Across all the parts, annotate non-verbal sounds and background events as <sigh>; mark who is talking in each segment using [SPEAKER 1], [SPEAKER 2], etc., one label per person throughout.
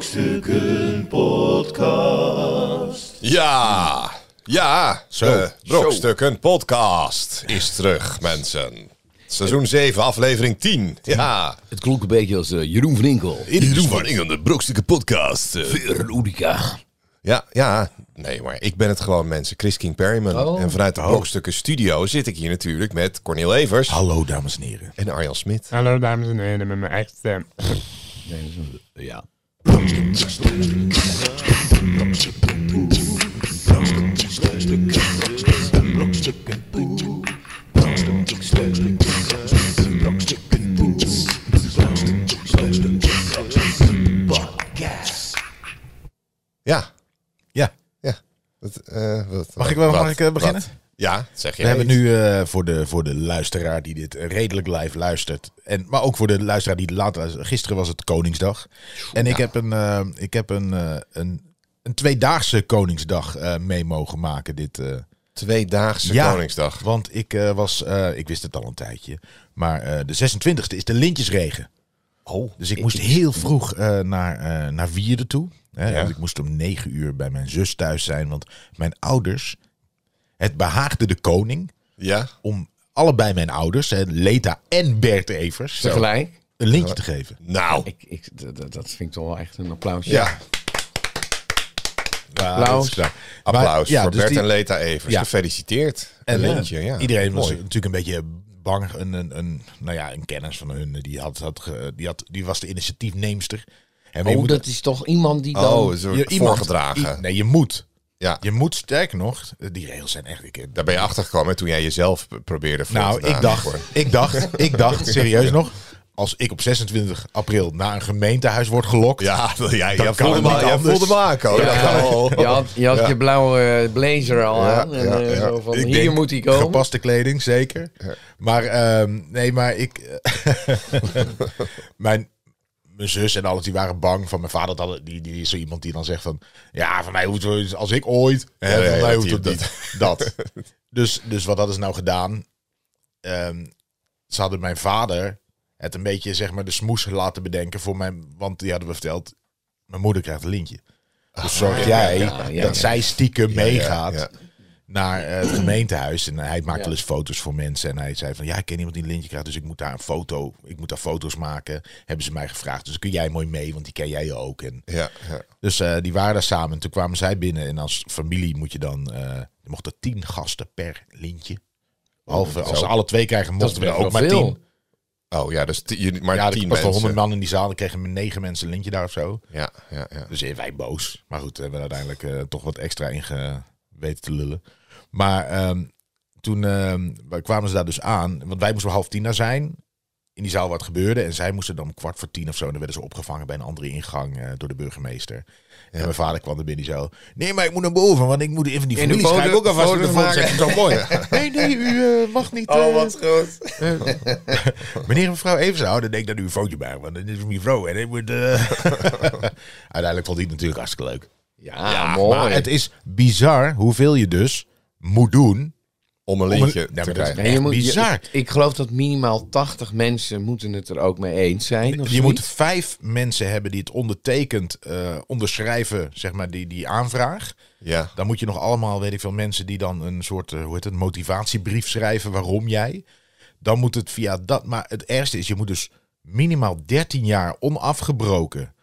[SPEAKER 1] Brokstukken Podcast.
[SPEAKER 2] Ja, ja. Zo. Brokstukken podcast is terug, mensen. Seizoen 7, aflevering 10. Ja.
[SPEAKER 3] Het klonk een beetje als eh, Jeroen van Inkel.
[SPEAKER 2] Iedereen doen van Inge, de Brokstukken podcast. Eh,
[SPEAKER 3] Veronica.
[SPEAKER 2] Ja, ja. Nee, maar ik ben het gewoon, mensen. Chris King Perryman.
[SPEAKER 3] Oh.
[SPEAKER 2] En vanuit de Brokstukken studio zit ik hier natuurlijk met Cornel Evers.
[SPEAKER 1] Hallo dames en heren.
[SPEAKER 2] En Arjan Smit.
[SPEAKER 4] Hallo Nou, dames en heren, met mijn eigen stem.
[SPEAKER 3] Ja.
[SPEAKER 2] Ja,
[SPEAKER 1] Ja,
[SPEAKER 2] ja. Dat, eh, wat-
[SPEAKER 1] Mag ik wel- mag ik, eh, beginnen?
[SPEAKER 2] wat? Ja, zeg je.
[SPEAKER 1] we hebben nu eh, voor, de, voor de luisteraar die dit redelijk live luistert. En, maar ook voor de luisteraar die later luistert. Gisteren was het Koningsdag. En ik heb een, eh, ik heb een, eh, een, een tweedaagse Koningsdag eh, mee mogen maken dit, eh,
[SPEAKER 2] Tweedaagse
[SPEAKER 1] Ja.
[SPEAKER 2] Koningsdag.
[SPEAKER 1] Want ik eh, was, eh, ik wist het al een tijdje, maar eh, de 26e is de lintjesregen.
[SPEAKER 2] Oh,
[SPEAKER 1] Dus ik moest heel vroeg eh, naar, eh naar Wierde toe. Hè?
[SPEAKER 2] Ja.
[SPEAKER 1] Want ik moest om negen uur bij mijn zus thuis zijn, want mijn ouders, het behaagde de koning
[SPEAKER 2] Ja,
[SPEAKER 1] om allebei mijn ouders, hè, Leta en Bert Evers, zo,
[SPEAKER 3] Tegelijk.
[SPEAKER 1] een lintje te geven.
[SPEAKER 2] nou.
[SPEAKER 3] Ik, ik, dat, dat- dat vind ik toch wel echt een applausje.
[SPEAKER 2] Ja,
[SPEAKER 1] Ja,
[SPEAKER 3] Applaus.
[SPEAKER 1] dat is klaar. Maar,
[SPEAKER 2] applaus
[SPEAKER 1] ja,
[SPEAKER 2] voor
[SPEAKER 1] dus
[SPEAKER 2] Bert
[SPEAKER 1] die-
[SPEAKER 2] en Leta Evers.
[SPEAKER 1] Ja.
[SPEAKER 2] Gefeliciteerd. En
[SPEAKER 1] ja,
[SPEAKER 2] Leentje, ja.
[SPEAKER 1] Iedereen was
[SPEAKER 2] Mooi.
[SPEAKER 1] natuurlijk een beetje bang. Een, een, een, nou ja, een kennis van hun, die, had, had, ge- die, had, die was de initiatiefneemster. En maar
[SPEAKER 3] Oh,
[SPEAKER 1] je moet-
[SPEAKER 3] dat is toch iemand die dan...
[SPEAKER 2] Oh, zo
[SPEAKER 1] je- iemand-
[SPEAKER 2] voorgedragen.
[SPEAKER 1] i- nee, je moet.
[SPEAKER 2] ja.
[SPEAKER 1] Je moet, sterker nog, die regels zijn echt... Ik,
[SPEAKER 2] Daar ben je achter gekomen toen jij jezelf p- probeerde voor
[SPEAKER 1] nou,
[SPEAKER 2] te dragen,
[SPEAKER 1] ik dacht,
[SPEAKER 2] hoor.
[SPEAKER 1] ik dacht, ik
[SPEAKER 2] <laughs>
[SPEAKER 1] dacht, serieus nog, als ik op 26 april naar een gemeentehuis word gelokt...
[SPEAKER 2] Ja, <laughs> wil jij,
[SPEAKER 1] Dat
[SPEAKER 2] jij
[SPEAKER 1] kan
[SPEAKER 2] voelde hem
[SPEAKER 1] niet
[SPEAKER 2] aan- jij
[SPEAKER 1] anders.
[SPEAKER 2] voelde hem aankomen.
[SPEAKER 3] oh, Ja,
[SPEAKER 2] Ja,
[SPEAKER 3] <laughs>
[SPEAKER 1] Oh.
[SPEAKER 3] Je had je, had je blauwe eh, blazer al
[SPEAKER 2] Ja,
[SPEAKER 3] aan. En,
[SPEAKER 2] ja,
[SPEAKER 3] eh,
[SPEAKER 2] ja.
[SPEAKER 3] zo van,
[SPEAKER 1] ik
[SPEAKER 3] hier
[SPEAKER 1] denk,
[SPEAKER 3] moet hij komen.
[SPEAKER 1] Gepaste kleding, zeker. Maar ehm, nee, maar ik... <laughs> mijn, mijn zus en alles, die waren bang van mijn vader. Dat, die, die is zo iemand die dan zegt van... Ja, van mij hoeft het, als ik ooit... Hè,
[SPEAKER 2] Ja, ja,
[SPEAKER 1] van
[SPEAKER 2] ja,
[SPEAKER 1] mij
[SPEAKER 2] dat
[SPEAKER 1] hoeft het
[SPEAKER 2] die-
[SPEAKER 1] niet. <laughs> Dat. Dus, dus wat hadden ze nou gedaan? Ehm, ze hadden mijn vader het een beetje, zeg maar, de smoes laten bedenken voor mijn... Want die hadden we verteld, mijn moeder krijgt een lintje. Dus zorg jij
[SPEAKER 3] Ah, ja, ja,
[SPEAKER 1] dat
[SPEAKER 3] ja.
[SPEAKER 1] zij stiekem meegaat
[SPEAKER 2] ja.
[SPEAKER 1] naar eh, het gemeentehuis. En hij maakt
[SPEAKER 3] Ja.
[SPEAKER 1] wel eens foto's voor mensen. En hij zei van, ja, ik ken iemand die een lintje krijgt, dus ik moet daar een foto, ik moet daar foto's maken. Hebben ze mij gevraagd, dus kun jij mooi mee, want die ken jij ook. En
[SPEAKER 2] ja, ja.
[SPEAKER 1] dus eh, die waren daar samen. En toen kwamen zij binnen. En als familie moet je dan... eh, er mochten tien gasten per lintje.
[SPEAKER 3] Oh,
[SPEAKER 1] Behalve als ze alle twee krijgen, mochten we er
[SPEAKER 3] best
[SPEAKER 1] ook
[SPEAKER 3] wel
[SPEAKER 1] maar
[SPEAKER 3] veel.
[SPEAKER 1] tien.
[SPEAKER 2] Oh ja, dus ti- jullie- maar
[SPEAKER 1] Ja, er
[SPEAKER 2] tien
[SPEAKER 1] was wel
[SPEAKER 2] mensen.
[SPEAKER 1] honderd man in die zaal. Dan kregen we negen mensen een lintje daar of zo.
[SPEAKER 2] Ja, ja, ja.
[SPEAKER 1] Dus eh, wij boos. Maar goed, we hebben er uiteindelijk eh, toch wat extra in ge- weten te lullen. Maar ehm, toen ehm, wij kwamen ze daar dus aan. Want wij moesten om half tien daar zijn. In die zaal waar het gebeurde. En zij moesten dan om kwart voor tien of zo. En dan werden ze opgevangen bij een andere ingang eh, door de burgemeester. En mijn vader kwam er binnen die zo. Nee, maar ik moet naar boven. Want ik moet even die
[SPEAKER 3] In de
[SPEAKER 1] familie schrijven.
[SPEAKER 3] foto-
[SPEAKER 1] Ook alvast in de
[SPEAKER 3] foto-
[SPEAKER 1] voorzet. Zo
[SPEAKER 3] <laughs>
[SPEAKER 1] mooi. Nee, nee, u eh, mag niet. <laughs> eh,
[SPEAKER 3] Oh, goed.
[SPEAKER 1] Meneer en mevrouw Evenshout, dan denk ik dat u een foutje bij want dit is mijn vrouw. En ik moet, eh. <laughs> Uiteindelijk vond hij het natuurlijk hartstikke leuk.
[SPEAKER 3] Ja,
[SPEAKER 2] Ja,
[SPEAKER 3] mooi.
[SPEAKER 1] Maar het is bizar hoeveel je dus moet doen.
[SPEAKER 2] Om een
[SPEAKER 1] een-
[SPEAKER 2] lintje
[SPEAKER 1] Nee, maar
[SPEAKER 2] te
[SPEAKER 1] dat-
[SPEAKER 2] krijgen.
[SPEAKER 3] En je
[SPEAKER 1] echt
[SPEAKER 3] moet, je-
[SPEAKER 1] bizar.
[SPEAKER 3] ik, ik geloof dat minimaal 80 mensen moeten het er ook mee eens zijn. Of
[SPEAKER 1] Je moet
[SPEAKER 3] zoiets.
[SPEAKER 1] vijf mensen hebben die het ondertekend eh, onderschrijven, zeg maar, die, die aanvraag.
[SPEAKER 2] Ja.
[SPEAKER 1] Dan moet je nog allemaal, weet ik veel, mensen die dan een soort, eh, hoe heet het, motivatiebrief schrijven waarom jij. Dan moet het via dat. Maar het ergste is, je moet dus minimaal 13 jaar onafgebroken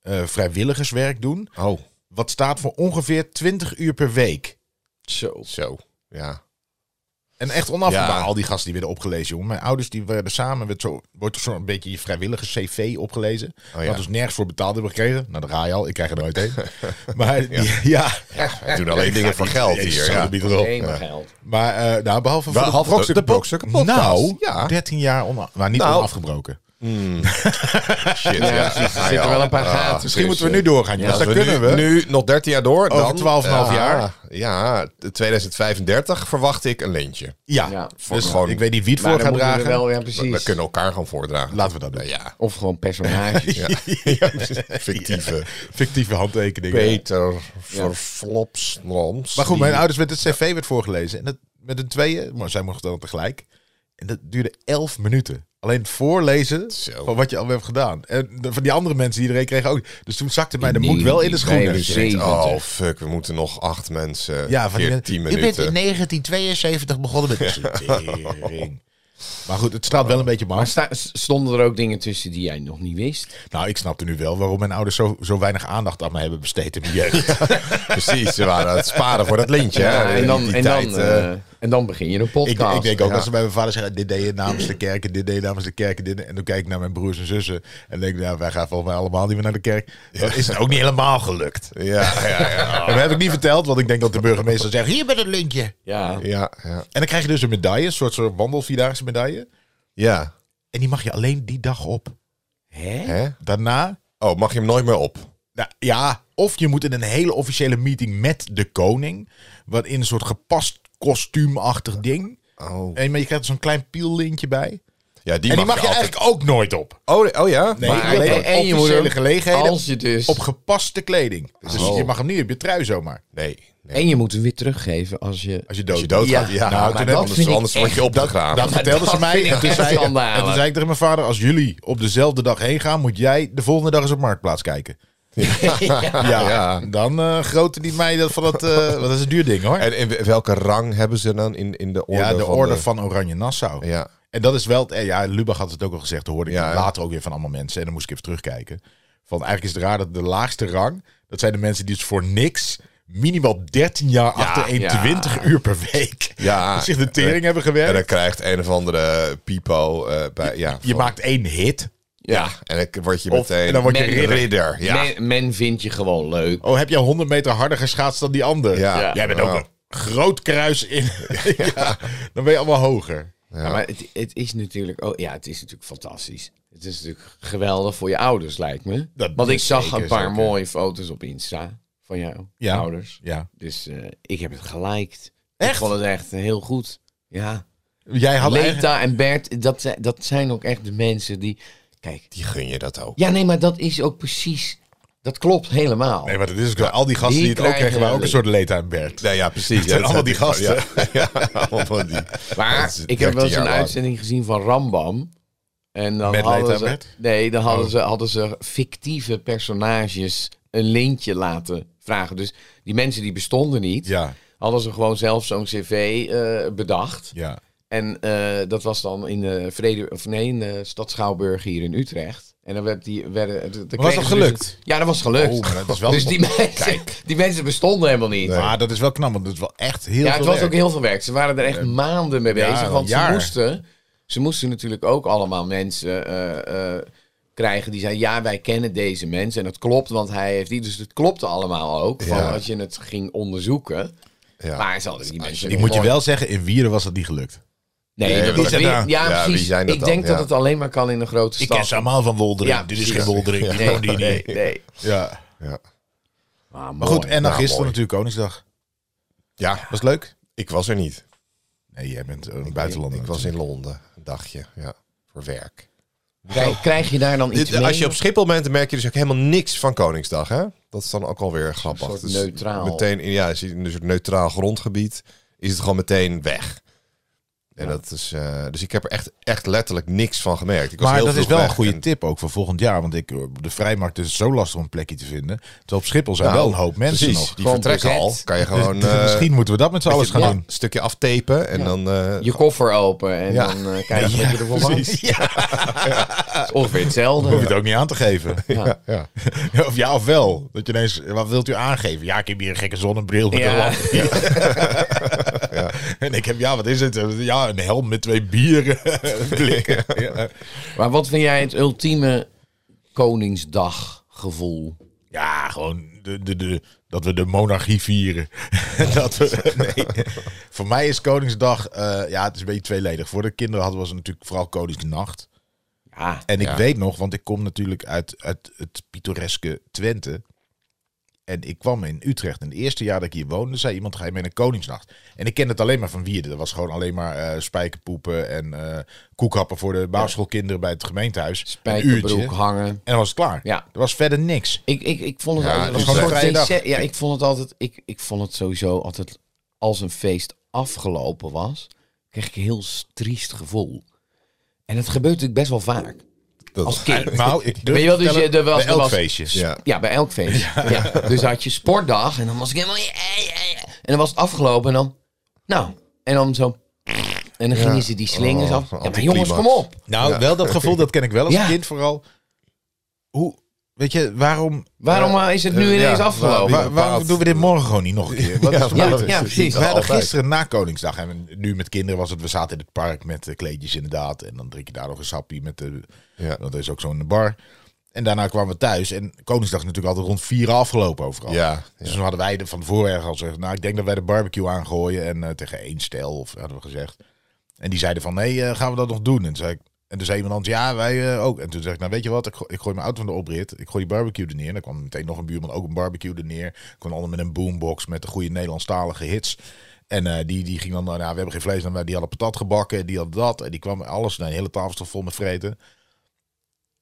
[SPEAKER 1] eh, vrijwilligerswerk doen.
[SPEAKER 2] Oh,
[SPEAKER 1] Wat staat voor ongeveer 20 uur per week.
[SPEAKER 3] Zo.
[SPEAKER 2] zo. Ja.
[SPEAKER 1] En echt onafgebroken.
[SPEAKER 2] Ja.
[SPEAKER 1] Maar Al die gasten die werden opgelezen, jongen. Mijn ouders die werden samen, werd zo, wordt zo'n beetje je vrijwillige cv opgelezen.
[SPEAKER 2] Oh ja.
[SPEAKER 1] Wat dus nergens voor betaald hebben gekregen. Nou, daar ga je al. Ik krijg er nooit een. maar die- ja. ja.
[SPEAKER 2] We doen alleen dingen voor geld
[SPEAKER 1] Jezus,
[SPEAKER 2] hier.
[SPEAKER 1] zo,
[SPEAKER 2] Ja.
[SPEAKER 1] dat biedt het op.
[SPEAKER 3] Alleen maar geld.
[SPEAKER 1] Maar eh, nou, behalve voor
[SPEAKER 2] Behalve
[SPEAKER 1] de, brokstukken-
[SPEAKER 2] de brokstukken podcast.
[SPEAKER 1] Nou,
[SPEAKER 2] Ja.
[SPEAKER 1] 13 jaar ona- maar niet
[SPEAKER 2] Nou.
[SPEAKER 1] onafgebroken.
[SPEAKER 2] <laughs> Shit,
[SPEAKER 3] Ja,
[SPEAKER 2] ja.
[SPEAKER 3] precies. Er
[SPEAKER 2] Ah,
[SPEAKER 3] zitten
[SPEAKER 2] ja.
[SPEAKER 3] wel een paar
[SPEAKER 2] Ah,
[SPEAKER 3] gaten
[SPEAKER 1] Misschien
[SPEAKER 3] tussen.
[SPEAKER 1] moeten we nu doorgaan. Ja,
[SPEAKER 2] Als
[SPEAKER 1] dat
[SPEAKER 2] we
[SPEAKER 1] kunnen
[SPEAKER 2] nu,
[SPEAKER 1] we.
[SPEAKER 2] nu nog 13 jaar door,
[SPEAKER 1] Over
[SPEAKER 2] dan...
[SPEAKER 1] 12,5
[SPEAKER 2] ja,
[SPEAKER 1] jaar.
[SPEAKER 2] Ja, 2035 verwacht ik een lintje.
[SPEAKER 1] ja.
[SPEAKER 3] Ja.
[SPEAKER 1] Dus
[SPEAKER 2] Gewoon-
[SPEAKER 1] ik weet niet wie het
[SPEAKER 3] Maar
[SPEAKER 1] voor
[SPEAKER 3] dan
[SPEAKER 1] gaat
[SPEAKER 3] moeten we
[SPEAKER 1] dragen.
[SPEAKER 3] er wel, ja,
[SPEAKER 2] We,
[SPEAKER 3] precies.
[SPEAKER 2] we kunnen elkaar gaan voordragen.
[SPEAKER 1] Laten we dat doen.
[SPEAKER 2] Nou Ja,
[SPEAKER 3] Of gewoon
[SPEAKER 1] <laughs>
[SPEAKER 3] personages.
[SPEAKER 2] ja. Fictieve.
[SPEAKER 1] Fictieve handtekeningen.
[SPEAKER 2] Peter Verflopsnoms. Mm.
[SPEAKER 1] Maar goed,
[SPEAKER 2] die-
[SPEAKER 1] mijn ouders werd het cv werd voorgelezen. En dat met een tweeën, maar zij mochten dan tegelijk. En dat duurde elf minuten. Alleen het voorlezen
[SPEAKER 2] Zo.
[SPEAKER 1] van wat je al hebt gedaan. En de- van die andere mensen die iedereen kregen ook. Dus toen zakte mij de moed wel in de schoenen.
[SPEAKER 3] 79.
[SPEAKER 2] Oh fuck, we moeten nog acht mensen.
[SPEAKER 1] dus. Ja, van die
[SPEAKER 2] keer
[SPEAKER 1] net-
[SPEAKER 2] tien
[SPEAKER 1] je bent
[SPEAKER 2] minuten.
[SPEAKER 1] in 1972 begonnen met <laughs> Tering. Maar goed, het
[SPEAKER 2] Oh.
[SPEAKER 1] straalt wel een beetje op
[SPEAKER 3] Maar
[SPEAKER 1] af.
[SPEAKER 3] sta- s- stonden er ook dingen tussen die jij nog niet wist?
[SPEAKER 1] Nou, ik snapte nu wel waarom mijn ouders zo, zo weinig aandacht aan mij hebben besteed in mijn jeugd.
[SPEAKER 2] <laughs>
[SPEAKER 1] <laughs>
[SPEAKER 2] Precies, ze waren aan het sparen voor dat lintje. hè,
[SPEAKER 3] Ja, en,
[SPEAKER 2] in
[SPEAKER 3] dan,
[SPEAKER 2] die
[SPEAKER 3] en,
[SPEAKER 2] tijd,
[SPEAKER 3] dan,
[SPEAKER 2] eh.
[SPEAKER 3] eh, en dan begin je een
[SPEAKER 1] ik,
[SPEAKER 3] podcast.
[SPEAKER 1] ik denk ook
[SPEAKER 3] Ja.
[SPEAKER 1] als ze bij mijn vader zeggen, dit deed je namens de kerk, en dit deed je namens de kerk. en Dit, en dan kijk ik naar mijn broers en zussen en denk, ik, nou, wij gaan volgens mij allemaal niet meer naar de kerk. Dan is het ook niet helemaal gelukt.
[SPEAKER 2] eh,
[SPEAKER 1] <laughs>
[SPEAKER 2] ja, ja, ja.
[SPEAKER 1] En dat heb ik niet verteld, want ik denk dat de burgemeester zegt, hier met het lintje.
[SPEAKER 3] Ja.
[SPEAKER 2] Ja, ja.
[SPEAKER 1] En dan krijg je dus een medaille, een soort, soort wandelvierdaagse medaille.
[SPEAKER 2] ja.
[SPEAKER 1] En die mag je alleen die dag op.
[SPEAKER 3] Hè?
[SPEAKER 2] Hè?
[SPEAKER 1] Daarna
[SPEAKER 2] Oh, mag je hem nooit meer op?
[SPEAKER 1] Nou, ja, of je moet in een hele officiële meeting met de koning. Wat in een soort gepast kostuumachtig ding.
[SPEAKER 2] Oh.
[SPEAKER 1] En maar je krijgt er zo'n klein piellintje bij.
[SPEAKER 2] Ja, die,
[SPEAKER 1] en die mag je,
[SPEAKER 2] altijd-
[SPEAKER 1] eigenlijk ook nooit op.
[SPEAKER 2] Oh, nee, oh ja?
[SPEAKER 1] Nee,
[SPEAKER 3] Maar-
[SPEAKER 1] alleen op
[SPEAKER 3] en je moet
[SPEAKER 1] officiële
[SPEAKER 3] hem-
[SPEAKER 1] gelegenheden.
[SPEAKER 3] Als je dus...
[SPEAKER 1] Op gepaste kleding. Dus
[SPEAKER 2] Oh.
[SPEAKER 1] je mag hem niet op je trui zomaar.
[SPEAKER 2] Nee. nee.
[SPEAKER 3] En je moet hem weer teruggeven als je...
[SPEAKER 1] Als je dood,
[SPEAKER 2] Als je doodgaat, ja.
[SPEAKER 1] Nou, toen
[SPEAKER 2] maar
[SPEAKER 1] heb-
[SPEAKER 3] dat
[SPEAKER 2] anders
[SPEAKER 3] vind ik
[SPEAKER 2] anders word je
[SPEAKER 3] echt-
[SPEAKER 2] <laughs> opgegraven.
[SPEAKER 1] Dat vertelde ze
[SPEAKER 3] dat
[SPEAKER 1] mij.
[SPEAKER 3] vind
[SPEAKER 1] En
[SPEAKER 3] ik
[SPEAKER 1] toen,
[SPEAKER 3] echt
[SPEAKER 1] zei, en toen
[SPEAKER 3] schandalig.
[SPEAKER 1] zei ik tegen mijn vader: Als jullie op dezelfde dag heen gaan, moet jij de volgende dag eens op marktplaats kijken. <laughs> Ja,
[SPEAKER 2] Ja.
[SPEAKER 1] dan eh grootte die mij dat van dat. eh, want dat is een duur ding hoor.
[SPEAKER 2] En in we- welke rang hebben ze dan in, in de orde?
[SPEAKER 1] ja, de
[SPEAKER 2] van
[SPEAKER 1] Orde van Oranje Nassau.
[SPEAKER 2] Ja.
[SPEAKER 1] En dat is wel. eh, Ja, Lubach had het ook al gezegd. Dat hoorde ik
[SPEAKER 2] Ja, hè?
[SPEAKER 1] later ook weer van allemaal mensen. En dan moest ik even terugkijken. Van eigenlijk is het raar dat de laagste rang. Dat zijn de mensen die dus voor niks. minimaal 13 jaar achter een
[SPEAKER 3] ja.
[SPEAKER 1] 20 uur per week.
[SPEAKER 2] Ja.
[SPEAKER 1] <laughs> zich de tering hebben
[SPEAKER 2] En
[SPEAKER 1] gewerkt.
[SPEAKER 2] dan krijgt een of andere pipo eh, bij... Ja,
[SPEAKER 1] je
[SPEAKER 2] van-
[SPEAKER 1] maakt één hit.
[SPEAKER 3] Ja.
[SPEAKER 2] En dan word je
[SPEAKER 1] Of-
[SPEAKER 2] meteen...
[SPEAKER 1] en dan word je
[SPEAKER 2] ridder.
[SPEAKER 1] ridder.
[SPEAKER 2] ja.
[SPEAKER 3] Men, men vindt je gewoon leuk.
[SPEAKER 1] Oh, heb jij 100 meter harder geschaatst dan die ander?
[SPEAKER 2] Ja. Ja.
[SPEAKER 1] Jij bent ook
[SPEAKER 2] Ja.
[SPEAKER 1] een groot kruis
[SPEAKER 2] <laughs>
[SPEAKER 1] in. <laughs> ja. Dan ben je allemaal hoger.
[SPEAKER 3] Ja, maar het, het is natuurlijk... Oh, ja, het is natuurlijk fantastisch. Het is natuurlijk geweldig voor je ouders, lijkt me.
[SPEAKER 1] Dat
[SPEAKER 3] Want ik
[SPEAKER 1] is
[SPEAKER 3] zag
[SPEAKER 1] zeker,
[SPEAKER 3] een paar
[SPEAKER 1] zeker.
[SPEAKER 3] mooie foto's op Insta van jou,
[SPEAKER 1] Ja.
[SPEAKER 3] ouders.
[SPEAKER 1] Ja.
[SPEAKER 3] Dus eh, ik heb het geliked.
[SPEAKER 1] Echt?
[SPEAKER 3] Ik vond het echt eh, heel goed. Ja.
[SPEAKER 1] Jij had
[SPEAKER 3] Leta
[SPEAKER 1] eigenlijk-
[SPEAKER 3] en Bert, dat, zijn- dat zijn ook echt de mensen die... Kijk.
[SPEAKER 2] Die gun je dat ook.
[SPEAKER 3] Ja, nee, maar dat is ook precies... Dat klopt helemaal.
[SPEAKER 1] Nee, maar dat is ook zo. Al die gasten die,
[SPEAKER 3] Die
[SPEAKER 1] het ook krijgen,
[SPEAKER 3] krijgen-
[SPEAKER 1] waren ook een soort leeta en Bert.
[SPEAKER 2] Nee, ja, precies.
[SPEAKER 1] Het zijn
[SPEAKER 2] Ja,
[SPEAKER 1] allemaal
[SPEAKER 2] dat
[SPEAKER 1] die
[SPEAKER 2] heb ik-
[SPEAKER 1] gasten.
[SPEAKER 2] Ja, ja, allemaal van die. Dat
[SPEAKER 3] Maar
[SPEAKER 2] is
[SPEAKER 3] ik heb
[SPEAKER 2] 13
[SPEAKER 3] wel eens
[SPEAKER 2] jaar
[SPEAKER 3] een
[SPEAKER 2] lang.
[SPEAKER 3] uitzending gezien van Rambam. En dan
[SPEAKER 1] Met Leita
[SPEAKER 3] hadden ze,
[SPEAKER 1] Bert? Oh.
[SPEAKER 3] nee, dan hadden, ze, hadden ze fictieve personages een lintje laten vragen. Dus die mensen die bestonden niet,
[SPEAKER 1] Ja,
[SPEAKER 3] hadden ze gewoon zelf zo'n cv eh, bedacht.
[SPEAKER 1] ja.
[SPEAKER 3] En eh, dat was dan in de Vrede, of nee, in de Stad Schouwburg hier in Utrecht. En dan werd die, werden, dan kregen
[SPEAKER 1] dat
[SPEAKER 3] ze dus-
[SPEAKER 1] gelukt?
[SPEAKER 3] ja, dat was gelukt.
[SPEAKER 1] Oh, maar dat is wel-
[SPEAKER 3] <laughs> dus die mensen, <laughs> die mensen bestonden helemaal niet.
[SPEAKER 1] Maar dat is wel knap, want het is wel echt heel
[SPEAKER 3] Ja, het
[SPEAKER 1] veel
[SPEAKER 3] was
[SPEAKER 1] werk.
[SPEAKER 3] ook heel veel werk. Ze waren er echt maanden mee bezig.
[SPEAKER 1] ja,
[SPEAKER 3] want
[SPEAKER 1] jaar.
[SPEAKER 3] ze moesten, ze moesten natuurlijk ook allemaal mensen eh, eh, krijgen die zeiden: Ja, wij kennen deze mensen. En dat klopt, want hij heeft die. Dus het klopte allemaal ook. Van
[SPEAKER 2] Ja.
[SPEAKER 3] als je het ging onderzoeken.
[SPEAKER 2] Ja.
[SPEAKER 3] Maar ze hadden die mensen.
[SPEAKER 1] Die moet je wel zeggen, in Wieren was dat niet gelukt.
[SPEAKER 3] Nee,
[SPEAKER 2] Nee,
[SPEAKER 3] dat
[SPEAKER 2] wie
[SPEAKER 3] is
[SPEAKER 1] zijn
[SPEAKER 3] weer. Ja,
[SPEAKER 1] daar-
[SPEAKER 2] Ja,
[SPEAKER 3] precies.
[SPEAKER 2] wie zijn dat
[SPEAKER 3] ik
[SPEAKER 2] dan?
[SPEAKER 3] denk
[SPEAKER 2] Ja.
[SPEAKER 3] dat het alleen maar kan in een grote
[SPEAKER 1] Ik
[SPEAKER 3] stad. <laughs>
[SPEAKER 1] ken ze allemaal van Woldering.
[SPEAKER 3] Ja,
[SPEAKER 1] Dit is
[SPEAKER 3] precies.
[SPEAKER 1] geen Woldering. dit is
[SPEAKER 3] Nee,
[SPEAKER 1] gewoon die, nee.
[SPEAKER 3] nee, nee.
[SPEAKER 1] Ja.
[SPEAKER 2] Ja.
[SPEAKER 3] Ah,
[SPEAKER 1] Maar goed,
[SPEAKER 3] mooi.
[SPEAKER 1] en dan
[SPEAKER 2] Ja,
[SPEAKER 1] gisteren
[SPEAKER 2] mooi.
[SPEAKER 1] natuurlijk Koningsdag.
[SPEAKER 2] ja,
[SPEAKER 1] Was het leuk?
[SPEAKER 2] ik was er niet.
[SPEAKER 1] Nee, jij bent een buitenlander.
[SPEAKER 2] Ik was in Londen, een dagje. Ja, voor werk.
[SPEAKER 3] Krijg, krijg je daar dan iets
[SPEAKER 2] Dit, eh,
[SPEAKER 3] mee?
[SPEAKER 2] als je op Schiphol bent, dan merk je dus ook helemaal niks van Koningsdag. Hè? Dat is dan ook alweer grappig.
[SPEAKER 3] soort
[SPEAKER 2] Dus
[SPEAKER 3] neutraal.
[SPEAKER 2] Meteen in, ja, als je in een soort neutraal grondgebied is het gewoon meteen weg. En dat is, eh, dus ik heb er echt, echt letterlijk niks van gemerkt. Ik was
[SPEAKER 1] Maar
[SPEAKER 2] heel
[SPEAKER 1] dat is
[SPEAKER 2] vroeg
[SPEAKER 1] wel een
[SPEAKER 2] weg
[SPEAKER 1] goede
[SPEAKER 2] en-
[SPEAKER 1] tip ook voor volgend jaar. Want ik, op de vrijmarkt is het zo lastig om een plekje te vinden. Terwijl op Schiphol zijn
[SPEAKER 2] Nou,
[SPEAKER 1] wel een hoop mensen
[SPEAKER 2] precies,
[SPEAKER 1] nog.
[SPEAKER 2] Die
[SPEAKER 3] Gewoon
[SPEAKER 2] vertrekken
[SPEAKER 3] bezet.
[SPEAKER 2] al. <laughs> Kan je
[SPEAKER 1] Dus
[SPEAKER 2] gewoon
[SPEAKER 1] d-
[SPEAKER 2] eh,
[SPEAKER 1] misschien moeten we dat met z'n
[SPEAKER 2] een
[SPEAKER 1] allen gaan
[SPEAKER 2] beetje-
[SPEAKER 1] doen.
[SPEAKER 2] een stukje aftapen en
[SPEAKER 3] Ja.
[SPEAKER 2] dan... eh,
[SPEAKER 3] Je koffer open en
[SPEAKER 2] Ja.
[SPEAKER 3] dan eh, kijk je wat je ervoor mag.
[SPEAKER 1] <laughs> precies. Ja,
[SPEAKER 3] Het is Ongeveer
[SPEAKER 1] hoef je
[SPEAKER 3] hetzelfde.
[SPEAKER 1] het ook niet aan te geven.
[SPEAKER 2] ja, ja.
[SPEAKER 1] <laughs> of ja, of wel. Dat je ineens, wat wilt u aangeven? Ja, ik heb hier een gekke zonnebril met een
[SPEAKER 3] Ja.
[SPEAKER 1] lamp. En ik heb, <laughs> ja, wat is het? Ja, een helm met twee bieren. <laughs> blikken. Ja.
[SPEAKER 3] Maar wat vind jij het ultieme Koningsdaggevoel?
[SPEAKER 1] Ja, gewoon de, de, de, dat we de monarchie vieren. <laughs> dat we, nee. Voor mij is Koningsdag, eh, ja, het is een beetje tweeledig. Voor de kinderen hadden we natuurlijk vooral Koningsnacht.
[SPEAKER 3] Ja,
[SPEAKER 1] En ik
[SPEAKER 2] Ja.
[SPEAKER 1] weet nog, want ik kom natuurlijk uit, uit het pittoreske Twente. En ik kwam in Utrecht. En het eerste jaar dat ik hier woonde, zei iemand, ga je mee naar Koningsnacht? En ik ken het alleen maar van Wierden. Dat was gewoon alleen maar eh, spijkerpoepen en eh koekhappen voor de basisschoolkinderen bij het gemeentehuis. Een uurtje.
[SPEAKER 3] spijkerbroek
[SPEAKER 1] En
[SPEAKER 3] hangen.
[SPEAKER 1] dan was het klaar.
[SPEAKER 3] Ja.
[SPEAKER 1] Er was verder niks.
[SPEAKER 3] Ik, ik, ik vond het
[SPEAKER 2] Ja,
[SPEAKER 3] altijd
[SPEAKER 2] het is
[SPEAKER 3] een
[SPEAKER 2] gewoon
[SPEAKER 3] soort
[SPEAKER 1] een vrije dag.
[SPEAKER 3] feest- Ja, ik vond het altijd. Ik, ik vond het sowieso altijd als een feest afgelopen was, kreeg ik een heel triest gevoel. En dat gebeurt natuurlijk best wel vaak.
[SPEAKER 2] Dat-
[SPEAKER 3] Als kind.
[SPEAKER 1] Nou,
[SPEAKER 3] <laughs>
[SPEAKER 1] ik durf
[SPEAKER 3] Weet je wel, dus
[SPEAKER 1] vertellen,
[SPEAKER 3] je- er was-
[SPEAKER 1] bij
[SPEAKER 3] er
[SPEAKER 1] elk
[SPEAKER 3] was-
[SPEAKER 1] feestjes.
[SPEAKER 2] Ja.
[SPEAKER 3] Ja, bij elk feest. Ja. Dus had je sportdag en dan was ik helemaal... En dan was het afgelopen en dan... Nou, en dan zo... En dan gingen ze die slingers
[SPEAKER 2] Oh,
[SPEAKER 3] af. Ja, maar
[SPEAKER 2] anticlimax.
[SPEAKER 3] jongens, kom op.
[SPEAKER 1] Nou, wel dat gevoel, dat ken ik wel
[SPEAKER 3] <laughs>
[SPEAKER 1] als
[SPEAKER 3] Ja.
[SPEAKER 1] kind vooral. Hoe, weet je, waarom,
[SPEAKER 3] Waarom eh, is het nu
[SPEAKER 2] eh,
[SPEAKER 3] ineens
[SPEAKER 2] ja,
[SPEAKER 3] afgelopen?
[SPEAKER 1] wa-
[SPEAKER 2] bepaalt-
[SPEAKER 1] waarom doen we dit morgen gewoon niet nog een keer? Wat is
[SPEAKER 3] Ja,
[SPEAKER 2] dat is precies.
[SPEAKER 3] ja, precies.
[SPEAKER 1] We hadden
[SPEAKER 2] Altijd.
[SPEAKER 1] gisteren na Koningsdag en nu met kinderen was het, we zaten in het park met eh, kleedjes inderdaad. En dan drink je daar nog een sappie met de,
[SPEAKER 2] Ja.
[SPEAKER 1] want er is ook zo'n bar. En daarna kwamen we thuis en Koningsdag is natuurlijk altijd rond vier afgelopen overal.
[SPEAKER 2] Ja,
[SPEAKER 1] Dus toen hadden wij de, van tevoren ergens al gezegd, nou ik denk dat wij de barbecue aangooien. En eh, tegen één stel, of hadden we gezegd. En die zeiden van, nee, eh, gaan we dat nog doen? En toen zei, ik, en toen zei iemand anders, ja wij eh, ook. En toen zei ik, nou weet je wat, ik, go- ik gooi mijn auto van de oprit. Ik gooi die barbecue er neer. En dan kwam meteen nog een buurman, ook een barbecue er neer. Ik kwam allemaal met een boombox met de goede Nederlandstalige hits. En eh, die, die ging dan, nou we hebben geen vlees, maar die hadden patat gebakken, die hadden dat. En die kwam alles, nou, de hele tafel stond vol met vreten.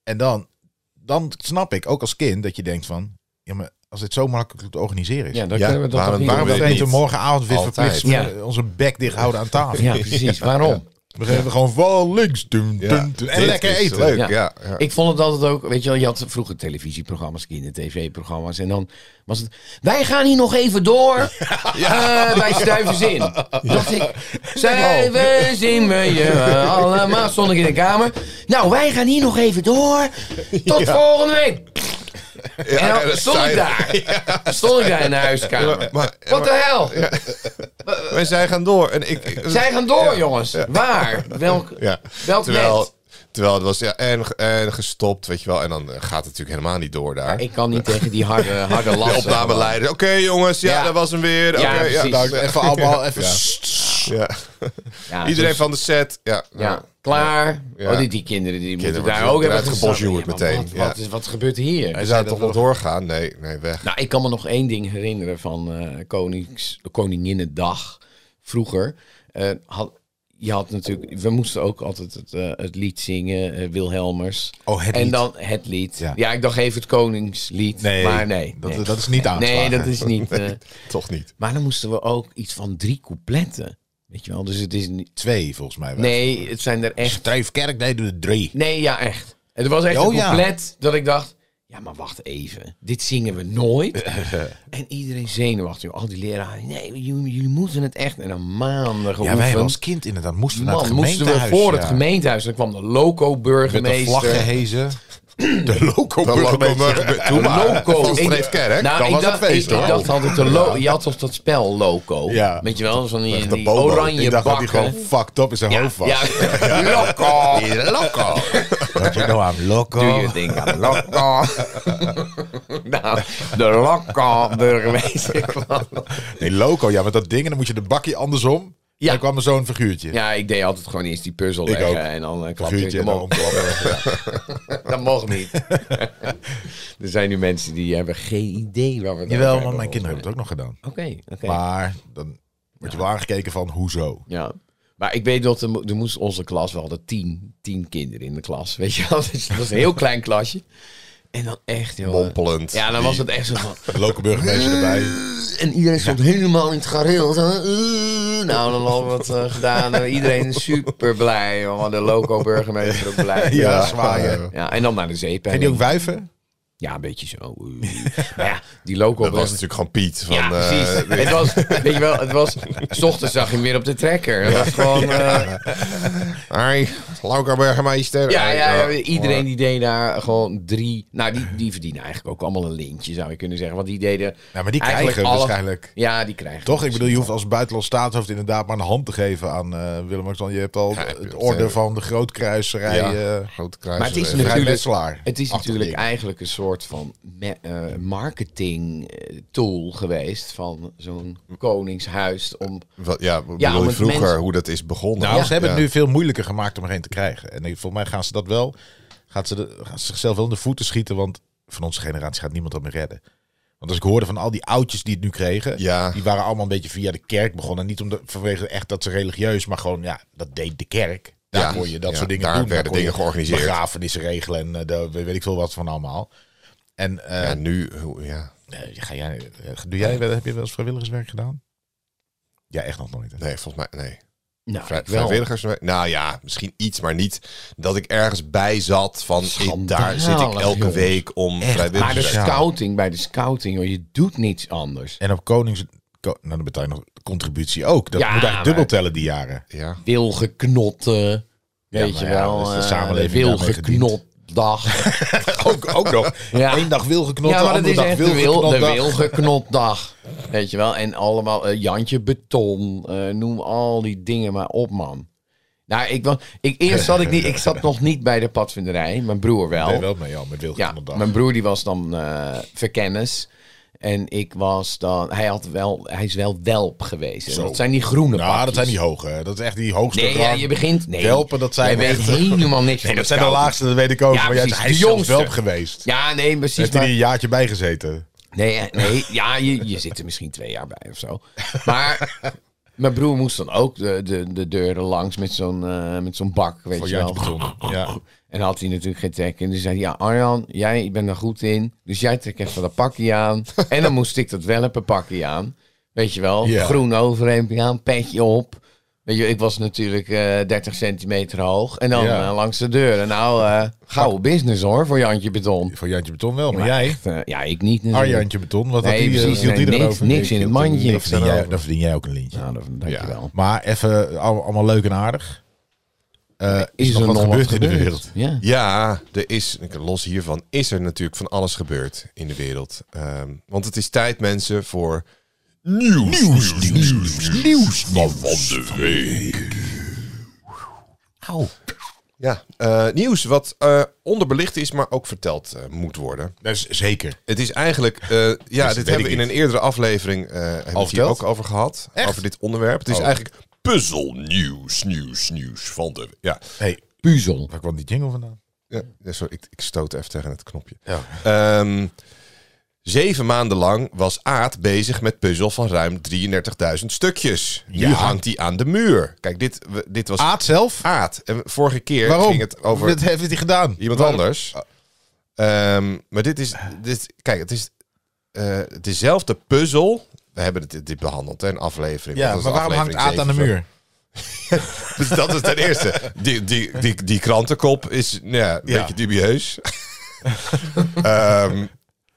[SPEAKER 1] En dan, dan snap ik, ook als kind, dat je denkt van... Ja, maar als dit zo makkelijk te organiseren is...
[SPEAKER 3] Ja, dan
[SPEAKER 2] Ja,
[SPEAKER 3] kunnen we dat
[SPEAKER 2] waarom-
[SPEAKER 3] toch niet
[SPEAKER 1] waarom
[SPEAKER 2] doen
[SPEAKER 1] dat
[SPEAKER 2] we dit
[SPEAKER 1] eten
[SPEAKER 2] niet?
[SPEAKER 1] morgenavond weer
[SPEAKER 2] Altijd.
[SPEAKER 1] verplicht
[SPEAKER 3] Ja.
[SPEAKER 1] eh, onze bek dicht houden aan tafel?
[SPEAKER 3] Ja, precies. Waarom?
[SPEAKER 1] We geven gewoon vol links. Dun, dun,
[SPEAKER 2] Ja,
[SPEAKER 1] dun.
[SPEAKER 2] dit
[SPEAKER 1] en lekker
[SPEAKER 2] is
[SPEAKER 1] eten.
[SPEAKER 2] Leuk, ja.
[SPEAKER 3] Ja.
[SPEAKER 2] ja,
[SPEAKER 3] Ik vond het altijd ook, weet je wel, je had vroeger televisieprogramma's, kinder-tv-programma's. En dan was het, wij gaan hier nog even
[SPEAKER 2] <laughs>
[SPEAKER 3] door eh, bij Stuiverzin. Dacht ik, Stuiven zien we je allemaal, stond ik in de kamer. Nou, wij gaan hier nog even door, tot volgende week. en
[SPEAKER 2] Ja,
[SPEAKER 3] dan
[SPEAKER 2] dat
[SPEAKER 3] stond
[SPEAKER 2] zei
[SPEAKER 3] ik
[SPEAKER 2] je.
[SPEAKER 3] daar, stond ik daar in de huiskamer.
[SPEAKER 2] Maar,
[SPEAKER 3] Wat de hel?
[SPEAKER 2] maar zij gaan door. En ik, ik-
[SPEAKER 3] Zij gaan door, jongens. Waar? Welk,
[SPEAKER 2] Ja.
[SPEAKER 3] welk net?
[SPEAKER 2] Terwijl, terwijl het was ja, en, en gestopt, weet je wel. En dan eh, gaat het natuurlijk helemaal niet door daar.
[SPEAKER 3] Ik kan niet tegen die harde, harde last.
[SPEAKER 2] de opnameleider. Oké jongens, ja,
[SPEAKER 3] Ja.
[SPEAKER 2] dat was hem weer.
[SPEAKER 3] Ja,
[SPEAKER 2] Oké,
[SPEAKER 3] precies.
[SPEAKER 2] dank.
[SPEAKER 1] Even allemaal even...
[SPEAKER 2] Ja.
[SPEAKER 1] sst.
[SPEAKER 2] Ja.
[SPEAKER 3] Ja,
[SPEAKER 2] Iedereen
[SPEAKER 3] dus-
[SPEAKER 2] van de set. Ja, Nou,
[SPEAKER 3] Ja, klaar.
[SPEAKER 2] Ja.
[SPEAKER 3] Oh, die, die kinderen die
[SPEAKER 2] Kinderen
[SPEAKER 3] moeten daar
[SPEAKER 2] worden
[SPEAKER 3] ook hebben
[SPEAKER 2] uitgebosjoerd
[SPEAKER 3] gestaan. Ja, maar
[SPEAKER 2] meteen,
[SPEAKER 3] Wat,
[SPEAKER 2] ja.
[SPEAKER 3] wat, is, wat gebeurt hier?
[SPEAKER 2] Hij zou toch wel doorgaan? Nee, nee, weg.
[SPEAKER 3] Nou, ik kan me nog één ding herinneren van eh Konings, de Koninginnedag. Vroeger eh, had je had natuurlijk, we moesten ook altijd het, eh, het lied zingen, eh, Wilhelmers.
[SPEAKER 1] Oh, het
[SPEAKER 3] en
[SPEAKER 1] lied.
[SPEAKER 3] dan het lied.
[SPEAKER 1] Ja.
[SPEAKER 3] Ja. ik dacht even het Koningslied.
[SPEAKER 1] Nee,
[SPEAKER 3] maar nee.
[SPEAKER 1] dat,
[SPEAKER 3] nee.
[SPEAKER 1] dat is niet aangeslagen.
[SPEAKER 3] nee, dat is
[SPEAKER 1] <laughs>
[SPEAKER 3] niet. eh,
[SPEAKER 2] Toch niet.
[SPEAKER 3] maar dan moesten we ook iets van drie coupletten. Weet je wel, dus het is niet.
[SPEAKER 1] Twee volgens mij. wel.
[SPEAKER 3] Nee, het zijn er echt
[SPEAKER 1] Strijfkerk, nee, doe er drie.
[SPEAKER 3] Nee, ja, echt. Het was echt
[SPEAKER 1] Oh,
[SPEAKER 3] een
[SPEAKER 1] ja.
[SPEAKER 3] compleet dat ik dacht... Ja, maar wacht even. Dit zingen we
[SPEAKER 1] <laughs>
[SPEAKER 3] nooit. en iedereen zenuwachtig. Al die leraren. Nee, jullie, jullie moeten het echt. En een maanden
[SPEAKER 1] Ja,
[SPEAKER 3] geoefend.
[SPEAKER 1] wij hebben als kind inderdaad moesten we naar het
[SPEAKER 3] Man, moesten we
[SPEAKER 1] gemeentehuis.
[SPEAKER 3] voor het
[SPEAKER 1] ja.
[SPEAKER 3] gemeentehuis. Dan kwam de
[SPEAKER 1] Met de vlag
[SPEAKER 3] loco-burgemeester. <clears throat>
[SPEAKER 1] gehezen. De
[SPEAKER 2] Dan
[SPEAKER 1] loco-burgemeester.
[SPEAKER 2] Doe maar.
[SPEAKER 1] <laughs>
[SPEAKER 3] Loco.
[SPEAKER 2] Van
[SPEAKER 3] Ik-
[SPEAKER 2] Streefkerk.
[SPEAKER 3] Nou,
[SPEAKER 1] Dan
[SPEAKER 3] ik
[SPEAKER 1] was het
[SPEAKER 3] dacht,
[SPEAKER 1] feest,
[SPEAKER 3] ik, ik
[SPEAKER 1] hoor.
[SPEAKER 3] dacht altijd, de lo- je had toch dat spel Loco?
[SPEAKER 1] Ja.
[SPEAKER 3] Weet je wel, zo'n die,
[SPEAKER 2] de
[SPEAKER 3] die
[SPEAKER 2] bobo.
[SPEAKER 1] Ik
[SPEAKER 3] oranje
[SPEAKER 1] dacht dat hij
[SPEAKER 3] bakken.
[SPEAKER 1] gewoon fucked up in zijn hoofd was. <laughs>
[SPEAKER 3] ja, ja. Loco! Loco!
[SPEAKER 1] Wat je nou
[SPEAKER 3] <laughs>
[SPEAKER 1] aan loco?
[SPEAKER 3] Doe je ding aan Lokko. <laughs> nou, de Lokko burgemeester kwam.
[SPEAKER 1] Nee, loco, ja, met dat ding. En dan moet je de bakje andersom. Ja.
[SPEAKER 3] Ja.
[SPEAKER 1] Dan kwam er zo'n
[SPEAKER 3] <laughs>
[SPEAKER 1] figuurtje.
[SPEAKER 3] Ja, ik deed altijd gewoon eerst die puzzel
[SPEAKER 1] Ik
[SPEAKER 3] leggen
[SPEAKER 1] ook.
[SPEAKER 3] en dan eh, klapte ik
[SPEAKER 1] Figuurtje en
[SPEAKER 3] hem
[SPEAKER 1] dan
[SPEAKER 3] op.
[SPEAKER 1] omklappen.
[SPEAKER 3] Dat mocht
[SPEAKER 1] <laughs>
[SPEAKER 3] niet. <laughs> er zijn nu mensen die hebben geen idee waar we het over
[SPEAKER 1] Jawel, maar
[SPEAKER 3] hebben,
[SPEAKER 1] mijn
[SPEAKER 2] Oh,
[SPEAKER 3] volgens
[SPEAKER 1] kinderen hebben het ook nog gedaan.
[SPEAKER 3] mij. Oké, oké.
[SPEAKER 1] Maar dan word je wel aangekeken van hoezo.
[SPEAKER 3] Ja. Maar ik weet dat er, mo- er moest onze klas, we hadden tien, tien kinderen in de klas. Weet je wel, <laughs> dus dat was een heel klein klasje. En dan echt, joh.
[SPEAKER 2] Mompelend.
[SPEAKER 3] Ja, dan was het echt zo van...
[SPEAKER 1] De lokale burgemeester
[SPEAKER 2] <laughs>
[SPEAKER 1] erbij.
[SPEAKER 3] En iedereen stond helemaal in het gareel. Zo, eh, Nou, dan hadden we het
[SPEAKER 1] <laughs>
[SPEAKER 3] eh, gedaan. En Iedereen is super blij. Man. De loco-burgemeester ook blij.
[SPEAKER 1] <laughs> Ja,
[SPEAKER 2] Ja.
[SPEAKER 1] zwaaien.
[SPEAKER 3] Ja, en dan naar de zeep.
[SPEAKER 1] En die ook wuiven?
[SPEAKER 3] Ja, een beetje zo.
[SPEAKER 1] <laughs>
[SPEAKER 3] Maar ja, die
[SPEAKER 2] Dat was
[SPEAKER 3] loco-burgemeester.
[SPEAKER 2] natuurlijk gewoon Piet. Van,
[SPEAKER 3] Ja,
[SPEAKER 2] eh,
[SPEAKER 3] precies.
[SPEAKER 1] <laughs>
[SPEAKER 3] het was, weet je wel, het was... S ochtends zag je hem weer op de trekker. Het was
[SPEAKER 1] <laughs>
[SPEAKER 3] gewoon... eh,
[SPEAKER 2] Hi, Lauka burgemeester.
[SPEAKER 3] ja,
[SPEAKER 2] Hey,
[SPEAKER 3] ja,
[SPEAKER 2] eh,
[SPEAKER 3] iedereen die deed daar gewoon drie... Nou, die, die verdienen eigenlijk ook allemaal een lintje, zou je kunnen zeggen. Want die deden...
[SPEAKER 1] Ja, maar die krijgen
[SPEAKER 3] eigenlijk alle-
[SPEAKER 1] waarschijnlijk.
[SPEAKER 3] Ja, die krijgen
[SPEAKER 1] Toch? Ik bedoel, je hoeft als buitenlands staatshoofd inderdaad maar een hand te geven aan eh Willem Alexander. Je hebt al
[SPEAKER 2] heb je
[SPEAKER 1] het
[SPEAKER 2] het,
[SPEAKER 1] orde
[SPEAKER 2] eh,
[SPEAKER 1] van de grootkruiserij.
[SPEAKER 2] Ja,
[SPEAKER 1] eh,
[SPEAKER 2] grote kruis.
[SPEAKER 3] Maar het is
[SPEAKER 2] Eh,
[SPEAKER 3] natuurlijk-
[SPEAKER 1] Vrij Metselaar.
[SPEAKER 3] Het is
[SPEAKER 1] Achtig
[SPEAKER 3] natuurlijk
[SPEAKER 1] ding.
[SPEAKER 3] eigenlijk een soort van me- eh, marketing eh, tool geweest van zo'n koningshuis om
[SPEAKER 2] Wat, ja, bedoel
[SPEAKER 3] Ja,
[SPEAKER 2] je
[SPEAKER 3] want
[SPEAKER 2] vroeger
[SPEAKER 3] mensen-
[SPEAKER 2] hoe dat is begonnen?
[SPEAKER 1] Nou, ze hebben
[SPEAKER 2] Ja.
[SPEAKER 1] het nu veel moeilijker gemaakt om erheen te krijgen. En ik- volgens mij gaan ze dat wel. Gaat ze, de- gaan ze zichzelf wel in de voeten schieten. Want van onze generatie gaat niemand dat meer redden. Want als ik hoorde van al die oudjes die het nu kregen.
[SPEAKER 2] Ja.
[SPEAKER 1] Die waren allemaal een beetje via de kerk begonnen. En Niet omdat, vanwege echt dat ze religieus. Maar gewoon, ja, dat deed de kerk. Daar
[SPEAKER 2] Ja,
[SPEAKER 1] kon je dat
[SPEAKER 2] ja,
[SPEAKER 1] soort dingen
[SPEAKER 2] daar
[SPEAKER 1] doen.
[SPEAKER 2] werden
[SPEAKER 1] kon je
[SPEAKER 2] dingen georganiseerd.
[SPEAKER 1] Begrafenissen regelen. En eh, daar weet ik veel wat van allemaal. En eh,
[SPEAKER 2] Ja, nu, hoe- ja.
[SPEAKER 1] eh, ga jij, eh, doe jij, wel- heb je wel eens vrijwilligerswerk gedaan? Ja, echt nog nooit. hè?
[SPEAKER 2] Nee, volgens mij, nee.
[SPEAKER 3] Nou,
[SPEAKER 2] Vrij-
[SPEAKER 3] ik wel.
[SPEAKER 2] vrijwilligerswerk? Nou ja, misschien iets, maar niet dat ik ergens bij zat van ik, daar zit ik
[SPEAKER 3] Schandalig,
[SPEAKER 2] elke
[SPEAKER 3] jongens.
[SPEAKER 2] week om
[SPEAKER 3] Maar de
[SPEAKER 2] vrijwilligerswerk.
[SPEAKER 1] Ja.
[SPEAKER 3] scouting, bij de scouting, joh, je doet niets anders.
[SPEAKER 1] En op Konings... Ko- nou, dan betaal je nog contributie ook. Dat
[SPEAKER 3] Ja,
[SPEAKER 1] moet eigenlijk
[SPEAKER 3] maar-
[SPEAKER 1] dubbel tellen die
[SPEAKER 3] <laughs>
[SPEAKER 1] jaren.
[SPEAKER 3] dus-
[SPEAKER 2] Ja.
[SPEAKER 3] Wilgeknotten, weet
[SPEAKER 1] maar
[SPEAKER 3] je
[SPEAKER 1] ja,
[SPEAKER 3] wel.
[SPEAKER 1] dat is de
[SPEAKER 3] eh,
[SPEAKER 1] samenleving <laughs>
[SPEAKER 3] Wilgeknotdag.
[SPEAKER 1] ook, ook <laughs> nog.
[SPEAKER 3] Ja.
[SPEAKER 1] Eén dag wil geknopt,
[SPEAKER 3] Ja, maar dat
[SPEAKER 1] andere
[SPEAKER 3] is
[SPEAKER 1] dag
[SPEAKER 3] echt
[SPEAKER 1] wil
[SPEAKER 3] de, wil, de
[SPEAKER 1] geknopt. <laughs>
[SPEAKER 3] wilgeknotdag. Weet je wel. En allemaal eh, Jantje Beton. eh, noem al die dingen maar op, man. Nou, ik, wa- ik, eerst zat ik niet... Ik zat nog niet bij de padvinderij. Mijn broer wel.
[SPEAKER 1] Nee, wel mee, ja, met wil
[SPEAKER 3] Ja,
[SPEAKER 1] geknopt. dag.
[SPEAKER 3] mijn broer die was dan eh verkennis. En ik was dan... Hij, had wel, hij is wel welp geweest. En
[SPEAKER 1] Zo.
[SPEAKER 3] Dat zijn die groene
[SPEAKER 1] Nou, dat
[SPEAKER 3] pakjes.
[SPEAKER 1] zijn die hoge. Dat is echt die hoogste
[SPEAKER 3] Nee,
[SPEAKER 1] rang.
[SPEAKER 3] ja, je begint... Nee,
[SPEAKER 1] Welpen, dat zijn
[SPEAKER 3] Jij weet
[SPEAKER 1] echt-
[SPEAKER 3] helemaal niks
[SPEAKER 1] <laughs> Nee,
[SPEAKER 3] van
[SPEAKER 1] dat zijn de
[SPEAKER 3] scouten.
[SPEAKER 1] laagste, dat weet ik ook.
[SPEAKER 3] Ja,
[SPEAKER 1] maar jij
[SPEAKER 3] precies,
[SPEAKER 1] hij is
[SPEAKER 3] de
[SPEAKER 1] zelfs
[SPEAKER 3] jongste.
[SPEAKER 1] wel geweest.
[SPEAKER 3] Ja, nee, precies.
[SPEAKER 1] Heeft hij
[SPEAKER 3] maar-
[SPEAKER 1] er een jaartje bij gezeten?
[SPEAKER 3] Nee, eh, nee ja, je, je zit er misschien twee jaar bij of zo. Maar mijn broer moest dan ook de, de, de deuren langs met zo'n eh, met zo'n bak, weet
[SPEAKER 1] Van
[SPEAKER 3] je wel. <laughs>
[SPEAKER 1] Jantje Beton. Ja.
[SPEAKER 3] En had hij natuurlijk geen trek in. Dus zei hij, ja, Arjan, jij bent er goed in. Dus jij trekt even dat pakje <laughs> aan. En dan moest ik dat welpenpakje aan. Weet je wel,
[SPEAKER 1] Ja.
[SPEAKER 3] groen overhemdje aan, petje op. Weet je, ik was natuurlijk eh 30 centimeter hoog. En dan
[SPEAKER 1] Ja.
[SPEAKER 3] eh, langs de deuren. Nou, eh gouden business hoor, voor Jantje Beton.
[SPEAKER 1] Van Jantje Beton wel, maar,
[SPEAKER 3] Maar
[SPEAKER 1] jij?
[SPEAKER 3] echt, eh, ja, ik niet natuurlijk.
[SPEAKER 1] Arjantje Beton, wat
[SPEAKER 3] Nee,
[SPEAKER 1] had die, eh,
[SPEAKER 3] precies,
[SPEAKER 1] hield die
[SPEAKER 3] nee, niks-
[SPEAKER 1] erover?
[SPEAKER 3] niks in het
[SPEAKER 1] hield er
[SPEAKER 3] mandje.
[SPEAKER 1] niks
[SPEAKER 3] Niks
[SPEAKER 1] aan
[SPEAKER 3] erover.
[SPEAKER 1] over. Dan verdien jij ook een lintje.
[SPEAKER 3] Nou, dan dank je wel.
[SPEAKER 1] Maar even, eh, al- allemaal leuk en aardig. Eh,
[SPEAKER 3] Is er
[SPEAKER 1] nog
[SPEAKER 3] nog wat
[SPEAKER 1] wat gebeurd in de
[SPEAKER 3] gebeurd?
[SPEAKER 1] wereld?
[SPEAKER 3] Ja.
[SPEAKER 2] Ja, er is, los hiervan, is er natuurlijk van alles gebeurd in de wereld. Ehm, want het is tijd, mensen, voor nieuws. Nieuws, nieuws, nieuws, van, de week. Ja, eh, nieuws wat eh, onderbelicht is, maar ook verteld eh, moet worden.
[SPEAKER 1] Dat is zeker.
[SPEAKER 2] Het is eigenlijk,
[SPEAKER 1] <laughs>
[SPEAKER 2] eh, ja, dit
[SPEAKER 1] Dus weet
[SPEAKER 2] hebben we in
[SPEAKER 1] ik
[SPEAKER 2] een eerdere aflevering eh hebben we het hier
[SPEAKER 1] verteld?
[SPEAKER 2] ook over gehad.
[SPEAKER 1] Echt?
[SPEAKER 2] Over dit onderwerp. Het is
[SPEAKER 1] Oh.
[SPEAKER 2] eigenlijk puzzelnieuws, nieuws, nieuws van de... Ja,
[SPEAKER 1] Hey,
[SPEAKER 3] Puzzel.
[SPEAKER 1] waar kwam die jingle vandaan?
[SPEAKER 2] ja sorry, ik, ik stoot even tegen het knopje.
[SPEAKER 1] Ja.
[SPEAKER 2] Ehm, zeven maanden lang was Aad bezig met puzzel van ruim 33.000 stukjes. Nu
[SPEAKER 1] Ja.
[SPEAKER 2] hangt hij aan de muur. Kijk, dit, we- dit was
[SPEAKER 1] Aad zelf?
[SPEAKER 2] Aad. En vorige keer
[SPEAKER 1] Waarom?
[SPEAKER 2] ging het over
[SPEAKER 1] Wat heeft hij gedaan?
[SPEAKER 2] iemand
[SPEAKER 1] Waarom?
[SPEAKER 2] anders.
[SPEAKER 1] Ah.
[SPEAKER 2] Ehm, maar dit is, dit, kijk, het is eh, dezelfde puzzel. We hebben dit, dit behandeld, hè, een aflevering.
[SPEAKER 1] Ja,
[SPEAKER 2] Dat is
[SPEAKER 1] maar waarom hangt
[SPEAKER 2] aflevering
[SPEAKER 1] Aad aan de
[SPEAKER 2] 7.
[SPEAKER 1] muur?
[SPEAKER 2] <laughs> Dus dat is ten eerste. Die, die, die, die krantenkop is nou ja, een
[SPEAKER 1] Ja.
[SPEAKER 2] beetje
[SPEAKER 1] <laughs>
[SPEAKER 2] dubieus. Ehm,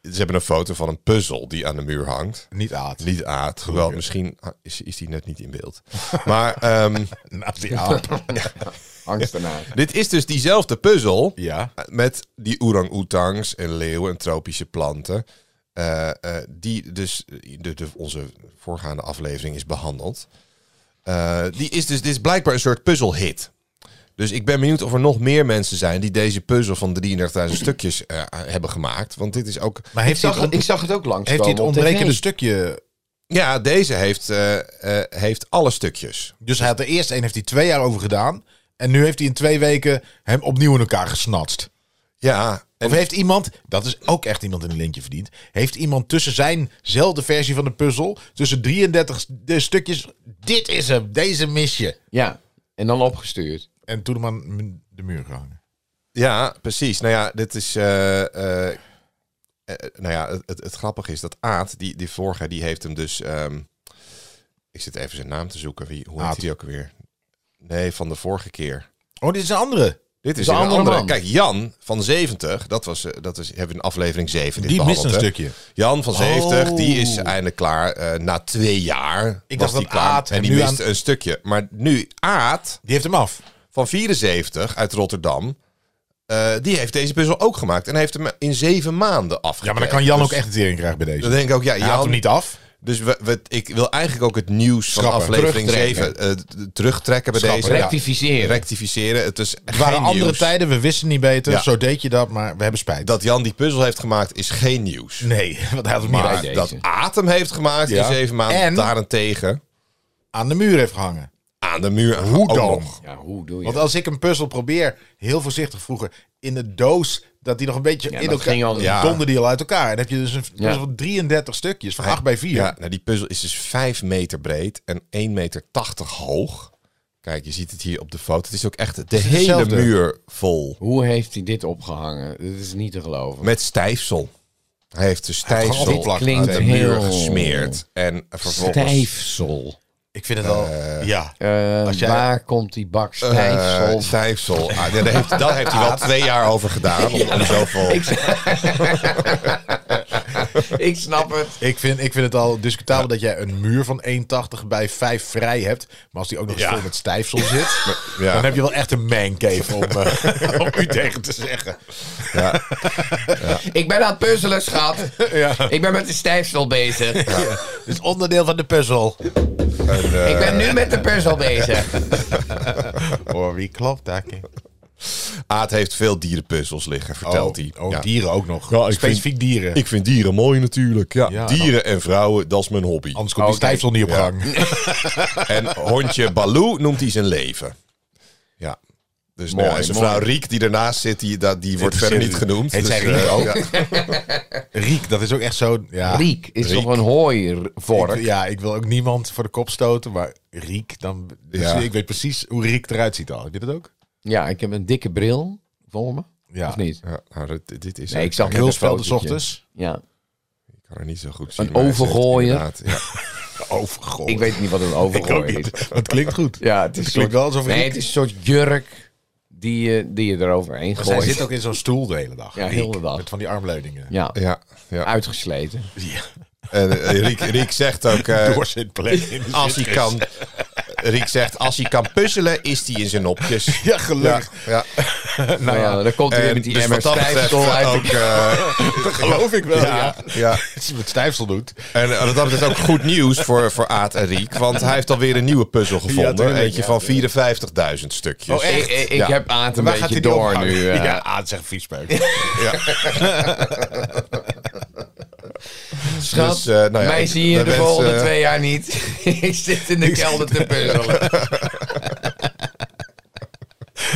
[SPEAKER 2] ze hebben een foto van een puzzel die aan de muur hangt.
[SPEAKER 1] Niet Aad.
[SPEAKER 2] Niet aard. Hoewel, misschien ah, is, is die net niet in beeld. Maar ehm,
[SPEAKER 1] Nou, die aap.
[SPEAKER 2] <laughs>
[SPEAKER 3] Angst ernaar.
[SPEAKER 2] dit is dus diezelfde puzzel.
[SPEAKER 1] ja.
[SPEAKER 2] Met die orang-oetangs en leeuwen en tropische planten. eh, eh, die dus de, de, onze voorgaande aflevering is behandeld. Eh, die is dus, dit is blijkbaar een soort puzzelhit. Dus ik ben benieuwd of er nog meer mensen zijn die deze puzzel van 33.000 stukjes eh, hebben gemaakt. Want dit is ook.
[SPEAKER 1] Maar heeft hij
[SPEAKER 3] Zag,
[SPEAKER 1] het,
[SPEAKER 3] het-
[SPEAKER 1] on-
[SPEAKER 3] ik zag het ook langs.
[SPEAKER 1] heeft hij het ontbrekende
[SPEAKER 3] stuk?
[SPEAKER 1] stukje...
[SPEAKER 2] Ja, deze heeft, eh, eh, heeft alle stukjes.
[SPEAKER 1] Dus hij had er eerst één, heeft hij twee jaar over gedaan. En nu heeft hij in twee weken hem opnieuw in elkaar gesnatst.
[SPEAKER 2] Ja, en
[SPEAKER 1] Of heeft iemand, dat is ook echt iemand in een lintje verdiend, heeft iemand tussen zijnzelfde versie van de puzzel, tussen 33 s- de stukjes, dit is hem, deze mis je.
[SPEAKER 3] Ja, en dan opgestuurd.
[SPEAKER 1] En toen hem aan m- de muur gehangen.
[SPEAKER 2] Ja, precies. Nou ja, dit is. eh, eh, eh, nou ja, het, het, het grappige is dat Aad, die, die vorige, die heeft hem dus. ehm, ik zit even zijn naam te zoeken. Wie, hoe
[SPEAKER 1] Aad.
[SPEAKER 2] heet die ook weer? Nee, van de vorige keer.
[SPEAKER 1] Oh, dit is een andere.
[SPEAKER 2] Dit is
[SPEAKER 3] een
[SPEAKER 2] een
[SPEAKER 3] andere
[SPEAKER 2] andere.
[SPEAKER 3] man.
[SPEAKER 2] Kijk, Jan van 70, dat was, eh, dat is, hebben we in aflevering 7. Dit
[SPEAKER 1] Die mist een
[SPEAKER 2] behandeld, hè?
[SPEAKER 1] stukje.
[SPEAKER 2] Jan van 70, die is
[SPEAKER 1] Oh.
[SPEAKER 2] eindelijk klaar eh, na twee jaar. Ik
[SPEAKER 1] dacht
[SPEAKER 2] was die
[SPEAKER 1] dat
[SPEAKER 2] klaar.
[SPEAKER 1] Aad
[SPEAKER 2] en
[SPEAKER 1] hem
[SPEAKER 2] die
[SPEAKER 1] nu
[SPEAKER 2] mist een stukje. Maar nu Aad
[SPEAKER 1] Die heeft hem af.
[SPEAKER 2] van 74 uit Rotterdam. eh, die heeft deze puzzel ook gemaakt. En hij heeft hem in zeven maanden afgekregen.
[SPEAKER 1] Ja, maar dan kan Jan
[SPEAKER 2] Dus
[SPEAKER 1] ook echt een tering krijgen bij deze.
[SPEAKER 2] Dan denk ik ook, ja,
[SPEAKER 1] Hij haalt
[SPEAKER 2] Jan.
[SPEAKER 1] hem niet af.
[SPEAKER 2] Dus we, we- ik wil eigenlijk ook het nieuws van
[SPEAKER 1] Schrappen.
[SPEAKER 2] aflevering
[SPEAKER 3] Terugtrekken.
[SPEAKER 2] 7 eh, t- terugtrekken bij
[SPEAKER 1] Schrappen,
[SPEAKER 2] deze. Ja,
[SPEAKER 3] Rectificeren.
[SPEAKER 2] rectificeren. Het is
[SPEAKER 1] Het waren andere tijden, we wisten niet beter,
[SPEAKER 2] Ja.
[SPEAKER 1] zo deed je dat, maar we hebben spijt.
[SPEAKER 2] Dat Jan die puzzel heeft gemaakt is geen nieuws.
[SPEAKER 1] nee, <laughs> want hij had hem niet
[SPEAKER 2] maar
[SPEAKER 1] uit-
[SPEAKER 3] deze.
[SPEAKER 2] dat Atem heeft gemaakt
[SPEAKER 1] Ja.
[SPEAKER 2] in zeven maanden.
[SPEAKER 1] En?
[SPEAKER 2] Daarentegen
[SPEAKER 1] aan de muur heeft gehangen.
[SPEAKER 2] aan de muur.
[SPEAKER 1] Hoe
[SPEAKER 2] Ook
[SPEAKER 1] dan?
[SPEAKER 2] nog.
[SPEAKER 3] Ja, hoe doe je
[SPEAKER 1] Want
[SPEAKER 3] dat?
[SPEAKER 1] als ik een puzzel probeer, heel voorzichtig vroeger, in de doos, dat die nog een beetje
[SPEAKER 3] Ja,
[SPEAKER 1] in
[SPEAKER 3] dat
[SPEAKER 1] elkaar
[SPEAKER 3] ging al-
[SPEAKER 2] Ja.
[SPEAKER 1] donderde die al uit elkaar. En dan heb je dus een
[SPEAKER 3] Ja.
[SPEAKER 1] puzzel van 33 stukjes, van 8 bij 4.
[SPEAKER 2] Ja, nou die puzzel is dus 5 meter breed en 1,80 meter hoog. Kijk, je ziet het hier op de foto. Het is ook echt de hele
[SPEAKER 1] hetzelfde.
[SPEAKER 2] muur vol
[SPEAKER 3] Hoe heeft hij dit opgehangen? Dit is niet te geloven.
[SPEAKER 2] met stijfsel. Hij heeft de
[SPEAKER 1] Gewoon
[SPEAKER 2] stijfsel
[SPEAKER 1] opgeplakt.
[SPEAKER 3] klinkt
[SPEAKER 2] uit de
[SPEAKER 3] heel-
[SPEAKER 2] muur gesmeerd. En vervolgens
[SPEAKER 3] Stijfsel.
[SPEAKER 1] Ik vind het wel...
[SPEAKER 2] Eh,
[SPEAKER 1] ja.
[SPEAKER 3] Eh,
[SPEAKER 1] Als jij-
[SPEAKER 3] Waar komt die bak stijfsel?
[SPEAKER 2] <laughs> Eh, Stijfsel. Ah, daar, heeft, daar heeft hij wel twee jaar over gedaan. Om, om zoveel...
[SPEAKER 3] ik snap het.
[SPEAKER 1] Ik vind, ik vind het al discutabel dat jij een muur van 1,80 bij 5 vrij hebt. Maar als die ook nog eens
[SPEAKER 2] Ja.
[SPEAKER 1] vol met stijfsel zit,
[SPEAKER 2] <laughs> Ja.
[SPEAKER 1] dan heb je wel echt een mancave om, eh, <laughs> om u tegen te zeggen.
[SPEAKER 3] Ik ben aan het puzzelen, schat.
[SPEAKER 1] Ja.
[SPEAKER 3] Ik ben met de stijfsel bezig.
[SPEAKER 1] Het is onderdeel van de puzzel.
[SPEAKER 2] En, eh,
[SPEAKER 3] Ik ben nu met de puzzel bezig.
[SPEAKER 1] Hoor, wie klopt daar?
[SPEAKER 2] Aad heeft veel dierenpuzzels liggen, vertelt hij.
[SPEAKER 1] Oh,
[SPEAKER 2] Ja.
[SPEAKER 1] dieren ook nog.
[SPEAKER 2] Ja, ik
[SPEAKER 1] Specifiek dieren.
[SPEAKER 2] Ik vind dieren mooi natuurlijk. Ja,
[SPEAKER 1] Ja, Oh.
[SPEAKER 2] dieren en vrouwen, dat is mijn hobby.
[SPEAKER 1] Anders komt die stijfsel niet op
[SPEAKER 2] Oh, Ja.
[SPEAKER 1] gang.
[SPEAKER 2] En hondje Baloo noemt hij zijn leven. Ja. Dus mooi,
[SPEAKER 3] Mooi,
[SPEAKER 2] zijn
[SPEAKER 3] mooi.
[SPEAKER 2] vrouw Riek, die ernaast zit, die, dat- die wordt verder niet genoemd.
[SPEAKER 1] Heet zij
[SPEAKER 2] eh,
[SPEAKER 1] Riek ook?
[SPEAKER 2] ja.
[SPEAKER 3] <laughs>
[SPEAKER 1] Riek, dat is ook echt zo... Ja,
[SPEAKER 3] Riek is
[SPEAKER 2] Riek.
[SPEAKER 3] toch een hooivork?
[SPEAKER 1] Ik, ja, ik wil ook niemand voor de kop stoten, maar Riek, dan, dus
[SPEAKER 2] Ja.
[SPEAKER 1] ik weet precies hoe Riek eruit ziet al. Heb je dat ook?
[SPEAKER 3] Ja, ik heb een dikke bril voor me.
[SPEAKER 1] Ja.
[SPEAKER 3] Of niet?
[SPEAKER 2] Ja, nou, dit, dit is
[SPEAKER 3] Nee, ik zag net een
[SPEAKER 1] Hulsveld de
[SPEAKER 3] fotootje.
[SPEAKER 1] ochtends.
[SPEAKER 3] Ja.
[SPEAKER 2] ik kan er niet zo goed zien.
[SPEAKER 3] Een
[SPEAKER 2] maar hij zegt
[SPEAKER 3] overgooier.
[SPEAKER 2] inderdaad, Ja.
[SPEAKER 1] Overgooi.
[SPEAKER 3] Ik weet niet wat een overgooi is.
[SPEAKER 1] <laughs> Dat klinkt goed.
[SPEAKER 3] Ja, het is
[SPEAKER 1] Het
[SPEAKER 3] een
[SPEAKER 1] klinkt
[SPEAKER 3] soort,
[SPEAKER 1] wel alsof
[SPEAKER 3] nee,
[SPEAKER 1] Riek...
[SPEAKER 3] het is een soort jurk die je, die je eroverheen
[SPEAKER 1] Maar zij
[SPEAKER 3] gooit.
[SPEAKER 1] zit ook in zo'n stoel de hele dag.
[SPEAKER 3] Ja,
[SPEAKER 1] Riek,
[SPEAKER 3] heel de dag.
[SPEAKER 1] Met van die armleuningen.
[SPEAKER 3] Ja,
[SPEAKER 2] Ja,
[SPEAKER 3] Ah.
[SPEAKER 2] ja.
[SPEAKER 3] uitgesleten.
[SPEAKER 1] <laughs>
[SPEAKER 2] En eh, Riek, Riek zegt ook, eh,
[SPEAKER 1] Doorzitplek in
[SPEAKER 3] <laughs>
[SPEAKER 1] de
[SPEAKER 2] als hij
[SPEAKER 1] zitkist.
[SPEAKER 2] kan... Riek zegt, als hij kan puzzelen, is hij in zijn nopjes.
[SPEAKER 1] Ja, gelukkig.
[SPEAKER 2] ja.
[SPEAKER 3] Nou ja, dan komt hij weer
[SPEAKER 2] En
[SPEAKER 3] met die
[SPEAKER 2] dus
[SPEAKER 3] emmer
[SPEAKER 2] wat dat betreft
[SPEAKER 3] stijfsel uit.
[SPEAKER 2] ook... eh,
[SPEAKER 1] Dat geloof ik wel, ja. <laughs>
[SPEAKER 2] ja, ja.
[SPEAKER 1] Als je met stijfsel doet.
[SPEAKER 2] En eh, dat is ook goed nieuws voor, voor Aad en Riek. Want hij heeft alweer een nieuwe puzzel gevonden.
[SPEAKER 1] tuurlijk,
[SPEAKER 2] Eentje
[SPEAKER 1] ja.
[SPEAKER 2] van 54.000 stukjes.
[SPEAKER 1] Oh, echt?
[SPEAKER 3] Ik, ik, ik
[SPEAKER 2] Ja.
[SPEAKER 3] heb Aad een beetje
[SPEAKER 1] die
[SPEAKER 3] door nu.
[SPEAKER 1] ophangen?
[SPEAKER 3] eh.
[SPEAKER 1] Ja, ah, het is echt een
[SPEAKER 3] <laughs>
[SPEAKER 1] viespeuk.
[SPEAKER 3] Schat,
[SPEAKER 2] Dus, eh, nou ja,
[SPEAKER 3] mij
[SPEAKER 2] ik- eh,
[SPEAKER 3] zie je
[SPEAKER 2] we
[SPEAKER 3] de
[SPEAKER 2] wensen-
[SPEAKER 3] volgende twee jaar niet. <laughs> ik zit in de kelder te puzzelen.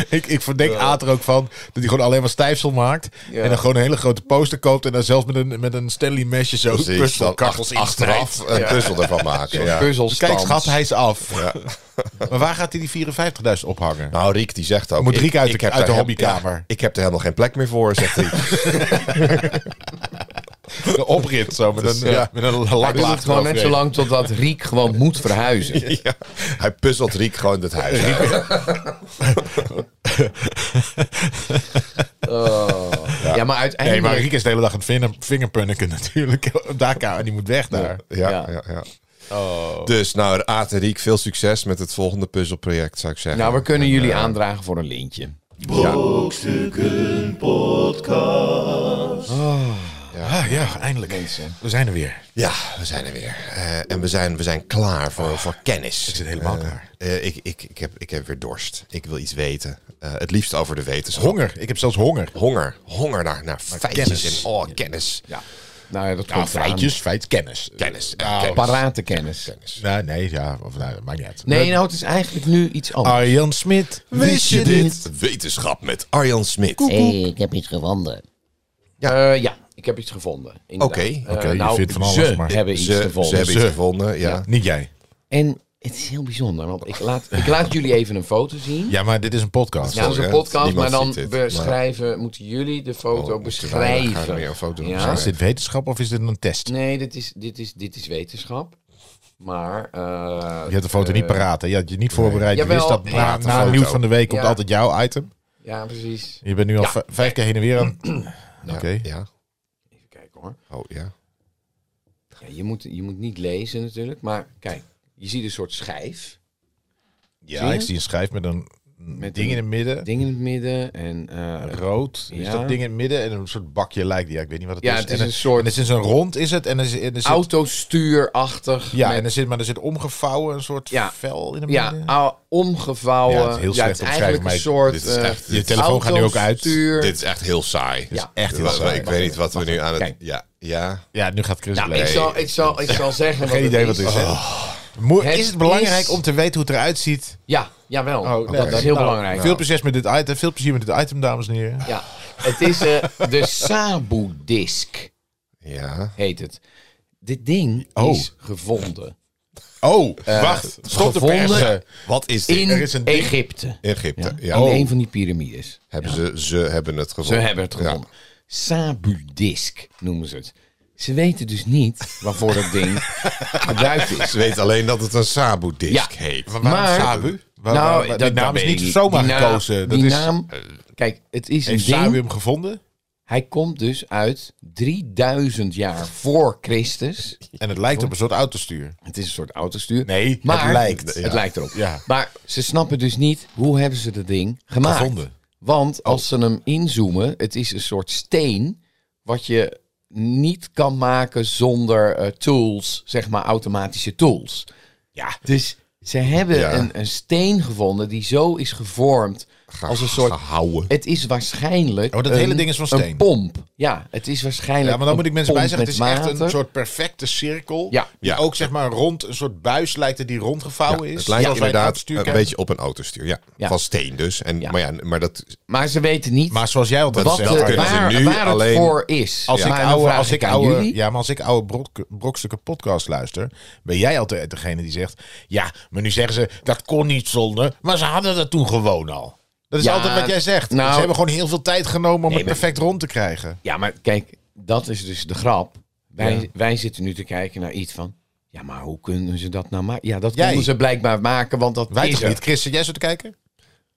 [SPEAKER 1] ik, ik verdenk Aad er ook van dat hij gewoon alleen maar stijfsel maakt.
[SPEAKER 3] Ja.
[SPEAKER 1] En dan gewoon een hele grote poster koopt. En dan zelfs met een, met een Stanley mesje zo
[SPEAKER 2] Precies,
[SPEAKER 1] puzzelkachels
[SPEAKER 2] dan
[SPEAKER 1] in
[SPEAKER 2] achteraf
[SPEAKER 1] snijdt.
[SPEAKER 2] een puzzel ervan maken. Ja.
[SPEAKER 3] Puzzelstand.
[SPEAKER 1] Kijk schat, hij is af. maar waar gaat hij die 54.000 ophangen?
[SPEAKER 2] Nou, Riek die zegt ook...
[SPEAKER 1] Moet Riek uit de-
[SPEAKER 2] heb
[SPEAKER 1] uit de
[SPEAKER 2] daar hem-
[SPEAKER 1] hobbykamer.
[SPEAKER 2] ja, ik heb er helemaal geen plek meer voor, zegt Riek.
[SPEAKER 1] De oprit zo met een,
[SPEAKER 2] ja.
[SPEAKER 1] Nou. ja, met een
[SPEAKER 3] Hij
[SPEAKER 1] laklaag
[SPEAKER 3] doet het gewoon net zo
[SPEAKER 1] eroverheen.
[SPEAKER 3] lang totdat Riek gewoon moet verhuizen.
[SPEAKER 2] Ja, Hij puzzelt Riek gewoon het huis uit.
[SPEAKER 3] Ja, maar
[SPEAKER 1] Nee,
[SPEAKER 3] uiteindelijk...
[SPEAKER 1] maar Riek is de hele dag aan het vinger- vingerpunniken <laughs> natuurlijk. Daar kan, die moet weg daar.
[SPEAKER 2] Ja, ja.
[SPEAKER 3] Ja.
[SPEAKER 2] ja, Dus nou, Aad en Riek, veel succes met het volgende puzzelproject, zou ik zeggen. eh,
[SPEAKER 3] Nou, we kunnen jullie aandragen voor een lintje.
[SPEAKER 1] Ah, ja, eindelijk. We zijn er weer.
[SPEAKER 2] Ja, we zijn er weer. Eh, en we zijn, we zijn klaar voor, voor kennis.
[SPEAKER 1] Ah, Ik zit helemaal
[SPEAKER 2] Eh,
[SPEAKER 1] klaar.
[SPEAKER 2] eh, ik, ik, ik, heb, ik heb weer dorst. Ik wil iets weten. Eh, het liefst over de wetenschap.
[SPEAKER 1] Honger. Ik heb zelfs honger.
[SPEAKER 2] Honger. Honger naar, naar feitjes
[SPEAKER 1] kennis.
[SPEAKER 2] en oh, kennis.
[SPEAKER 3] Ja. Nou ja, dat
[SPEAKER 1] Nou,
[SPEAKER 3] komt eraan.
[SPEAKER 1] feitjes, feit, kennis.
[SPEAKER 2] Kennis. eh,
[SPEAKER 1] Nou,
[SPEAKER 2] kennis.
[SPEAKER 3] Parate kennis.
[SPEAKER 1] Nou, nee, ja, of, nou, maakt niet uit.
[SPEAKER 3] Nee, nou, het is eigenlijk nu iets anders.
[SPEAKER 1] nou, Arjan Smit, wist je dit?
[SPEAKER 2] Wetenschap met Arjan Smit. Oké,
[SPEAKER 5] Hé, ik heb iets gevonden.
[SPEAKER 3] Ah. Ja, eh, ja ik heb iets gevonden. inderdaad.
[SPEAKER 2] Oké,
[SPEAKER 3] Eh,
[SPEAKER 1] oké, je
[SPEAKER 3] nou,
[SPEAKER 1] vindt van alles,
[SPEAKER 3] ze
[SPEAKER 1] maar-
[SPEAKER 3] hebben iets
[SPEAKER 2] ze,
[SPEAKER 3] gevonden.
[SPEAKER 2] ze hebben iets
[SPEAKER 1] Ze.
[SPEAKER 2] gevonden. Ja.
[SPEAKER 3] Ja.
[SPEAKER 1] Niet jij.
[SPEAKER 3] En het is heel bijzonder, want ik laat, ik laat jullie even een foto zien.
[SPEAKER 1] Ja, maar dit is een podcast.
[SPEAKER 3] Ja, dat is
[SPEAKER 2] sorry,
[SPEAKER 3] een
[SPEAKER 2] hè.
[SPEAKER 3] podcast,
[SPEAKER 2] Niemand
[SPEAKER 3] maar dan
[SPEAKER 2] ziet dit, maar-
[SPEAKER 3] beschrijven, moeten jullie de foto
[SPEAKER 2] Oh, moeten wij-
[SPEAKER 3] beschrijven.
[SPEAKER 2] gaan we weer een foto
[SPEAKER 3] Ja.
[SPEAKER 2] beschrijven.
[SPEAKER 1] Is dit wetenschap of is dit een test?
[SPEAKER 3] Nee, dit is, dit, is, dit is wetenschap. Maar. eh,
[SPEAKER 1] Je had de foto
[SPEAKER 3] eh,
[SPEAKER 1] niet paraat, hè? Je had je niet voorbereid. Je
[SPEAKER 3] Jawel,
[SPEAKER 1] wist dat na,
[SPEAKER 3] paraat, de
[SPEAKER 1] na
[SPEAKER 2] foto.
[SPEAKER 1] nieuws van de week komt
[SPEAKER 3] Ja.
[SPEAKER 1] altijd jouw item.
[SPEAKER 3] Ja, precies.
[SPEAKER 1] Je bent nu al
[SPEAKER 3] Ja.
[SPEAKER 1] v- vijf keer heen en weer aan. Oké.
[SPEAKER 2] Ja, ja.
[SPEAKER 3] Even kijken hoor.
[SPEAKER 2] Oh, ja.
[SPEAKER 3] Ja, je, moet, je moet niet lezen natuurlijk, maar kijk, je ziet een soort schijf.
[SPEAKER 1] Ja,
[SPEAKER 3] Zie je?
[SPEAKER 1] ik zie een schijf met een
[SPEAKER 3] Met
[SPEAKER 1] ding
[SPEAKER 3] een-
[SPEAKER 1] in het midden.
[SPEAKER 3] Ding in het midden en. eh,
[SPEAKER 1] Rood. Is
[SPEAKER 3] Ja.
[SPEAKER 1] dat ding in het midden en een soort bakje lijkt die. Ja, ik weet niet wat het
[SPEAKER 3] Ja,
[SPEAKER 1] is.
[SPEAKER 3] het is
[SPEAKER 1] en
[SPEAKER 3] een soort-
[SPEAKER 1] En er zit zo'n rond is het. En er, zit- en er zit...
[SPEAKER 3] autostuurachtig.
[SPEAKER 1] Ja,
[SPEAKER 3] met-
[SPEAKER 1] en er zit, maar er zit omgevouwen een soort
[SPEAKER 3] Ja.
[SPEAKER 1] vel in het
[SPEAKER 3] ja,
[SPEAKER 1] midden.
[SPEAKER 3] au- omgevouwen.
[SPEAKER 1] Ja, het is heel slecht
[SPEAKER 3] het is
[SPEAKER 1] omschrijven,
[SPEAKER 3] eigenlijk
[SPEAKER 1] maar
[SPEAKER 3] een
[SPEAKER 1] ik-
[SPEAKER 3] soort.
[SPEAKER 2] dit is
[SPEAKER 3] eh,
[SPEAKER 2] echt-
[SPEAKER 1] Je telefoon gaat nu ook uit.
[SPEAKER 3] autostuur-
[SPEAKER 2] Dit is echt heel saai.
[SPEAKER 3] Ja.
[SPEAKER 1] Echt heel
[SPEAKER 2] Wa- wa-
[SPEAKER 1] saai.
[SPEAKER 2] Ik weet niet wat we nu aan het...
[SPEAKER 3] Kijk.
[SPEAKER 2] Ja, ja.
[SPEAKER 1] Ja, nu gaat Chris
[SPEAKER 3] Nou,
[SPEAKER 1] lezen.
[SPEAKER 3] ik zal, ik zal, ik zal zeggen.
[SPEAKER 1] Geen
[SPEAKER 3] het
[SPEAKER 1] idee wat het is. hè? Mo-
[SPEAKER 3] Het
[SPEAKER 1] is het belangrijk
[SPEAKER 3] is-
[SPEAKER 1] om te weten hoe het eruit ziet?
[SPEAKER 3] Ja, jawel.
[SPEAKER 1] Oké.
[SPEAKER 3] Dat is heel
[SPEAKER 1] Nou,
[SPEAKER 3] belangrijk.
[SPEAKER 1] Veel plezier met dit item, veel plezier met dit item dames en heren.
[SPEAKER 3] Ja, het is eh, de Sabu-disk,
[SPEAKER 2] Ja.
[SPEAKER 3] heet het. Dit ding
[SPEAKER 1] Oh.
[SPEAKER 3] is gevonden
[SPEAKER 1] Oh,
[SPEAKER 2] Eh,
[SPEAKER 1] wacht. Stop de
[SPEAKER 3] gevonden
[SPEAKER 1] persen.
[SPEAKER 2] Wat is dit?
[SPEAKER 3] in
[SPEAKER 1] er is een ding- Oh.
[SPEAKER 3] Egypte.
[SPEAKER 2] Egypte. Ja.
[SPEAKER 3] Ja? In een van die piramides.
[SPEAKER 2] Hebben ze, ze hebben het
[SPEAKER 3] Ze
[SPEAKER 2] gevonden.
[SPEAKER 3] hebben het
[SPEAKER 2] Ja.
[SPEAKER 3] gevonden. Sabu-disk noemen ze het. Ze weten dus niet waarvoor dat
[SPEAKER 1] <laughs>
[SPEAKER 3] ding gebruikt is.
[SPEAKER 2] Ze weten alleen dat het een Sabu-disc
[SPEAKER 3] Ja.
[SPEAKER 2] heet.
[SPEAKER 1] Maar waarom
[SPEAKER 3] Maar-
[SPEAKER 1] Sabu? Waar-
[SPEAKER 3] Nou,
[SPEAKER 1] waar- waar- die
[SPEAKER 3] dat- dat
[SPEAKER 1] naam is
[SPEAKER 3] weet ik
[SPEAKER 1] niet zomaar
[SPEAKER 3] Die naam-
[SPEAKER 1] gekozen. Dat
[SPEAKER 3] die
[SPEAKER 1] is, Eh,
[SPEAKER 3] naam, kijk, het is een
[SPEAKER 1] heeft
[SPEAKER 3] ding.
[SPEAKER 1] Sabu hem gevonden?
[SPEAKER 3] Hij komt dus uit 3000 jaar voor Christus.
[SPEAKER 1] En het lijkt op een soort autostuur.
[SPEAKER 3] Het is een soort autostuur.
[SPEAKER 1] Nee, het
[SPEAKER 3] maar
[SPEAKER 1] lijkt,
[SPEAKER 3] Het
[SPEAKER 1] ja.
[SPEAKER 3] lijkt erop.
[SPEAKER 1] Ja.
[SPEAKER 3] Maar ze snappen dus niet hoe hebben ze dat ding gemaakt.
[SPEAKER 1] Gevonden. Oh.
[SPEAKER 3] Want als ze hem inzoomen, het is een soort steen wat je niet kan maken zonder eh, tools, zeg maar automatische tools. Ja. Dus ze hebben
[SPEAKER 2] Ja.
[SPEAKER 3] een, een steen gevonden die zo is gevormd als een soort...
[SPEAKER 2] Gehouden.
[SPEAKER 3] Het is waarschijnlijk
[SPEAKER 1] Oh, dat
[SPEAKER 3] een,
[SPEAKER 1] hele ding is van
[SPEAKER 3] een
[SPEAKER 1] steen.
[SPEAKER 3] pomp. Ja, het is waarschijnlijk
[SPEAKER 1] Ja, maar dan moet
[SPEAKER 3] een
[SPEAKER 1] ik mensen bij
[SPEAKER 3] pomp
[SPEAKER 1] zeggen, het is
[SPEAKER 3] met
[SPEAKER 1] echt een
[SPEAKER 3] water.
[SPEAKER 1] soort perfecte cirkel.
[SPEAKER 3] Ja.
[SPEAKER 1] Die
[SPEAKER 2] Ja.
[SPEAKER 1] ook zeg maar rond, een soort buis lijkt het die rondgevouwen is.
[SPEAKER 2] Het lijkt
[SPEAKER 1] Zoals wij een
[SPEAKER 2] inderdaad
[SPEAKER 1] autostuur
[SPEAKER 2] een
[SPEAKER 1] kennen.
[SPEAKER 2] beetje op een autostuur. Ja,
[SPEAKER 3] Ja.
[SPEAKER 2] van steen dus. En,
[SPEAKER 3] Ja.
[SPEAKER 2] Maar, ja, maar dat...
[SPEAKER 3] Maar ze weten niet
[SPEAKER 1] Maar zoals jij altijd
[SPEAKER 2] Wat
[SPEAKER 3] wat
[SPEAKER 1] zegt,
[SPEAKER 2] zelf
[SPEAKER 3] de-
[SPEAKER 1] Arjen,
[SPEAKER 2] kunnen ze
[SPEAKER 3] waar,
[SPEAKER 2] nu
[SPEAKER 3] waar
[SPEAKER 2] alleen-
[SPEAKER 3] het voor is.
[SPEAKER 1] als,
[SPEAKER 3] Maar
[SPEAKER 1] ik
[SPEAKER 3] dan
[SPEAKER 1] oude,
[SPEAKER 3] vraag
[SPEAKER 1] als ik
[SPEAKER 3] aan
[SPEAKER 1] oude,
[SPEAKER 3] jullie.
[SPEAKER 1] ja, maar als ik oude brok, brokstukken podcast luister, ben jij altijd degene die zegt, ja, maar nu zeggen ze dat kon niet zonder, maar ze hadden dat toen gewoon al. Dat is
[SPEAKER 3] Ja,
[SPEAKER 1] altijd wat jij zegt.
[SPEAKER 3] nou-
[SPEAKER 1] ze hebben gewoon heel veel tijd genomen om
[SPEAKER 3] Nee,
[SPEAKER 1] het
[SPEAKER 3] maar-
[SPEAKER 1] perfect rond te krijgen.
[SPEAKER 3] Ja, maar kijk, dat is dus de grap. Wij,
[SPEAKER 1] Ja.
[SPEAKER 3] wij zitten nu te kijken naar iets van... Ja, maar hoe kunnen ze dat nou maken? Ja, dat
[SPEAKER 1] Jij.
[SPEAKER 3] konden ze blijkbaar maken, want dat
[SPEAKER 1] Wij
[SPEAKER 3] is
[SPEAKER 1] toch
[SPEAKER 3] er.
[SPEAKER 1] niet? Chris, zit jij zo te kijken?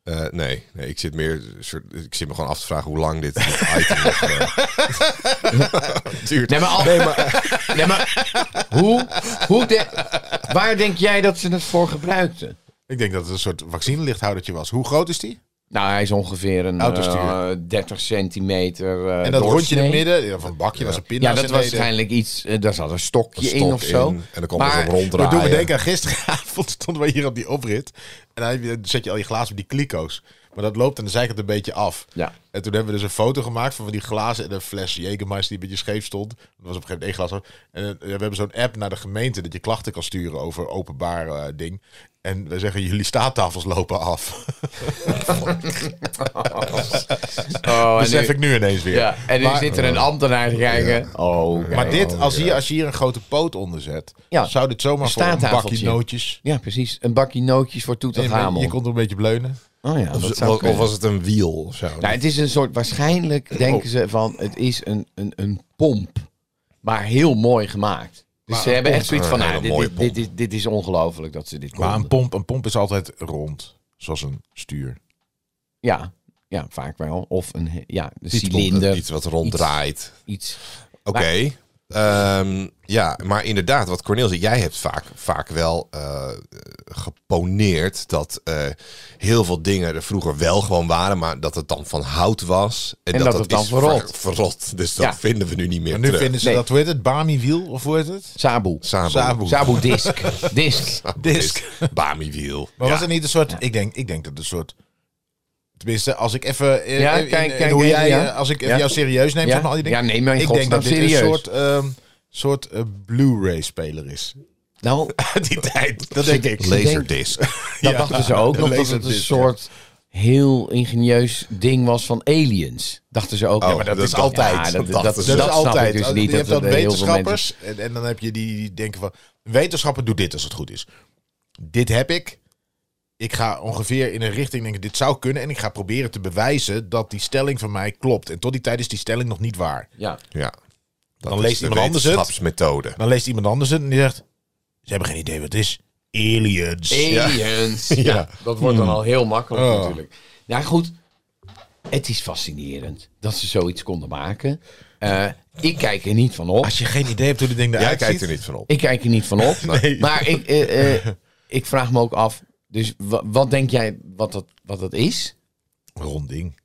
[SPEAKER 2] eh, nee, nee, ik zit meer... Soort, ik zit me gewoon af te vragen hoe lang dit, <laughs> dit item nog, eh,
[SPEAKER 3] <laughs>
[SPEAKER 2] duurt.
[SPEAKER 3] Nee, maar, al, nee, maar, hoe, hoe de- waar denk jij dat ze het voor gebruikten?
[SPEAKER 1] Ik denk dat het een soort vaccinelichthoudertje was. Hoe groot is die?
[SPEAKER 3] Nou, hij is ongeveer een
[SPEAKER 1] Autostuur.
[SPEAKER 3] eh, 30 centimeter eh,
[SPEAKER 1] En dat rondje in
[SPEAKER 3] doorsnee.
[SPEAKER 1] het midden, nou, ja, van het bakje was een pinda.
[SPEAKER 3] Ja, dat was waarschijnlijk iets... eh, daar zat een stokje in of zo.
[SPEAKER 2] En dan komt er
[SPEAKER 3] maar,
[SPEAKER 2] zo'n ronddraaien.
[SPEAKER 1] Dat doet me denken aan gisteravond <laughs> stonden we hier op die oprit. En dan heb je- dan zet je al je glazen op die kliko's. Maar dat loopt aan de zijkant een beetje af.
[SPEAKER 3] Ja.
[SPEAKER 1] En toen hebben we dus een foto gemaakt van die glazen en een fles Jägermeister die een beetje scheef stond. Dat was op een gegeven moment één glas. af. En eh, we hebben zo'n app naar de gemeente dat je klachten kan sturen over openbaar eh, ding. En we zeggen, jullie staattafels lopen af. <laughs>
[SPEAKER 3] Oh, en
[SPEAKER 1] Besef
[SPEAKER 3] nu-
[SPEAKER 1] ik nu ineens weer.
[SPEAKER 3] Ja, en nu
[SPEAKER 1] Maar-
[SPEAKER 3] zit er een ambtenaar te kijken. Oh, oké.
[SPEAKER 1] Maar dit, als, hier, als je hier een grote poot onder zet,
[SPEAKER 3] Ja.
[SPEAKER 1] zou dit zomaar
[SPEAKER 3] Een
[SPEAKER 1] voor een bakje
[SPEAKER 3] staattafeltje.
[SPEAKER 1] nootjes...
[SPEAKER 3] Ja, precies. Een bakje nootjes voor
[SPEAKER 1] Nee, maar
[SPEAKER 3] Toetelhamel.
[SPEAKER 1] Je kon er een beetje bleunen.
[SPEAKER 3] Oh ja, dat
[SPEAKER 2] Of,
[SPEAKER 3] zou
[SPEAKER 2] of- of
[SPEAKER 3] kunnen.
[SPEAKER 2] was het een wiel of zo?
[SPEAKER 3] Nou, het is een soort, waarschijnlijk denken ze van, het is een, een, een pomp. Maar heel mooi gemaakt. Dus ze hebben echt zoiets van,
[SPEAKER 2] Een
[SPEAKER 3] nou,
[SPEAKER 2] hele
[SPEAKER 3] dit,
[SPEAKER 2] mooie
[SPEAKER 3] dit, dit, dit, dit is ongelooflijk dat ze dit
[SPEAKER 1] Maar
[SPEAKER 3] konden.
[SPEAKER 1] een pomp, een pomp is altijd rond, zoals een stuur.
[SPEAKER 3] Ja, ja, vaak wel. Of een, he- ja, een
[SPEAKER 2] Iets rond-
[SPEAKER 3] cilinder,
[SPEAKER 2] Iets wat ronddraait.
[SPEAKER 3] iets.
[SPEAKER 2] Oké. Ehm, ja, maar inderdaad, wat Corneel zei, jij hebt vaak, vaak wel eh, geponeerd dat eh, heel veel dingen er vroeger wel gewoon waren, maar dat het dan van hout was. En,
[SPEAKER 3] dat het dan
[SPEAKER 2] is
[SPEAKER 3] verrot.
[SPEAKER 2] ver- verrot. Dus dat
[SPEAKER 3] Ja.
[SPEAKER 2] vinden we nu niet meer
[SPEAKER 1] Maar nu
[SPEAKER 2] terug.
[SPEAKER 1] vinden ze
[SPEAKER 3] Nee.
[SPEAKER 1] dat, hoe heet het? Bami-wiel, of hoe heet het?
[SPEAKER 3] Sabu.
[SPEAKER 2] Sabo.
[SPEAKER 1] Sabo.
[SPEAKER 3] Sabu disk. disk.
[SPEAKER 1] Disc.
[SPEAKER 2] Bamiwiel.
[SPEAKER 1] Maar
[SPEAKER 2] Ja.
[SPEAKER 1] was het niet een soort, ik, denk, ik denk dat het een soort... Tenminste, als ik even... eh,
[SPEAKER 3] Ja,
[SPEAKER 1] in- in-
[SPEAKER 3] kijk,
[SPEAKER 1] in
[SPEAKER 3] kijk
[SPEAKER 1] hoe
[SPEAKER 3] even,
[SPEAKER 1] jij,
[SPEAKER 3] ja.
[SPEAKER 1] eh, Als ik even
[SPEAKER 3] Ja.
[SPEAKER 1] jou serieus neem,
[SPEAKER 3] Ja.
[SPEAKER 1] zeg maar al die dingen.
[SPEAKER 3] Ja, nee, maar in
[SPEAKER 1] ik denk dat dit
[SPEAKER 3] godsnaam
[SPEAKER 1] een
[SPEAKER 3] serieus.
[SPEAKER 1] soort, ehm, soort eh, Blu-ray-speler is.
[SPEAKER 3] Nou,
[SPEAKER 1] Uit <laughs> die
[SPEAKER 2] <laughs>
[SPEAKER 1] tijd, dat denk ik. <laughs>
[SPEAKER 2] Laserdisc.
[SPEAKER 3] dat dachten ze ook nog, dat het een
[SPEAKER 1] laserdisc, ja.
[SPEAKER 3] soort heel ingenieus ding was van aliens. Dachten ze ook.
[SPEAKER 2] Oh, maar dat dat is dacht- altijd.
[SPEAKER 3] Ja, dat,
[SPEAKER 2] Dat
[SPEAKER 3] dat,
[SPEAKER 2] dachten
[SPEAKER 3] dat,
[SPEAKER 2] ze.
[SPEAKER 1] Dat, is
[SPEAKER 3] snap
[SPEAKER 1] altijd.
[SPEAKER 3] ik dus
[SPEAKER 1] Als-
[SPEAKER 3] niet.
[SPEAKER 1] je
[SPEAKER 3] Dat,
[SPEAKER 1] hebt dan
[SPEAKER 3] dat heel veel mensen...
[SPEAKER 1] wetenschappers en, en dan heb je die, die denken van... Wetenschapper doet dit als het goed is. Dit heb ik. Ik ga ongeveer in een richting denken, dit zou kunnen. En ik ga proberen te bewijzen dat die stelling van mij klopt. En tot die tijd is die stelling nog niet waar.
[SPEAKER 3] Ja.
[SPEAKER 2] Ja. Dat
[SPEAKER 1] Dan
[SPEAKER 2] is
[SPEAKER 1] leest
[SPEAKER 2] de
[SPEAKER 1] iemand anders het. <laughs>
[SPEAKER 2] wetenschapsmethode.
[SPEAKER 1] Dan leest iemand anders het en die zegt... Ze hebben geen idee wat het is. Aliens.
[SPEAKER 3] Eh. Aliens. Ja. dat wordt dan al heel makkelijk
[SPEAKER 1] Oh.
[SPEAKER 3] natuurlijk. Nou goed, het is fascinerend dat ze zoiets konden maken. Eh, ik kijk er niet van op.
[SPEAKER 1] Als je geen idee hebt hoe dit ding
[SPEAKER 2] Jij
[SPEAKER 1] eruit
[SPEAKER 2] kijkt
[SPEAKER 1] ziet...
[SPEAKER 2] er niet van op.
[SPEAKER 3] Ik kijk er niet van op.
[SPEAKER 1] <laughs> Nee.
[SPEAKER 3] Maar ik, eh, eh, ik vraag me ook af, dus wa- wat denk jij wat dat, wat dat is?
[SPEAKER 1] Rond ding.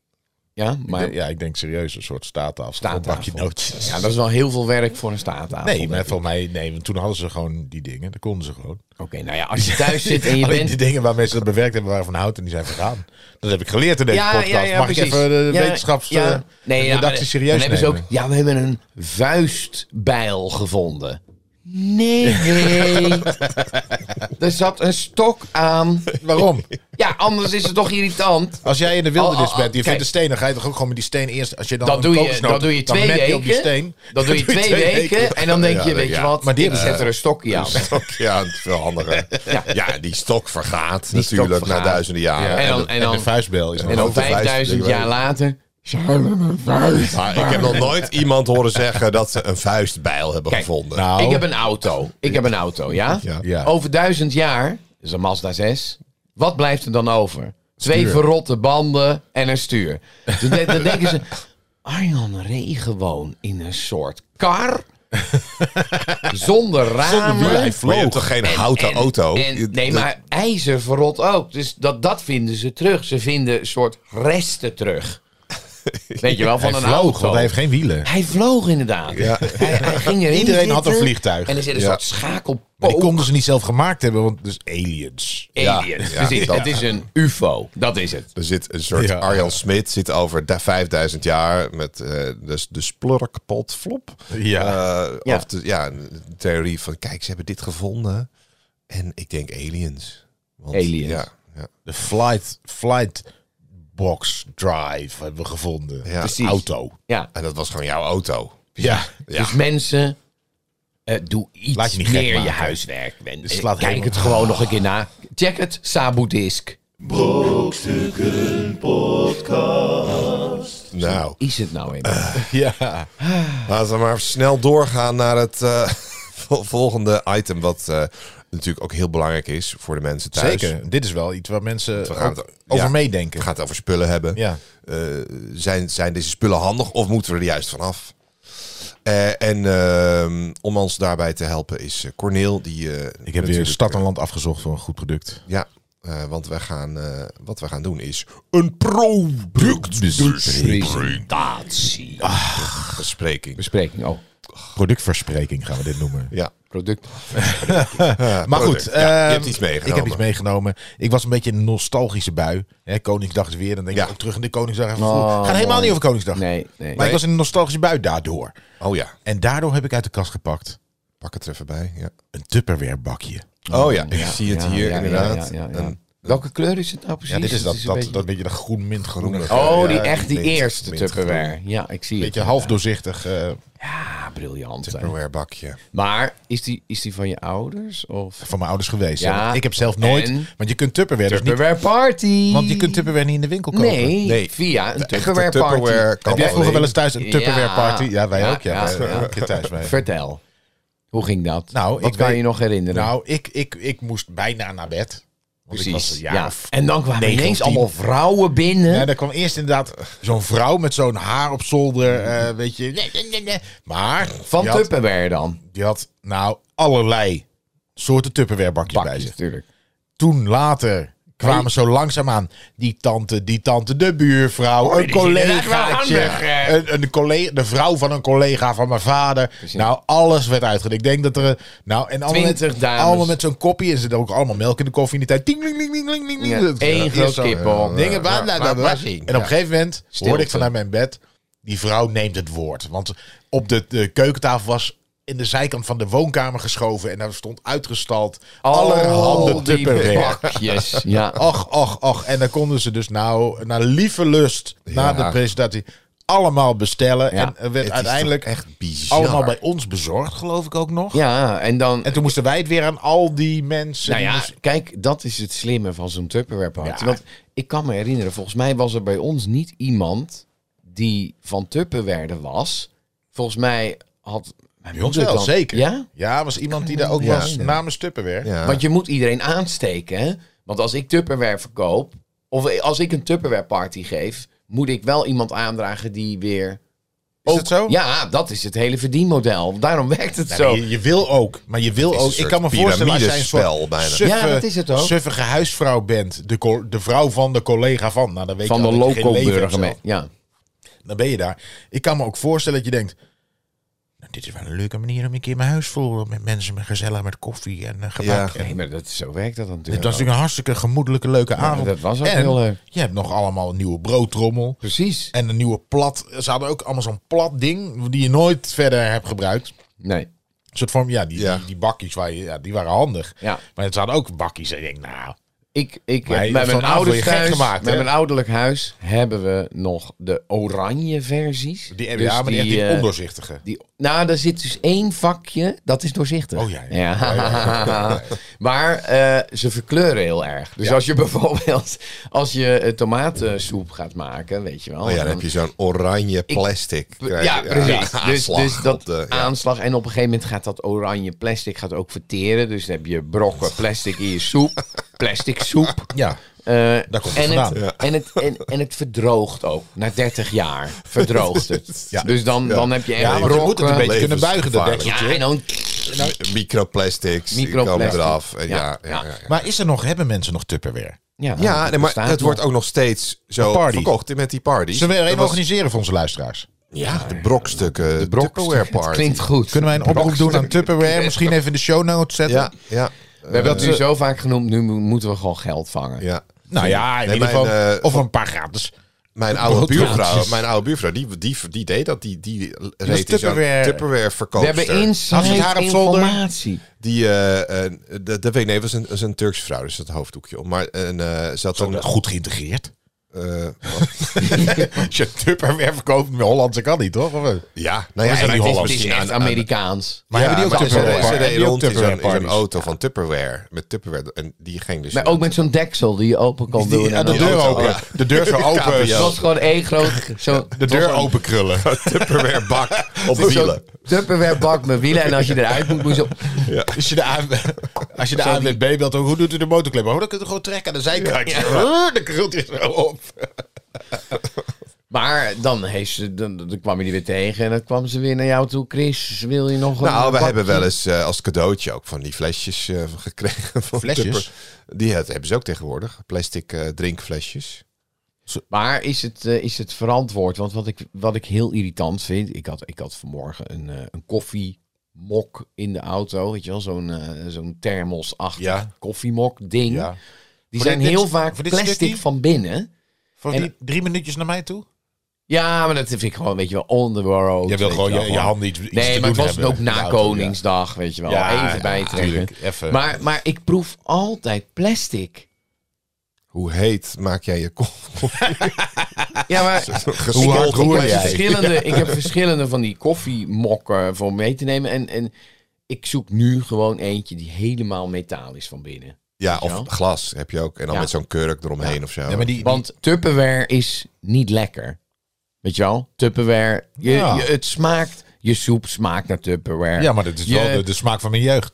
[SPEAKER 3] Ja, maar
[SPEAKER 1] ja, ik denk serieus een soort staattafel.
[SPEAKER 3] Staattafel.
[SPEAKER 1] Een bakje nootjes.
[SPEAKER 3] ja, dat is wel heel veel werk voor een staattafel.
[SPEAKER 1] nee,
[SPEAKER 3] denk
[SPEAKER 1] maar
[SPEAKER 3] ik.
[SPEAKER 1] volgens mij... Nee, want toen hadden ze gewoon die dingen. Dat konden ze gewoon.
[SPEAKER 3] Oké, nou ja, als je thuis zit en je
[SPEAKER 1] <laughs> Alleen
[SPEAKER 3] bent...
[SPEAKER 1] die dingen waarmee ze dat bewerkt hebben, waren van hout en die zijn vergaan. Dat heb ik geleerd in deze
[SPEAKER 3] Ja,
[SPEAKER 1] podcast.
[SPEAKER 3] ja, ja,
[SPEAKER 1] Mag ik
[SPEAKER 3] precies.
[SPEAKER 1] even de
[SPEAKER 3] Ja,
[SPEAKER 1] wetenschaps...
[SPEAKER 3] ja.
[SPEAKER 1] eh, de
[SPEAKER 3] maar
[SPEAKER 1] redactie serieus
[SPEAKER 3] dan hebben ze ook,
[SPEAKER 1] nemen?
[SPEAKER 3] Ja, we hebben een vuistbijl gevonden. Nee. <laughs> er zat een stok aan.
[SPEAKER 1] Waarom?
[SPEAKER 3] Ja, anders is het toch irritant.
[SPEAKER 1] Als jij in de wildernis
[SPEAKER 3] Al- al-
[SPEAKER 1] bent, je
[SPEAKER 3] Oh, kijk.
[SPEAKER 1] vindt een steen, dan ga je toch ook gewoon met die steen eerst... Als je dan
[SPEAKER 3] Dat
[SPEAKER 1] een
[SPEAKER 3] doe je-
[SPEAKER 1] kokosnoot-
[SPEAKER 3] dat doe je
[SPEAKER 1] dan
[SPEAKER 3] twee
[SPEAKER 1] met die op die
[SPEAKER 3] weken.
[SPEAKER 1] steen. <laughs>
[SPEAKER 3] Dat doe je twee, weken, en dan denk je, weet
[SPEAKER 2] ja.
[SPEAKER 3] je wat,
[SPEAKER 1] Maar
[SPEAKER 3] maar
[SPEAKER 1] die
[SPEAKER 3] die ik
[SPEAKER 1] hebben- Dus
[SPEAKER 3] zet er een stokje aan.
[SPEAKER 2] Stok, ja, het is wel handiger. Ja. die stok vergaat
[SPEAKER 3] Die stok
[SPEAKER 2] natuurlijk na
[SPEAKER 3] vergaat.
[SPEAKER 2] duizenden jaren.
[SPEAKER 1] Ja,
[SPEAKER 3] En
[SPEAKER 1] en,
[SPEAKER 3] dan-
[SPEAKER 1] dan,
[SPEAKER 3] en dan-
[SPEAKER 1] de vuistbel is
[SPEAKER 2] en
[SPEAKER 1] nog
[SPEAKER 3] En dan
[SPEAKER 2] grote vuist,
[SPEAKER 3] 5000
[SPEAKER 2] denk ik
[SPEAKER 3] jaar
[SPEAKER 2] wel.
[SPEAKER 3] later Samen een vuist.
[SPEAKER 2] Maar ik heb nog nooit iemand horen zeggen dat ze een vuistbijl hebben
[SPEAKER 3] Kijk,
[SPEAKER 2] gevonden.
[SPEAKER 1] Nou,
[SPEAKER 3] Ik heb een auto. Ik heb een auto, ja?
[SPEAKER 2] Ja.
[SPEAKER 1] ja.
[SPEAKER 3] Over duizend jaar, dus een Mazda 6, wat blijft er dan over? Twee
[SPEAKER 1] Stuur.
[SPEAKER 3] verrotte banden en een stuur. Dan, de- dan denken ze, <laughs> Arjan Ree gewoon in een soort kar. Zonder ramen.
[SPEAKER 1] wielen, hij
[SPEAKER 2] maar je hebt
[SPEAKER 1] vloog.
[SPEAKER 2] toch geen houten
[SPEAKER 3] En-
[SPEAKER 2] auto? Je-
[SPEAKER 3] En, nee,
[SPEAKER 2] dat-
[SPEAKER 3] maar ijzer verrot ook. Dus dat, dat vinden ze terug. Ze vinden een soort resten terug. Weet je wel, van
[SPEAKER 1] Hij
[SPEAKER 3] een
[SPEAKER 1] vloog,
[SPEAKER 3] auto.
[SPEAKER 1] want hij heeft geen wielen.
[SPEAKER 3] Hij vloog inderdaad. Hij, hij ging erin
[SPEAKER 1] Iedereen had een
[SPEAKER 3] zitten
[SPEAKER 1] vliegtuig.
[SPEAKER 3] En er zit een
[SPEAKER 2] Ja.
[SPEAKER 3] soort
[SPEAKER 1] Maar die
[SPEAKER 3] schakelpook.
[SPEAKER 1] konden ze niet zelf gemaakt hebben, want dus aliens.
[SPEAKER 2] Ja,
[SPEAKER 3] Aliens.
[SPEAKER 2] ja,
[SPEAKER 3] Precies,
[SPEAKER 2] dat-
[SPEAKER 3] het is een ufo. Dat is het.
[SPEAKER 2] Er zit een soort
[SPEAKER 1] Ja.
[SPEAKER 2] Arjan Smit zit over da- 5000 jaar met eh, dus de splurkpot flop.
[SPEAKER 1] Ja.
[SPEAKER 2] Eh,
[SPEAKER 3] Ja.
[SPEAKER 2] Of de, ja, een theorie van kijk, ze hebben dit gevonden. En ik denk aliens. Want,
[SPEAKER 3] Aliens.
[SPEAKER 2] Ja, ja,
[SPEAKER 1] De flight, flight box drive hebben we gevonden.
[SPEAKER 2] ja.
[SPEAKER 3] Precies.
[SPEAKER 1] Auto.
[SPEAKER 3] Ja.
[SPEAKER 2] En dat was gewoon jouw auto.
[SPEAKER 1] Ja.
[SPEAKER 2] Ja.
[SPEAKER 3] Dus mensen, eh, doe iets
[SPEAKER 1] Laat je niet gek
[SPEAKER 3] meer je
[SPEAKER 1] maken.
[SPEAKER 3] huiswerk. Ben,
[SPEAKER 1] Dus
[SPEAKER 3] eh,
[SPEAKER 1] laat
[SPEAKER 3] kijk
[SPEAKER 1] helemaal-
[SPEAKER 3] het gewoon nog een keer na. Check het, Saboedisk.
[SPEAKER 2] nou,
[SPEAKER 3] Is het nou in?
[SPEAKER 1] Eh, <laughs> Ja.
[SPEAKER 2] laten we maar snel doorgaan naar het eh, <laughs> vol- volgende item. Wat eh, natuurlijk ook heel belangrijk is voor de mensen thuis.
[SPEAKER 1] Zeker. Dit is wel iets waar mensen
[SPEAKER 2] gaan
[SPEAKER 1] ook
[SPEAKER 2] het-
[SPEAKER 1] over
[SPEAKER 2] ja.
[SPEAKER 1] meedenken.
[SPEAKER 2] We gaan het over spullen hebben.
[SPEAKER 1] Ja.
[SPEAKER 2] Eh, zijn, zijn deze spullen handig of moeten we er juist vanaf? Eh, en ehm, om ons daarbij te helpen is eh, Corneel. Die, eh,
[SPEAKER 1] Ik heb weer
[SPEAKER 2] natuurlijk-
[SPEAKER 1] stad en land afgezocht voor een goed product.
[SPEAKER 2] Ja, eh, want wij gaan, eh, wat we gaan doen is een productbespreking.
[SPEAKER 3] Presentatie.
[SPEAKER 1] Ah.
[SPEAKER 2] Bespreking.
[SPEAKER 3] Bespreking, oh.
[SPEAKER 1] Productverspreking gaan we dit noemen.
[SPEAKER 2] Ja,
[SPEAKER 3] Product.
[SPEAKER 2] Eh,
[SPEAKER 1] Maar
[SPEAKER 2] product.
[SPEAKER 1] goed,
[SPEAKER 2] Ja, je
[SPEAKER 1] ehm,
[SPEAKER 2] hebt iets meegenomen.
[SPEAKER 1] Ik heb iets meegenomen. Ik was een beetje in een nostalgische bui. Hè, Koningsdag is weer. Dan denk
[SPEAKER 2] Ja.
[SPEAKER 1] ik ook terug in de Koningsdag. Het
[SPEAKER 3] Oh,
[SPEAKER 1] gaat helemaal
[SPEAKER 3] mooi.
[SPEAKER 1] niet over Koningsdag.
[SPEAKER 3] Nee, nee.
[SPEAKER 1] Maar ik was in een nostalgische bui daardoor.
[SPEAKER 2] Oh ja,
[SPEAKER 1] En daardoor heb ik uit de kast gepakt
[SPEAKER 2] pak het er even bij. Ja.
[SPEAKER 1] een Tupperware bakje.
[SPEAKER 2] Oh ja, ik zie het
[SPEAKER 3] Ja,
[SPEAKER 2] hier
[SPEAKER 3] ja,
[SPEAKER 2] inderdaad.
[SPEAKER 3] ja, ja, ja.
[SPEAKER 2] Een-
[SPEAKER 3] Welke kleur is het nou precies?
[SPEAKER 1] Ja, dit is
[SPEAKER 3] Het
[SPEAKER 1] dat,
[SPEAKER 3] een
[SPEAKER 1] dat,
[SPEAKER 3] beetje-
[SPEAKER 1] dat beetje dat groen Oh, mintgroene.
[SPEAKER 2] Groene.
[SPEAKER 1] Een
[SPEAKER 3] Oh,
[SPEAKER 2] Ja,
[SPEAKER 3] die
[SPEAKER 2] ja,
[SPEAKER 3] echt die
[SPEAKER 2] mint-
[SPEAKER 3] eerste
[SPEAKER 2] mint-
[SPEAKER 3] Tupperware. Ja, ik zie het.
[SPEAKER 1] beetje half doorzichtig. eh,
[SPEAKER 3] Ja, briljant. hè.
[SPEAKER 2] Tupperware bakje.
[SPEAKER 3] Maar is die, is die van je ouders? Of?
[SPEAKER 1] van mijn ouders geweest.
[SPEAKER 3] Ja.
[SPEAKER 1] Ja. Ik heb zelf nooit.
[SPEAKER 3] En?
[SPEAKER 1] Want je kunt Tupperware, dus niet.
[SPEAKER 3] Tupperware party.
[SPEAKER 1] Want je kunt Tupperware niet in de winkel kopen.
[SPEAKER 3] Nee,
[SPEAKER 2] Nee.
[SPEAKER 3] via een
[SPEAKER 2] De echte
[SPEAKER 3] Tupperware
[SPEAKER 2] Tupperware
[SPEAKER 3] party.
[SPEAKER 2] kan
[SPEAKER 1] Heb jij vroeger
[SPEAKER 2] alleen.
[SPEAKER 1] wel eens thuis een Tupperware
[SPEAKER 3] Ja.
[SPEAKER 1] party? Ja, wij
[SPEAKER 3] Ja,
[SPEAKER 1] ook. Ja,
[SPEAKER 3] ja,
[SPEAKER 1] wij
[SPEAKER 3] ja.
[SPEAKER 1] ook een keer thuis mee.
[SPEAKER 3] Vertel. Hoe ging dat?
[SPEAKER 1] Nou,
[SPEAKER 3] Wat
[SPEAKER 1] ik
[SPEAKER 3] kan
[SPEAKER 1] weet-
[SPEAKER 3] je nog herinneren?
[SPEAKER 1] Nou, ik, ik, ik moest bijna naar bed. Want Ik was
[SPEAKER 3] Precies.
[SPEAKER 1] een jaar
[SPEAKER 3] Ja.
[SPEAKER 1] of
[SPEAKER 3] En dan kwamen
[SPEAKER 1] 9 of
[SPEAKER 3] ineens
[SPEAKER 1] 10.
[SPEAKER 3] allemaal vrouwen binnen.
[SPEAKER 1] Ja, daar kwam eerst inderdaad zo'n vrouw met zo'n haar op zolder, eh, weet je. Maar
[SPEAKER 3] van
[SPEAKER 1] die had-
[SPEAKER 3] Tupperware dan.
[SPEAKER 1] die had nou allerlei soorten Tupperware bakjes bij
[SPEAKER 3] Bakjes
[SPEAKER 1] zich.
[SPEAKER 3] natuurlijk.
[SPEAKER 1] Toen later kwamen
[SPEAKER 3] Hey.
[SPEAKER 1] zo langzaamaan die tante, die tante, de buurvrouw, een
[SPEAKER 3] die is inderdaad
[SPEAKER 1] collegaatje,
[SPEAKER 3] wel handig, eh.
[SPEAKER 1] een, een collega, de vrouw van een collega van mijn vader. Nou, alles werd uitgedekt. Ik denk dat er, eh, nou, en allemaal,
[SPEAKER 3] 20
[SPEAKER 1] met,
[SPEAKER 3] dames.
[SPEAKER 1] allemaal met zo'n koppie en ze deden ook allemaal melk in de koffie in die tijd. Ding, ding, ding, ding, ding, ding, ding.
[SPEAKER 3] Ja,
[SPEAKER 1] Dat-
[SPEAKER 3] één
[SPEAKER 1] eerst
[SPEAKER 3] groot
[SPEAKER 1] zo-
[SPEAKER 3] kippel.
[SPEAKER 1] Dingen, bla, bla, bla,
[SPEAKER 2] Waar
[SPEAKER 1] bla.
[SPEAKER 2] was hij?
[SPEAKER 1] En op een gegeven moment hoorde
[SPEAKER 3] Stilte.
[SPEAKER 1] ik vanuit mijn bed, die vrouw neemt het woord. Want op de, de keukentafel was in de zijkant van de woonkamer geschoven en daar stond uitgestald allerhande
[SPEAKER 3] Al die
[SPEAKER 1] Tupperware.
[SPEAKER 3] Bakjes. Ja.
[SPEAKER 1] Ach, ach, ach. En dan konden ze dus nou, naar lieve lust, na
[SPEAKER 2] Ja.
[SPEAKER 1] de presentatie, allemaal bestellen.
[SPEAKER 3] Ja.
[SPEAKER 1] En er werd
[SPEAKER 2] Het is
[SPEAKER 1] uiteindelijk
[SPEAKER 2] toch echt bizar.
[SPEAKER 1] allemaal bij ons bezorgd, geloof ik ook nog.
[SPEAKER 3] ja, en dan...
[SPEAKER 1] En toen moesten wij het weer aan al die mensen.
[SPEAKER 3] Nou
[SPEAKER 1] die
[SPEAKER 3] ja,
[SPEAKER 1] moesten-
[SPEAKER 3] kijk, dat is het slimme van zo'n Tupperware party.
[SPEAKER 1] Ja.
[SPEAKER 3] Want ik kan me herinneren, volgens mij was er bij ons niet iemand die van Tupperware er was. Volgens mij had mijn
[SPEAKER 1] Bij ons
[SPEAKER 3] moeder
[SPEAKER 1] wel,
[SPEAKER 3] dan-
[SPEAKER 1] zeker.
[SPEAKER 3] Ja?
[SPEAKER 1] Ja, was iemand die daar ook
[SPEAKER 2] Ja.
[SPEAKER 1] was namens Tupperware.
[SPEAKER 2] Ja.
[SPEAKER 3] Want je moet iedereen aansteken, hè? Want als ik Tupperware verkoop, of als ik een Tupperware party geef, moet ik wel iemand aandragen die weer...
[SPEAKER 1] Is
[SPEAKER 3] Ook-
[SPEAKER 1] dat zo?
[SPEAKER 3] Ja, dat is het hele verdienmodel. Daarom werkt het
[SPEAKER 1] Oh. Nee,
[SPEAKER 3] zo.
[SPEAKER 1] Nou, je, je wil ook, maar je wil
[SPEAKER 2] is een
[SPEAKER 1] ook. Ik
[SPEAKER 2] soort
[SPEAKER 1] kan me voorstellen als jij een soort
[SPEAKER 2] piramidespel bijna.
[SPEAKER 1] suffe,
[SPEAKER 3] Ja, dat is het ook.
[SPEAKER 1] suffige huisvrouw bent, de, co- de vrouw van de collega van, nou, dan weet
[SPEAKER 3] Van
[SPEAKER 1] je
[SPEAKER 3] de
[SPEAKER 1] al dat je geen leven hebt zelf.
[SPEAKER 3] loco-burgemeester. Ja.
[SPEAKER 1] Dan ben je daar. Ik kan me ook voorstellen dat je denkt... Nou, dit is wel een leuke manier om een keer mijn huis vol met mensen, met gezellig, met koffie en eh, gebak.
[SPEAKER 2] Ja.
[SPEAKER 1] En-
[SPEAKER 3] Nee, maar dat, zo werkt dat dan natuurlijk.
[SPEAKER 1] dit was
[SPEAKER 3] ook.
[SPEAKER 1] natuurlijk een hartstikke gemoedelijke, leuke avond.
[SPEAKER 3] dat was ook
[SPEAKER 1] en
[SPEAKER 3] heel leuk.
[SPEAKER 1] je hebt nog allemaal een nieuwe broodtrommel.
[SPEAKER 3] Precies.
[SPEAKER 1] En een nieuwe plat. Ze hadden ook allemaal zo'n plat ding die je nooit verder hebt gebruikt.
[SPEAKER 3] Nee.
[SPEAKER 1] Een soort van, ja, die,
[SPEAKER 2] Ja.
[SPEAKER 1] Die, die bakjes, waar je, ja, die waren handig.
[SPEAKER 3] Ja.
[SPEAKER 1] Maar ze hadden ook bakjes. En ik denk, nou,
[SPEAKER 3] ik, ik,
[SPEAKER 1] Maar
[SPEAKER 3] bij
[SPEAKER 1] je hebt
[SPEAKER 3] mijn
[SPEAKER 1] zo'n avond
[SPEAKER 3] ouders
[SPEAKER 1] je gek
[SPEAKER 3] thuis,
[SPEAKER 1] gemaakt,
[SPEAKER 3] bij
[SPEAKER 1] hè?
[SPEAKER 3] mijn ouderlijk huis, hebben we nog de oranje versies.
[SPEAKER 1] Die,
[SPEAKER 3] Dus
[SPEAKER 1] ja, maar die, echt die
[SPEAKER 3] eh,
[SPEAKER 1] ondoorzichtige.
[SPEAKER 3] die, nou, daar zit dus één vakje, dat is doorzichtig.
[SPEAKER 1] Oh, ja, ja.
[SPEAKER 3] <laughs> Maar eh, ze verkleuren heel erg. Dus als je <laughs> bijvoorbeeld als je eh, tomatensoep gaat maken, weet je wel.
[SPEAKER 2] Oh ja, dan
[SPEAKER 3] dan-
[SPEAKER 2] heb je zo'n oranje plastic.
[SPEAKER 3] ja,
[SPEAKER 2] Krijg je-
[SPEAKER 3] precies.
[SPEAKER 2] ja,
[SPEAKER 3] dus,
[SPEAKER 2] aanslag
[SPEAKER 3] dus dat
[SPEAKER 2] op
[SPEAKER 1] eh,
[SPEAKER 2] de- ja.
[SPEAKER 3] aanslag. En op een gegeven moment gaat dat oranje plastic gaat ook verteren. Dus dan heb je brokken plastic in je
[SPEAKER 1] <laughs>
[SPEAKER 3] soep. Plastic soep.
[SPEAKER 1] Ja,
[SPEAKER 3] Eh,
[SPEAKER 1] daar komt het
[SPEAKER 3] en,
[SPEAKER 1] vandaan.
[SPEAKER 3] het, en, het, en, en het verdroogt ook. Na 30 jaar verdroogt het.
[SPEAKER 1] <laughs> Ja.
[SPEAKER 3] Dus dan, dan heb je echt eh,
[SPEAKER 1] ja want je
[SPEAKER 3] brokken.
[SPEAKER 1] moet het een beetje kunnen buigen, dat
[SPEAKER 2] Levensgevaarlijk.
[SPEAKER 1] dekseltje.
[SPEAKER 3] ja, en dan...
[SPEAKER 2] Microplastics, die
[SPEAKER 3] Microplastic.
[SPEAKER 2] komen eraf. En ja, ja,
[SPEAKER 3] Ja,
[SPEAKER 2] ja, ja.
[SPEAKER 1] Maar is er nog, hebben mensen nog Tupperware?
[SPEAKER 3] Ja,
[SPEAKER 2] Ja, nee, maar
[SPEAKER 3] bestaat
[SPEAKER 2] het
[SPEAKER 3] nog.
[SPEAKER 2] wordt ook nog steeds zo
[SPEAKER 1] party.
[SPEAKER 2] verkocht met die parties.
[SPEAKER 1] Zullen we er
[SPEAKER 2] Dat
[SPEAKER 1] een
[SPEAKER 2] was-
[SPEAKER 1] organiseren voor onze luisteraars?
[SPEAKER 2] Ja, de brokstukken, de Tupperware
[SPEAKER 3] Het
[SPEAKER 2] party.
[SPEAKER 3] klinkt goed.
[SPEAKER 1] Kunnen wij een oproep doen aan Tupperware? Misschien even in de show notes zetten?
[SPEAKER 2] Ja, ja.
[SPEAKER 3] we hebben dat nu zo vaak genoemd, nu mo- moeten we gewoon geld vangen.
[SPEAKER 2] ja.
[SPEAKER 1] Nou ja, in
[SPEAKER 2] Nee,
[SPEAKER 1] ieder
[SPEAKER 2] mijn,
[SPEAKER 1] geval.
[SPEAKER 2] eh,
[SPEAKER 1] of een paar gratis.
[SPEAKER 2] Mijn oude
[SPEAKER 1] Broodkraantjes.
[SPEAKER 2] buurvrouw, mijn oude buurvrouw die, die, die deed dat. Die, die reed in zo'n
[SPEAKER 1] Tupperware-
[SPEAKER 2] Tupperware
[SPEAKER 3] We
[SPEAKER 2] verkoopster.
[SPEAKER 3] hebben
[SPEAKER 1] Als het
[SPEAKER 3] inside
[SPEAKER 1] haar op zolder-
[SPEAKER 3] informatie.
[SPEAKER 2] Die, eh, eh, dat, dat weet ik nee, het was een, het was een Turkse vrouw, dus dat hoofddoekje om. Maar en, eh ze had zo'n... <laughs>
[SPEAKER 1] Goed geïntegreerd.
[SPEAKER 2] eh,
[SPEAKER 1] Als je Tupperware verkoopt met Hollandse kan niet, toch? Of, eh?
[SPEAKER 2] ja, nou ja,
[SPEAKER 1] zijn
[SPEAKER 2] en het
[SPEAKER 1] die
[SPEAKER 2] is-
[SPEAKER 1] Hollanders?
[SPEAKER 2] het is
[SPEAKER 3] Het is
[SPEAKER 2] aan-
[SPEAKER 3] echt
[SPEAKER 2] aan-
[SPEAKER 3] Amerikaans.
[SPEAKER 1] Maar hebben die ook
[SPEAKER 2] maar ze
[SPEAKER 1] Tupperware?
[SPEAKER 2] reed- ze reed
[SPEAKER 1] Hebben die ook
[SPEAKER 2] rond in zo'n- in zo'n
[SPEAKER 1] Tupperware-parties?
[SPEAKER 2] auto van Tupperware. Met Tupperware. En die ging dus...
[SPEAKER 3] Maar ook met zo'n deksel die je open kan
[SPEAKER 1] Die-
[SPEAKER 3] doen.
[SPEAKER 1] ja,
[SPEAKER 3] en
[SPEAKER 1] de
[SPEAKER 3] dan-
[SPEAKER 2] dan-
[SPEAKER 1] deur
[SPEAKER 2] auto,
[SPEAKER 1] open.
[SPEAKER 2] ja.
[SPEAKER 1] De deur <laughs> zo open.
[SPEAKER 2] Cabrio.
[SPEAKER 3] Het was gewoon één groot... Zo,
[SPEAKER 1] De deur open <laughs> krullen.
[SPEAKER 2] Tupperware bak op wielen.
[SPEAKER 3] Tupperware bak met wielen en als je eruit moet, moet je zo...
[SPEAKER 1] Als je de, A- als je de ANWB belt, hoe doet u de motorclub? Oh, dan kun je gewoon trekken aan de zijkant. Ja. Dan krult hij zo op.
[SPEAKER 3] Maar dan, heeft ze, dan, dan kwam je die weer tegen en dan kwam ze weer naar jou toe. Chris, wil je nog een
[SPEAKER 2] Nou, we
[SPEAKER 3] bakje?
[SPEAKER 2] hebben wel eens eh, als cadeautje ook van die flesjes eh, gekregen. Van
[SPEAKER 1] Flesjes?
[SPEAKER 2] Die het- hebben ze ook tegenwoordig. Plastic eh, drinkflesjes.
[SPEAKER 3] Maar is het, eh, is het verantwoord? Want wat ik, wat ik heel irritant vind... Ik had, ik had vanmorgen een, eh, een koffiemok in de auto. Weet je wel, zo'n eh, zo'n thermos-achtig
[SPEAKER 1] Ja.
[SPEAKER 3] koffiemok ding.
[SPEAKER 1] Ja.
[SPEAKER 3] Die
[SPEAKER 1] Voor
[SPEAKER 3] zijn
[SPEAKER 1] dit-
[SPEAKER 3] heel
[SPEAKER 1] dit-
[SPEAKER 3] vaak
[SPEAKER 1] voor dit stukje?
[SPEAKER 3] plastic van binnen.
[SPEAKER 1] Voor
[SPEAKER 3] En-
[SPEAKER 1] die drie minuutjes naar mij toe?
[SPEAKER 3] Ja, maar dat vind ik gewoon, weet je wel, on the road.
[SPEAKER 1] Jij wil
[SPEAKER 3] weet
[SPEAKER 1] gewoon
[SPEAKER 3] wel,
[SPEAKER 1] je, je handen iets, iets te
[SPEAKER 3] Nee, maar het was
[SPEAKER 1] doen
[SPEAKER 3] het
[SPEAKER 1] hebben
[SPEAKER 3] ook
[SPEAKER 1] in de
[SPEAKER 3] na
[SPEAKER 1] auto,
[SPEAKER 3] Koningsdag, weet je wel.
[SPEAKER 1] Ja,
[SPEAKER 3] even
[SPEAKER 1] ja,
[SPEAKER 3] bijtrekken.
[SPEAKER 1] tuurlijk, even.
[SPEAKER 3] Maar, maar ik proef altijd plastic.
[SPEAKER 2] Hoe heet maak jij je <laughs> koffie?
[SPEAKER 3] Ja, maar
[SPEAKER 1] Hoe hard
[SPEAKER 2] Gesmolten
[SPEAKER 1] roer
[SPEAKER 3] ik heb,
[SPEAKER 1] jij? <laughs>
[SPEAKER 3] verschillende, ik heb verschillende van die koffiemokken voor mee te nemen. En, en ik zoek nu gewoon eentje die helemaal metaal is van binnen.
[SPEAKER 2] Ja,
[SPEAKER 3] Ja.
[SPEAKER 2] of glas heb je ook. En dan
[SPEAKER 3] Ja.
[SPEAKER 2] met zo'n kurk eromheen of zo.
[SPEAKER 1] Ja, maar die,
[SPEAKER 3] Want Tupperware is niet lekker. Weet je wel? Tupperware, je,
[SPEAKER 1] Ja.
[SPEAKER 3] je- het smaakt, je soep smaakt naar Tupperware.
[SPEAKER 1] ja, maar dat is
[SPEAKER 3] Je-
[SPEAKER 1] wel de, de smaak van mijn
[SPEAKER 3] <laughs>
[SPEAKER 1] jeugd.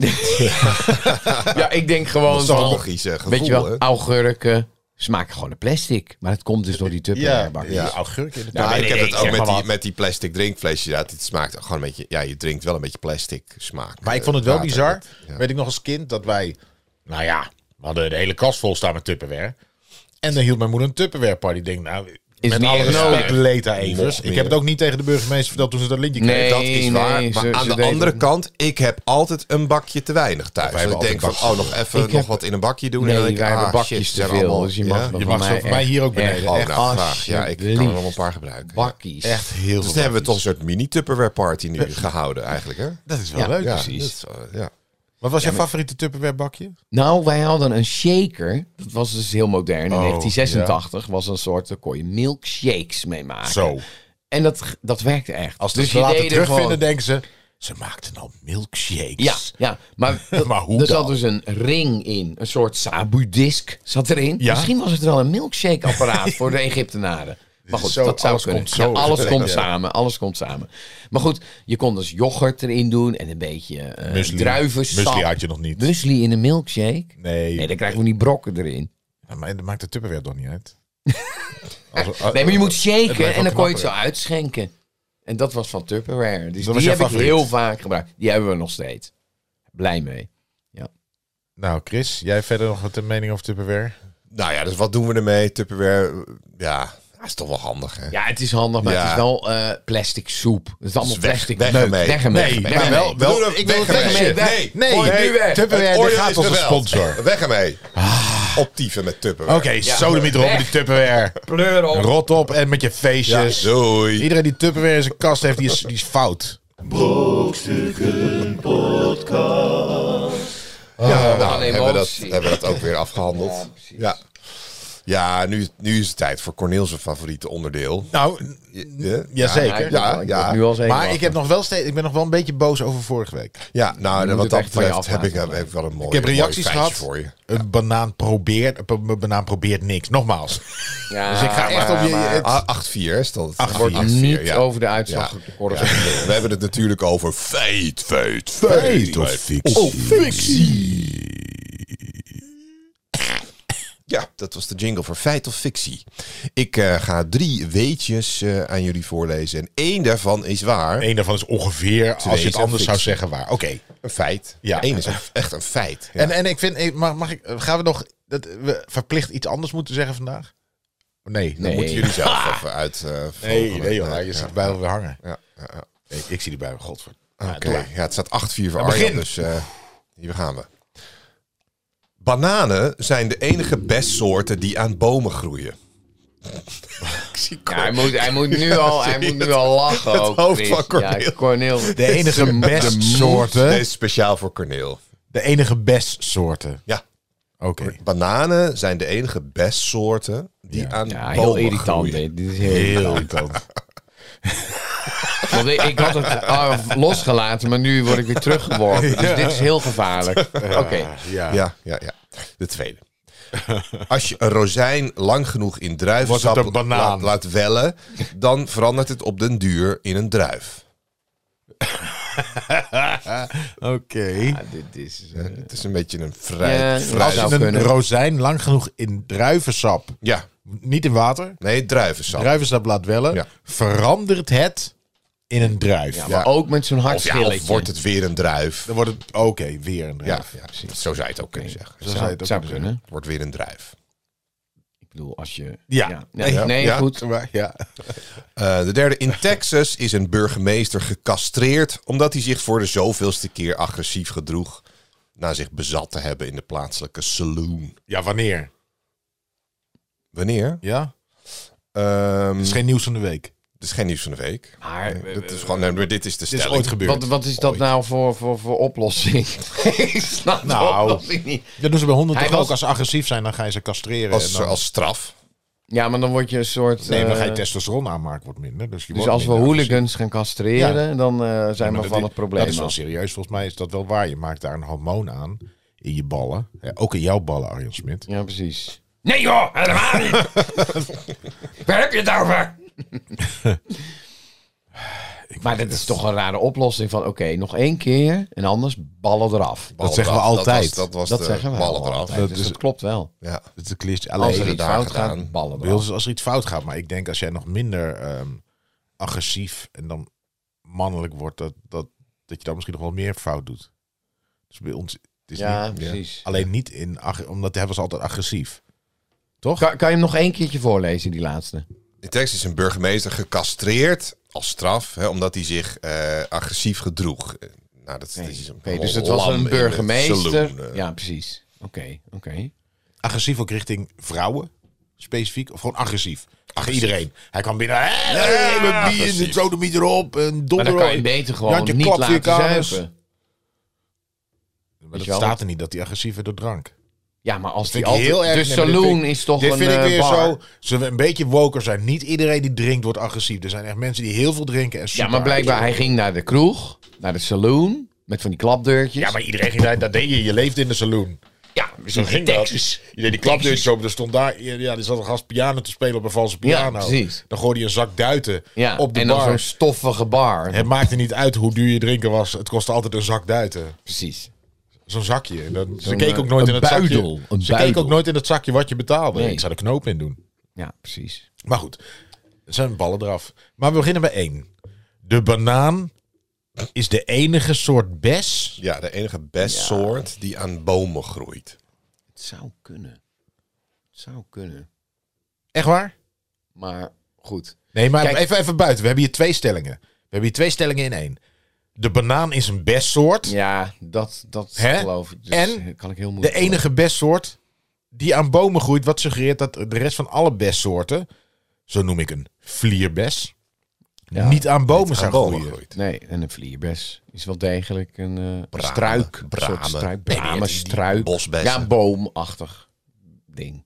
[SPEAKER 3] Ja, ik denk gewoon van,
[SPEAKER 2] nostalgische gevoel.
[SPEAKER 3] weet je wel,
[SPEAKER 2] hè?
[SPEAKER 3] augurken smaken gewoon naar plastic. Maar dat komt dus door die Tupperware bakjes.
[SPEAKER 1] ja, augurk in de
[SPEAKER 2] Ja,
[SPEAKER 3] Ja,
[SPEAKER 2] ik
[SPEAKER 3] nee,
[SPEAKER 2] heb
[SPEAKER 3] nee,
[SPEAKER 2] het
[SPEAKER 3] ik
[SPEAKER 2] ook
[SPEAKER 3] zeg
[SPEAKER 2] met
[SPEAKER 3] maar
[SPEAKER 2] die,
[SPEAKER 3] wat.
[SPEAKER 2] met die plastic drinkflesjes. Ja, het smaakt gewoon een beetje... Ja, je drinkt wel een beetje plastic smaak.
[SPEAKER 1] Maar ik
[SPEAKER 2] eh,
[SPEAKER 1] vond het wel
[SPEAKER 2] water.
[SPEAKER 1] bizar.
[SPEAKER 2] Ja.
[SPEAKER 1] Weet ik nog als kind dat wij. Nou ja, we hadden de hele kast vol staan met Tupperware. En dan hield mijn moeder een Tupperware party. Ik denk, nou,
[SPEAKER 3] Is
[SPEAKER 1] met
[SPEAKER 3] niet
[SPEAKER 1] alle
[SPEAKER 3] echt
[SPEAKER 1] respect,
[SPEAKER 3] nodig.
[SPEAKER 1] Leta Evers.
[SPEAKER 2] Nog
[SPEAKER 1] Ik heb het
[SPEAKER 2] meer.
[SPEAKER 1] ook niet tegen de burgemeester verteld toen ze dat lintje kreeg.
[SPEAKER 3] Nee,
[SPEAKER 2] dat is waar.
[SPEAKER 3] nee,
[SPEAKER 2] maar
[SPEAKER 3] ze-
[SPEAKER 2] aan
[SPEAKER 3] ze
[SPEAKER 2] de
[SPEAKER 3] deden
[SPEAKER 2] andere
[SPEAKER 3] het.
[SPEAKER 2] kant, ik heb altijd een bakje te weinig thuis.
[SPEAKER 1] Wij hebben
[SPEAKER 2] ik denk van,
[SPEAKER 1] altijd
[SPEAKER 2] oh, nog even
[SPEAKER 3] Ik
[SPEAKER 2] nog
[SPEAKER 3] heb-
[SPEAKER 2] wat in een bakje doen. en
[SPEAKER 3] Nee,
[SPEAKER 2] dan denk ik,
[SPEAKER 3] wij hebben
[SPEAKER 2] ah,
[SPEAKER 3] bakjes
[SPEAKER 2] shit,
[SPEAKER 3] te
[SPEAKER 2] zijn
[SPEAKER 3] veel.
[SPEAKER 2] allemaal-
[SPEAKER 3] dus je mag,
[SPEAKER 2] ja?
[SPEAKER 3] dan
[SPEAKER 1] Je
[SPEAKER 3] van
[SPEAKER 1] mag zo
[SPEAKER 3] mij
[SPEAKER 1] voor mij
[SPEAKER 3] echt-
[SPEAKER 1] hier ook
[SPEAKER 3] echt
[SPEAKER 1] beneden.
[SPEAKER 2] Oh,
[SPEAKER 1] Echt
[SPEAKER 2] nou, graag. Ja, ik kan er
[SPEAKER 3] alsjeblieft.
[SPEAKER 2] nog een paar gebruiken. ja.
[SPEAKER 3] Bakkies.
[SPEAKER 1] Echt heel
[SPEAKER 2] Dus
[SPEAKER 1] veel.
[SPEAKER 2] dan hebben we toch een soort mini-Tupperware party nu gehouden eigenlijk, hè?
[SPEAKER 1] Dat is wel
[SPEAKER 3] Ja,
[SPEAKER 1] leuk.
[SPEAKER 2] Ja,
[SPEAKER 3] precies.
[SPEAKER 2] dat is wel- ja.
[SPEAKER 1] Wat was jouw favoriete Tupperware bakje?
[SPEAKER 3] Nou, wij hadden een shaker. Dat was dus heel modern. In
[SPEAKER 1] Oh,
[SPEAKER 3] 1986 was een soort, daar kon je milkshakes mee maken.
[SPEAKER 1] Zo.
[SPEAKER 3] En dat, dat werkte echt.
[SPEAKER 1] Als
[SPEAKER 3] dus je
[SPEAKER 1] ze het later
[SPEAKER 3] deed er
[SPEAKER 1] terugvinden,
[SPEAKER 3] gewoon-
[SPEAKER 1] denken ze. Ze maakten al milkshakes.
[SPEAKER 3] Ja, ja, maar,
[SPEAKER 1] <laughs> Maar hoe
[SPEAKER 3] er zat
[SPEAKER 1] dan?
[SPEAKER 3] dus een ring in. Een soort sabu-disc zat erin.
[SPEAKER 1] Ja?
[SPEAKER 3] Misschien was het wel een milkshake-apparaat voor de
[SPEAKER 1] <laughs>
[SPEAKER 3] Egyptenaren. Maar goed,
[SPEAKER 1] is zo-
[SPEAKER 3] dat zou
[SPEAKER 1] alles
[SPEAKER 3] kunnen.
[SPEAKER 1] komt zo.
[SPEAKER 3] Ja, alles komt
[SPEAKER 1] Ja.
[SPEAKER 3] samen, alles komt samen. Maar goed, je kon dus yoghurt erin doen en een beetje eh,
[SPEAKER 1] Muesli.
[SPEAKER 3] druivensap.
[SPEAKER 1] Muesli had je nog niet.
[SPEAKER 3] Muesli in een milkshake?
[SPEAKER 1] Nee.
[SPEAKER 3] Nee, dan krijgen we niet brokken erin.
[SPEAKER 1] Ja, maar dat maakt de Tupperware toch niet uit?
[SPEAKER 3] Nee, maar je moet shaken
[SPEAKER 1] wel
[SPEAKER 3] en dan kon je het zo
[SPEAKER 1] knapper.
[SPEAKER 3] uitschenken. En dat was van Tupperware. Dus
[SPEAKER 1] was
[SPEAKER 3] die
[SPEAKER 1] jouw
[SPEAKER 3] heb ik
[SPEAKER 1] favoriet?
[SPEAKER 3] heel vaak gebruikt. Die hebben we nog steeds. Blij mee.
[SPEAKER 1] Nou, Chris, jij verder nog wat een mening over Tupperware?
[SPEAKER 2] Nou ja, dus wat doen we ermee? Tupperware, eh, ja, dat is toch wel handig, hè?
[SPEAKER 3] Ja, het is handig, maar
[SPEAKER 2] Ja.
[SPEAKER 3] het is wel eh, plastic soep. Het is allemaal
[SPEAKER 2] Dus weg-
[SPEAKER 3] plastic
[SPEAKER 2] weg
[SPEAKER 3] meuk.
[SPEAKER 2] ermee.
[SPEAKER 3] Weg ermee.
[SPEAKER 1] Nee,
[SPEAKER 3] Weg
[SPEAKER 1] maar
[SPEAKER 3] ermee.
[SPEAKER 1] wel- wel-
[SPEAKER 2] Doe er
[SPEAKER 1] ik wil
[SPEAKER 2] weg
[SPEAKER 1] het
[SPEAKER 2] ermee.
[SPEAKER 1] zeggen,
[SPEAKER 3] weg.
[SPEAKER 2] Nee,
[SPEAKER 1] Nee,
[SPEAKER 2] gooi het nu weg.
[SPEAKER 1] Tupperware,
[SPEAKER 2] Het
[SPEAKER 1] dit
[SPEAKER 2] oordeel
[SPEAKER 1] gaat
[SPEAKER 2] is
[SPEAKER 1] als een
[SPEAKER 2] geweld. <laughs>
[SPEAKER 1] sponsor.
[SPEAKER 2] Weg ermee. Optieven met Tupperware.
[SPEAKER 1] ja, sodemiet erop met die Tupperware.
[SPEAKER 3] Pleur op.
[SPEAKER 1] Rot op en met je
[SPEAKER 2] Ja,
[SPEAKER 1] feestjes.
[SPEAKER 2] doei.
[SPEAKER 1] Iedereen die Tupperware in zijn kast heeft, die is, die is fout.
[SPEAKER 2] ja,
[SPEAKER 3] wat
[SPEAKER 2] nou,
[SPEAKER 3] een
[SPEAKER 2] hebben, we dat,
[SPEAKER 3] emotie.
[SPEAKER 2] hebben we dat ook weer afgehandeld.
[SPEAKER 3] Ja,
[SPEAKER 2] Ja,
[SPEAKER 3] precies.
[SPEAKER 2] ja. nu, nu is het tijd voor Corneel zijn favoriete onderdeel.
[SPEAKER 1] Nou,
[SPEAKER 2] Ja,
[SPEAKER 1] jazeker.
[SPEAKER 2] Ja,
[SPEAKER 3] Ja,
[SPEAKER 2] ja.
[SPEAKER 3] Nu al zeker.
[SPEAKER 1] Maar ik, heb nog wel steeds, ik ben nog wel een beetje boos over vorige week.
[SPEAKER 2] Ja, nou,
[SPEAKER 3] moet
[SPEAKER 2] wat
[SPEAKER 3] het
[SPEAKER 2] dat
[SPEAKER 3] echt van je
[SPEAKER 2] betreft heb ik,
[SPEAKER 3] aflaten.
[SPEAKER 2] heb ik wel een mooie
[SPEAKER 1] Ik heb reacties
[SPEAKER 2] mooi feitje
[SPEAKER 1] gehad.
[SPEAKER 2] voor je.
[SPEAKER 1] Een banaan probeert, een ba- banaan probeert niks.
[SPEAKER 2] <laughs>
[SPEAKER 1] Nogmaals.
[SPEAKER 3] Ja,
[SPEAKER 1] Dus ik ga echt op je-
[SPEAKER 3] maar
[SPEAKER 1] het-
[SPEAKER 2] Ah, 8-4 is dat.
[SPEAKER 1] 8-4.
[SPEAKER 2] Wordt 8-4,
[SPEAKER 3] Niet
[SPEAKER 2] ja.
[SPEAKER 3] over de
[SPEAKER 2] Ja.
[SPEAKER 3] uitslag.
[SPEAKER 2] Ja.
[SPEAKER 3] oordeel.
[SPEAKER 2] We hebben het natuurlijk over feit, feit,
[SPEAKER 1] Feit
[SPEAKER 2] feit.
[SPEAKER 1] of fictie.
[SPEAKER 2] Oh, fictie. Ja, dat was de jingle voor feit of fictie. Ik eh, ga drie weetjes eh, aan jullie voorlezen. En één daarvan is waar.
[SPEAKER 1] Eén daarvan is ongeveer, als je het
[SPEAKER 2] zijn
[SPEAKER 1] anders zou
[SPEAKER 2] fictie.
[SPEAKER 1] zeggen, waar. Oké.
[SPEAKER 2] Een feit.
[SPEAKER 1] Ja.
[SPEAKER 2] Eén is een- echt een feit. Ja.
[SPEAKER 1] En, en ik vind, eh, mag, mag ik, gaan we nog, dat we verplicht iets anders moeten zeggen vandaag? Nee,
[SPEAKER 2] Dan
[SPEAKER 3] Nee.
[SPEAKER 2] moeten jullie zelf even uit. eh,
[SPEAKER 1] Nee,
[SPEAKER 2] vogelen.
[SPEAKER 1] nee joh, je
[SPEAKER 2] ja,
[SPEAKER 1] ziet bij weer hangen.
[SPEAKER 2] ja, ja, ja.
[SPEAKER 1] Nee, ik zie die bij Godver.
[SPEAKER 2] Oké, ja, het staat 8-4 voor
[SPEAKER 1] Ja,
[SPEAKER 2] Arjan,
[SPEAKER 1] begin.
[SPEAKER 2] dus eh, hier gaan we. Bananen zijn de enige bestsoorten die aan bomen groeien. Ik zie
[SPEAKER 3] Ja,
[SPEAKER 2] Cor-
[SPEAKER 3] hij, moet, hij, moet
[SPEAKER 2] <laughs>
[SPEAKER 3] nu al, hij moet nu al lachen.
[SPEAKER 2] het
[SPEAKER 3] ook,
[SPEAKER 2] hoofd
[SPEAKER 3] Chris.
[SPEAKER 2] van Corneel.
[SPEAKER 3] Ja, Corneel.
[SPEAKER 1] De
[SPEAKER 3] <laughs>
[SPEAKER 1] enige
[SPEAKER 2] Deze
[SPEAKER 1] bestsoorten.
[SPEAKER 2] is speciaal voor Corneel.
[SPEAKER 1] De enige bestsoorten.
[SPEAKER 2] Ja,
[SPEAKER 1] Oké.
[SPEAKER 2] bananen zijn de enige bestsoorten die
[SPEAKER 1] Ja.
[SPEAKER 2] aan
[SPEAKER 3] Ja, heel
[SPEAKER 2] bomen
[SPEAKER 3] irritant.
[SPEAKER 2] groeien.
[SPEAKER 3] hè. Dit is heel, irritant. Want ik, ik had het ah, losgelaten, maar nu word ik weer
[SPEAKER 2] <laughs>
[SPEAKER 3] teruggeworpen. Dus dit is heel gevaarlijk. Oké.
[SPEAKER 1] Ja.
[SPEAKER 2] Ja, ja, ja. De tweede. Als je een rozijn lang genoeg in druivensap
[SPEAKER 1] Wordt het een banaan?
[SPEAKER 2] laat, laat wellen, dan verandert het op den duur in een druif.
[SPEAKER 1] Oké.
[SPEAKER 3] Ja, dit is... eh,
[SPEAKER 2] Het is een beetje een fruit.
[SPEAKER 3] Ja,
[SPEAKER 2] fruit-
[SPEAKER 1] Als je
[SPEAKER 3] zou
[SPEAKER 1] een
[SPEAKER 3] kunnen.
[SPEAKER 1] rozijn lang genoeg in druivensap,
[SPEAKER 2] ja.
[SPEAKER 1] niet in water,
[SPEAKER 2] Nee, druivensap.
[SPEAKER 1] druivensap laat wellen,
[SPEAKER 2] Ja.
[SPEAKER 1] verandert het in een druif.
[SPEAKER 3] ja, maar ook met zo'n
[SPEAKER 2] Of, ja,
[SPEAKER 3] hartstilletje.
[SPEAKER 2] of wordt het weer een druif?
[SPEAKER 1] Dan wordt het, oké, weer een
[SPEAKER 2] Ja,
[SPEAKER 1] druif.
[SPEAKER 2] ja, zo zou je het ook kunnen zeggen.
[SPEAKER 1] Zo zou je
[SPEAKER 3] zou,
[SPEAKER 1] het ook
[SPEAKER 3] zou
[SPEAKER 1] kunnen
[SPEAKER 3] kunnen.
[SPEAKER 2] Het wordt weer een druif.
[SPEAKER 3] Ik bedoel, als je...
[SPEAKER 1] Ja.
[SPEAKER 3] Nee,
[SPEAKER 2] Ja.
[SPEAKER 3] nee,
[SPEAKER 2] Ja. <laughs>
[SPEAKER 3] goed.
[SPEAKER 1] zeggen. Maar ja.
[SPEAKER 2] Eh, de derde. In Texas is een burgemeester gecastreerd omdat hij zich voor de zoveelste keer agressief gedroeg na zich bezat te hebben in de plaatselijke saloon.
[SPEAKER 1] ja, wanneer?
[SPEAKER 2] Wanneer?
[SPEAKER 1] Ja?
[SPEAKER 2] Ehm,
[SPEAKER 1] Het is geen nieuws van de week.
[SPEAKER 2] dit is geen nieuws van de week.
[SPEAKER 3] Maar... eh,
[SPEAKER 2] Nee, dit is gewoon, nee, maar dit is de
[SPEAKER 1] Dit is
[SPEAKER 2] stelling.
[SPEAKER 1] ooit gebeurd.
[SPEAKER 3] Wat, wat is dat nou voor, voor, voor oplossing? <laughs> ik snap
[SPEAKER 1] Nou.
[SPEAKER 3] de oplossing niet.
[SPEAKER 1] Dat doen ze dus bij honden
[SPEAKER 3] Hij
[SPEAKER 1] toch
[SPEAKER 3] was-
[SPEAKER 1] ook. Als ze agressief zijn, dan ga je ze castreren. en
[SPEAKER 2] als,
[SPEAKER 1] dan...
[SPEAKER 2] als straf.
[SPEAKER 3] Ja, maar dan word je een soort...
[SPEAKER 1] Nee, maar dan ga je
[SPEAKER 3] eh,
[SPEAKER 1] testosteron aanmaken, wordt minder. Dus, je
[SPEAKER 3] Dus
[SPEAKER 1] wordt
[SPEAKER 3] als we
[SPEAKER 1] minder
[SPEAKER 3] hooligans gaan castreren, dan eh,
[SPEAKER 1] agressief.
[SPEAKER 3] zijn
[SPEAKER 1] Maar
[SPEAKER 3] we
[SPEAKER 1] dat-
[SPEAKER 3] van het probleem
[SPEAKER 1] Dat is wel
[SPEAKER 3] af.
[SPEAKER 1] serieus. Volgens mij is dat wel waar. Je maakt daar een hormoon aan in je ballen. Ja, ook in jouw ballen, Arjan Smit.
[SPEAKER 3] Ja, precies. Nee joh, helemaal <laughs> niet. Waar heb je het
[SPEAKER 1] <laughs>
[SPEAKER 3] over? maar dat is toch een rare oplossing van, oké, nog één keer en anders ballen eraf.
[SPEAKER 2] Bal
[SPEAKER 1] Dat zeggen we
[SPEAKER 2] eraf.
[SPEAKER 1] altijd.
[SPEAKER 2] Dat was, dat was
[SPEAKER 3] Dat
[SPEAKER 2] de
[SPEAKER 3] zeggen we
[SPEAKER 2] ballen
[SPEAKER 3] wel
[SPEAKER 2] eraf.
[SPEAKER 3] altijd,
[SPEAKER 1] Dat
[SPEAKER 3] dus
[SPEAKER 1] is-
[SPEAKER 3] dat klopt wel.
[SPEAKER 2] Ja.
[SPEAKER 1] Het is een
[SPEAKER 3] Als
[SPEAKER 1] cliché. Alleen
[SPEAKER 3] er
[SPEAKER 2] hebben
[SPEAKER 3] iets
[SPEAKER 2] daar
[SPEAKER 3] fout
[SPEAKER 2] gedaan.
[SPEAKER 3] gaat, ballen
[SPEAKER 1] bij ons
[SPEAKER 3] eraf.
[SPEAKER 1] is als er iets fout gaat. Maar ik denk als jij nog minder ehm, agressief en dan mannelijk wordt, dat, dat, dat je dan misschien nog wel meer fout doet. Dus bij ons het is niet,
[SPEAKER 3] Ja, precies.
[SPEAKER 1] alleen niet in, ag- omdat hij was altijd agressief. Toch?
[SPEAKER 3] Kan, kan je hem nog één keertje voorlezen, die laatste?
[SPEAKER 2] In Texas is een burgemeester gecastreerd als straf, hè, omdat hij zich eh, agressief gedroeg. Eh, Nou, dat is, dat is een
[SPEAKER 3] Oké, dus het was
[SPEAKER 2] lam in
[SPEAKER 3] een
[SPEAKER 2] de saloon,
[SPEAKER 3] burgemeester.
[SPEAKER 2] eh.
[SPEAKER 3] Ja, precies. Oké, oké.
[SPEAKER 1] agressief ook richting vrouwen, specifiek. Of gewoon agressief. Ach, iedereen. Hij kan binnen. Hé,
[SPEAKER 2] Ja,
[SPEAKER 1] mijn bier,
[SPEAKER 2] agressief.
[SPEAKER 1] de sodomiet erop. Een
[SPEAKER 3] Maar dan
[SPEAKER 1] donder
[SPEAKER 3] kan
[SPEAKER 1] erop.
[SPEAKER 3] je beter gewoon
[SPEAKER 1] Jantje,
[SPEAKER 3] niet
[SPEAKER 1] klap voor je
[SPEAKER 3] laten
[SPEAKER 1] kamers.
[SPEAKER 3] zuipen. Weet
[SPEAKER 1] Maar dat
[SPEAKER 3] je wel?
[SPEAKER 1] staat er niet dat hij agressief werd door drank.
[SPEAKER 3] Ja, maar als
[SPEAKER 1] Vind
[SPEAKER 3] die
[SPEAKER 1] ik
[SPEAKER 3] altijd...
[SPEAKER 1] heel erg.
[SPEAKER 3] de
[SPEAKER 1] nee, maar dit
[SPEAKER 3] saloon
[SPEAKER 1] vind ik-
[SPEAKER 3] is toch
[SPEAKER 1] Dit
[SPEAKER 3] een
[SPEAKER 1] vind ik
[SPEAKER 3] eh,
[SPEAKER 1] weer
[SPEAKER 3] bar.
[SPEAKER 1] zo. Ze een beetje woker zijn. Niet iedereen die drinkt wordt agressief. Er zijn echt mensen die heel veel drinken en
[SPEAKER 3] Ja,
[SPEAKER 1] super
[SPEAKER 3] maar blijkbaar, hij
[SPEAKER 1] agressief
[SPEAKER 3] ging naar de kroeg, naar de saloon, met van die klapdeurtjes.
[SPEAKER 1] worden. Ja, maar iedereen ging daar. Dat deed je. Je leefde in de saloon.
[SPEAKER 3] ja,
[SPEAKER 1] Zo ging dat. Je deed die klapdeurtjes open. Er stond daar. Ja, er zat een gast piano te spelen op een valse piano.
[SPEAKER 3] precies.
[SPEAKER 1] Dan gooide je een zak duiten
[SPEAKER 3] Ja,
[SPEAKER 1] op de
[SPEAKER 3] en dan
[SPEAKER 1] bar.
[SPEAKER 3] zo'n stoffige bar.
[SPEAKER 1] Het maakte niet uit hoe duur je drinken was. Het kostte altijd een zak duiten.
[SPEAKER 3] Precies.
[SPEAKER 1] Zo'n zakje. Dat, ze
[SPEAKER 3] Zo'n,
[SPEAKER 1] keek ook
[SPEAKER 3] eh,
[SPEAKER 1] nooit
[SPEAKER 3] een
[SPEAKER 1] in het
[SPEAKER 3] buidel.
[SPEAKER 1] zakje.
[SPEAKER 3] Een
[SPEAKER 1] Ze keek
[SPEAKER 3] buidel.
[SPEAKER 1] ook nooit in het zakje wat je betaalde.
[SPEAKER 3] Nee.
[SPEAKER 1] Ik zou er knoop in doen.
[SPEAKER 3] Ja, precies.
[SPEAKER 1] Maar goed, er zijn ballen eraf. Maar we beginnen bij één. De banaan is de enige soort bes.
[SPEAKER 2] Ja, de enige bestsoort die aan bomen groeit.
[SPEAKER 3] Het zou kunnen. Het zou kunnen.
[SPEAKER 1] Echt waar?
[SPEAKER 3] Maar goed.
[SPEAKER 1] Nee, maar
[SPEAKER 3] Kijk.
[SPEAKER 1] even, even buiten. We hebben hier twee stellingen. We hebben hier twee stellingen in één. De banaan is een bestsoort.
[SPEAKER 3] Ja, dat, dat
[SPEAKER 1] Hè?
[SPEAKER 3] geloof ik. Dus
[SPEAKER 1] En
[SPEAKER 3] kan ik heel
[SPEAKER 1] De
[SPEAKER 3] moeilijk
[SPEAKER 1] enige bestsoort die aan bomen groeit. Wat suggereert dat de rest van alle bestsoorten... Zo noem ik een vlierbes.
[SPEAKER 3] Ja.
[SPEAKER 1] niet aan bomen zou
[SPEAKER 2] bomen
[SPEAKER 1] groeien.
[SPEAKER 2] groeit.
[SPEAKER 3] Nee, en een vlierbes is wel degelijk een eh,
[SPEAKER 2] Bramen,
[SPEAKER 3] struik. Een
[SPEAKER 2] bramen,
[SPEAKER 3] soort struik.
[SPEAKER 2] ben je
[SPEAKER 3] Bramen,
[SPEAKER 2] het, die
[SPEAKER 3] struik.
[SPEAKER 2] bosbessen?
[SPEAKER 3] Ja, boomachtig ding.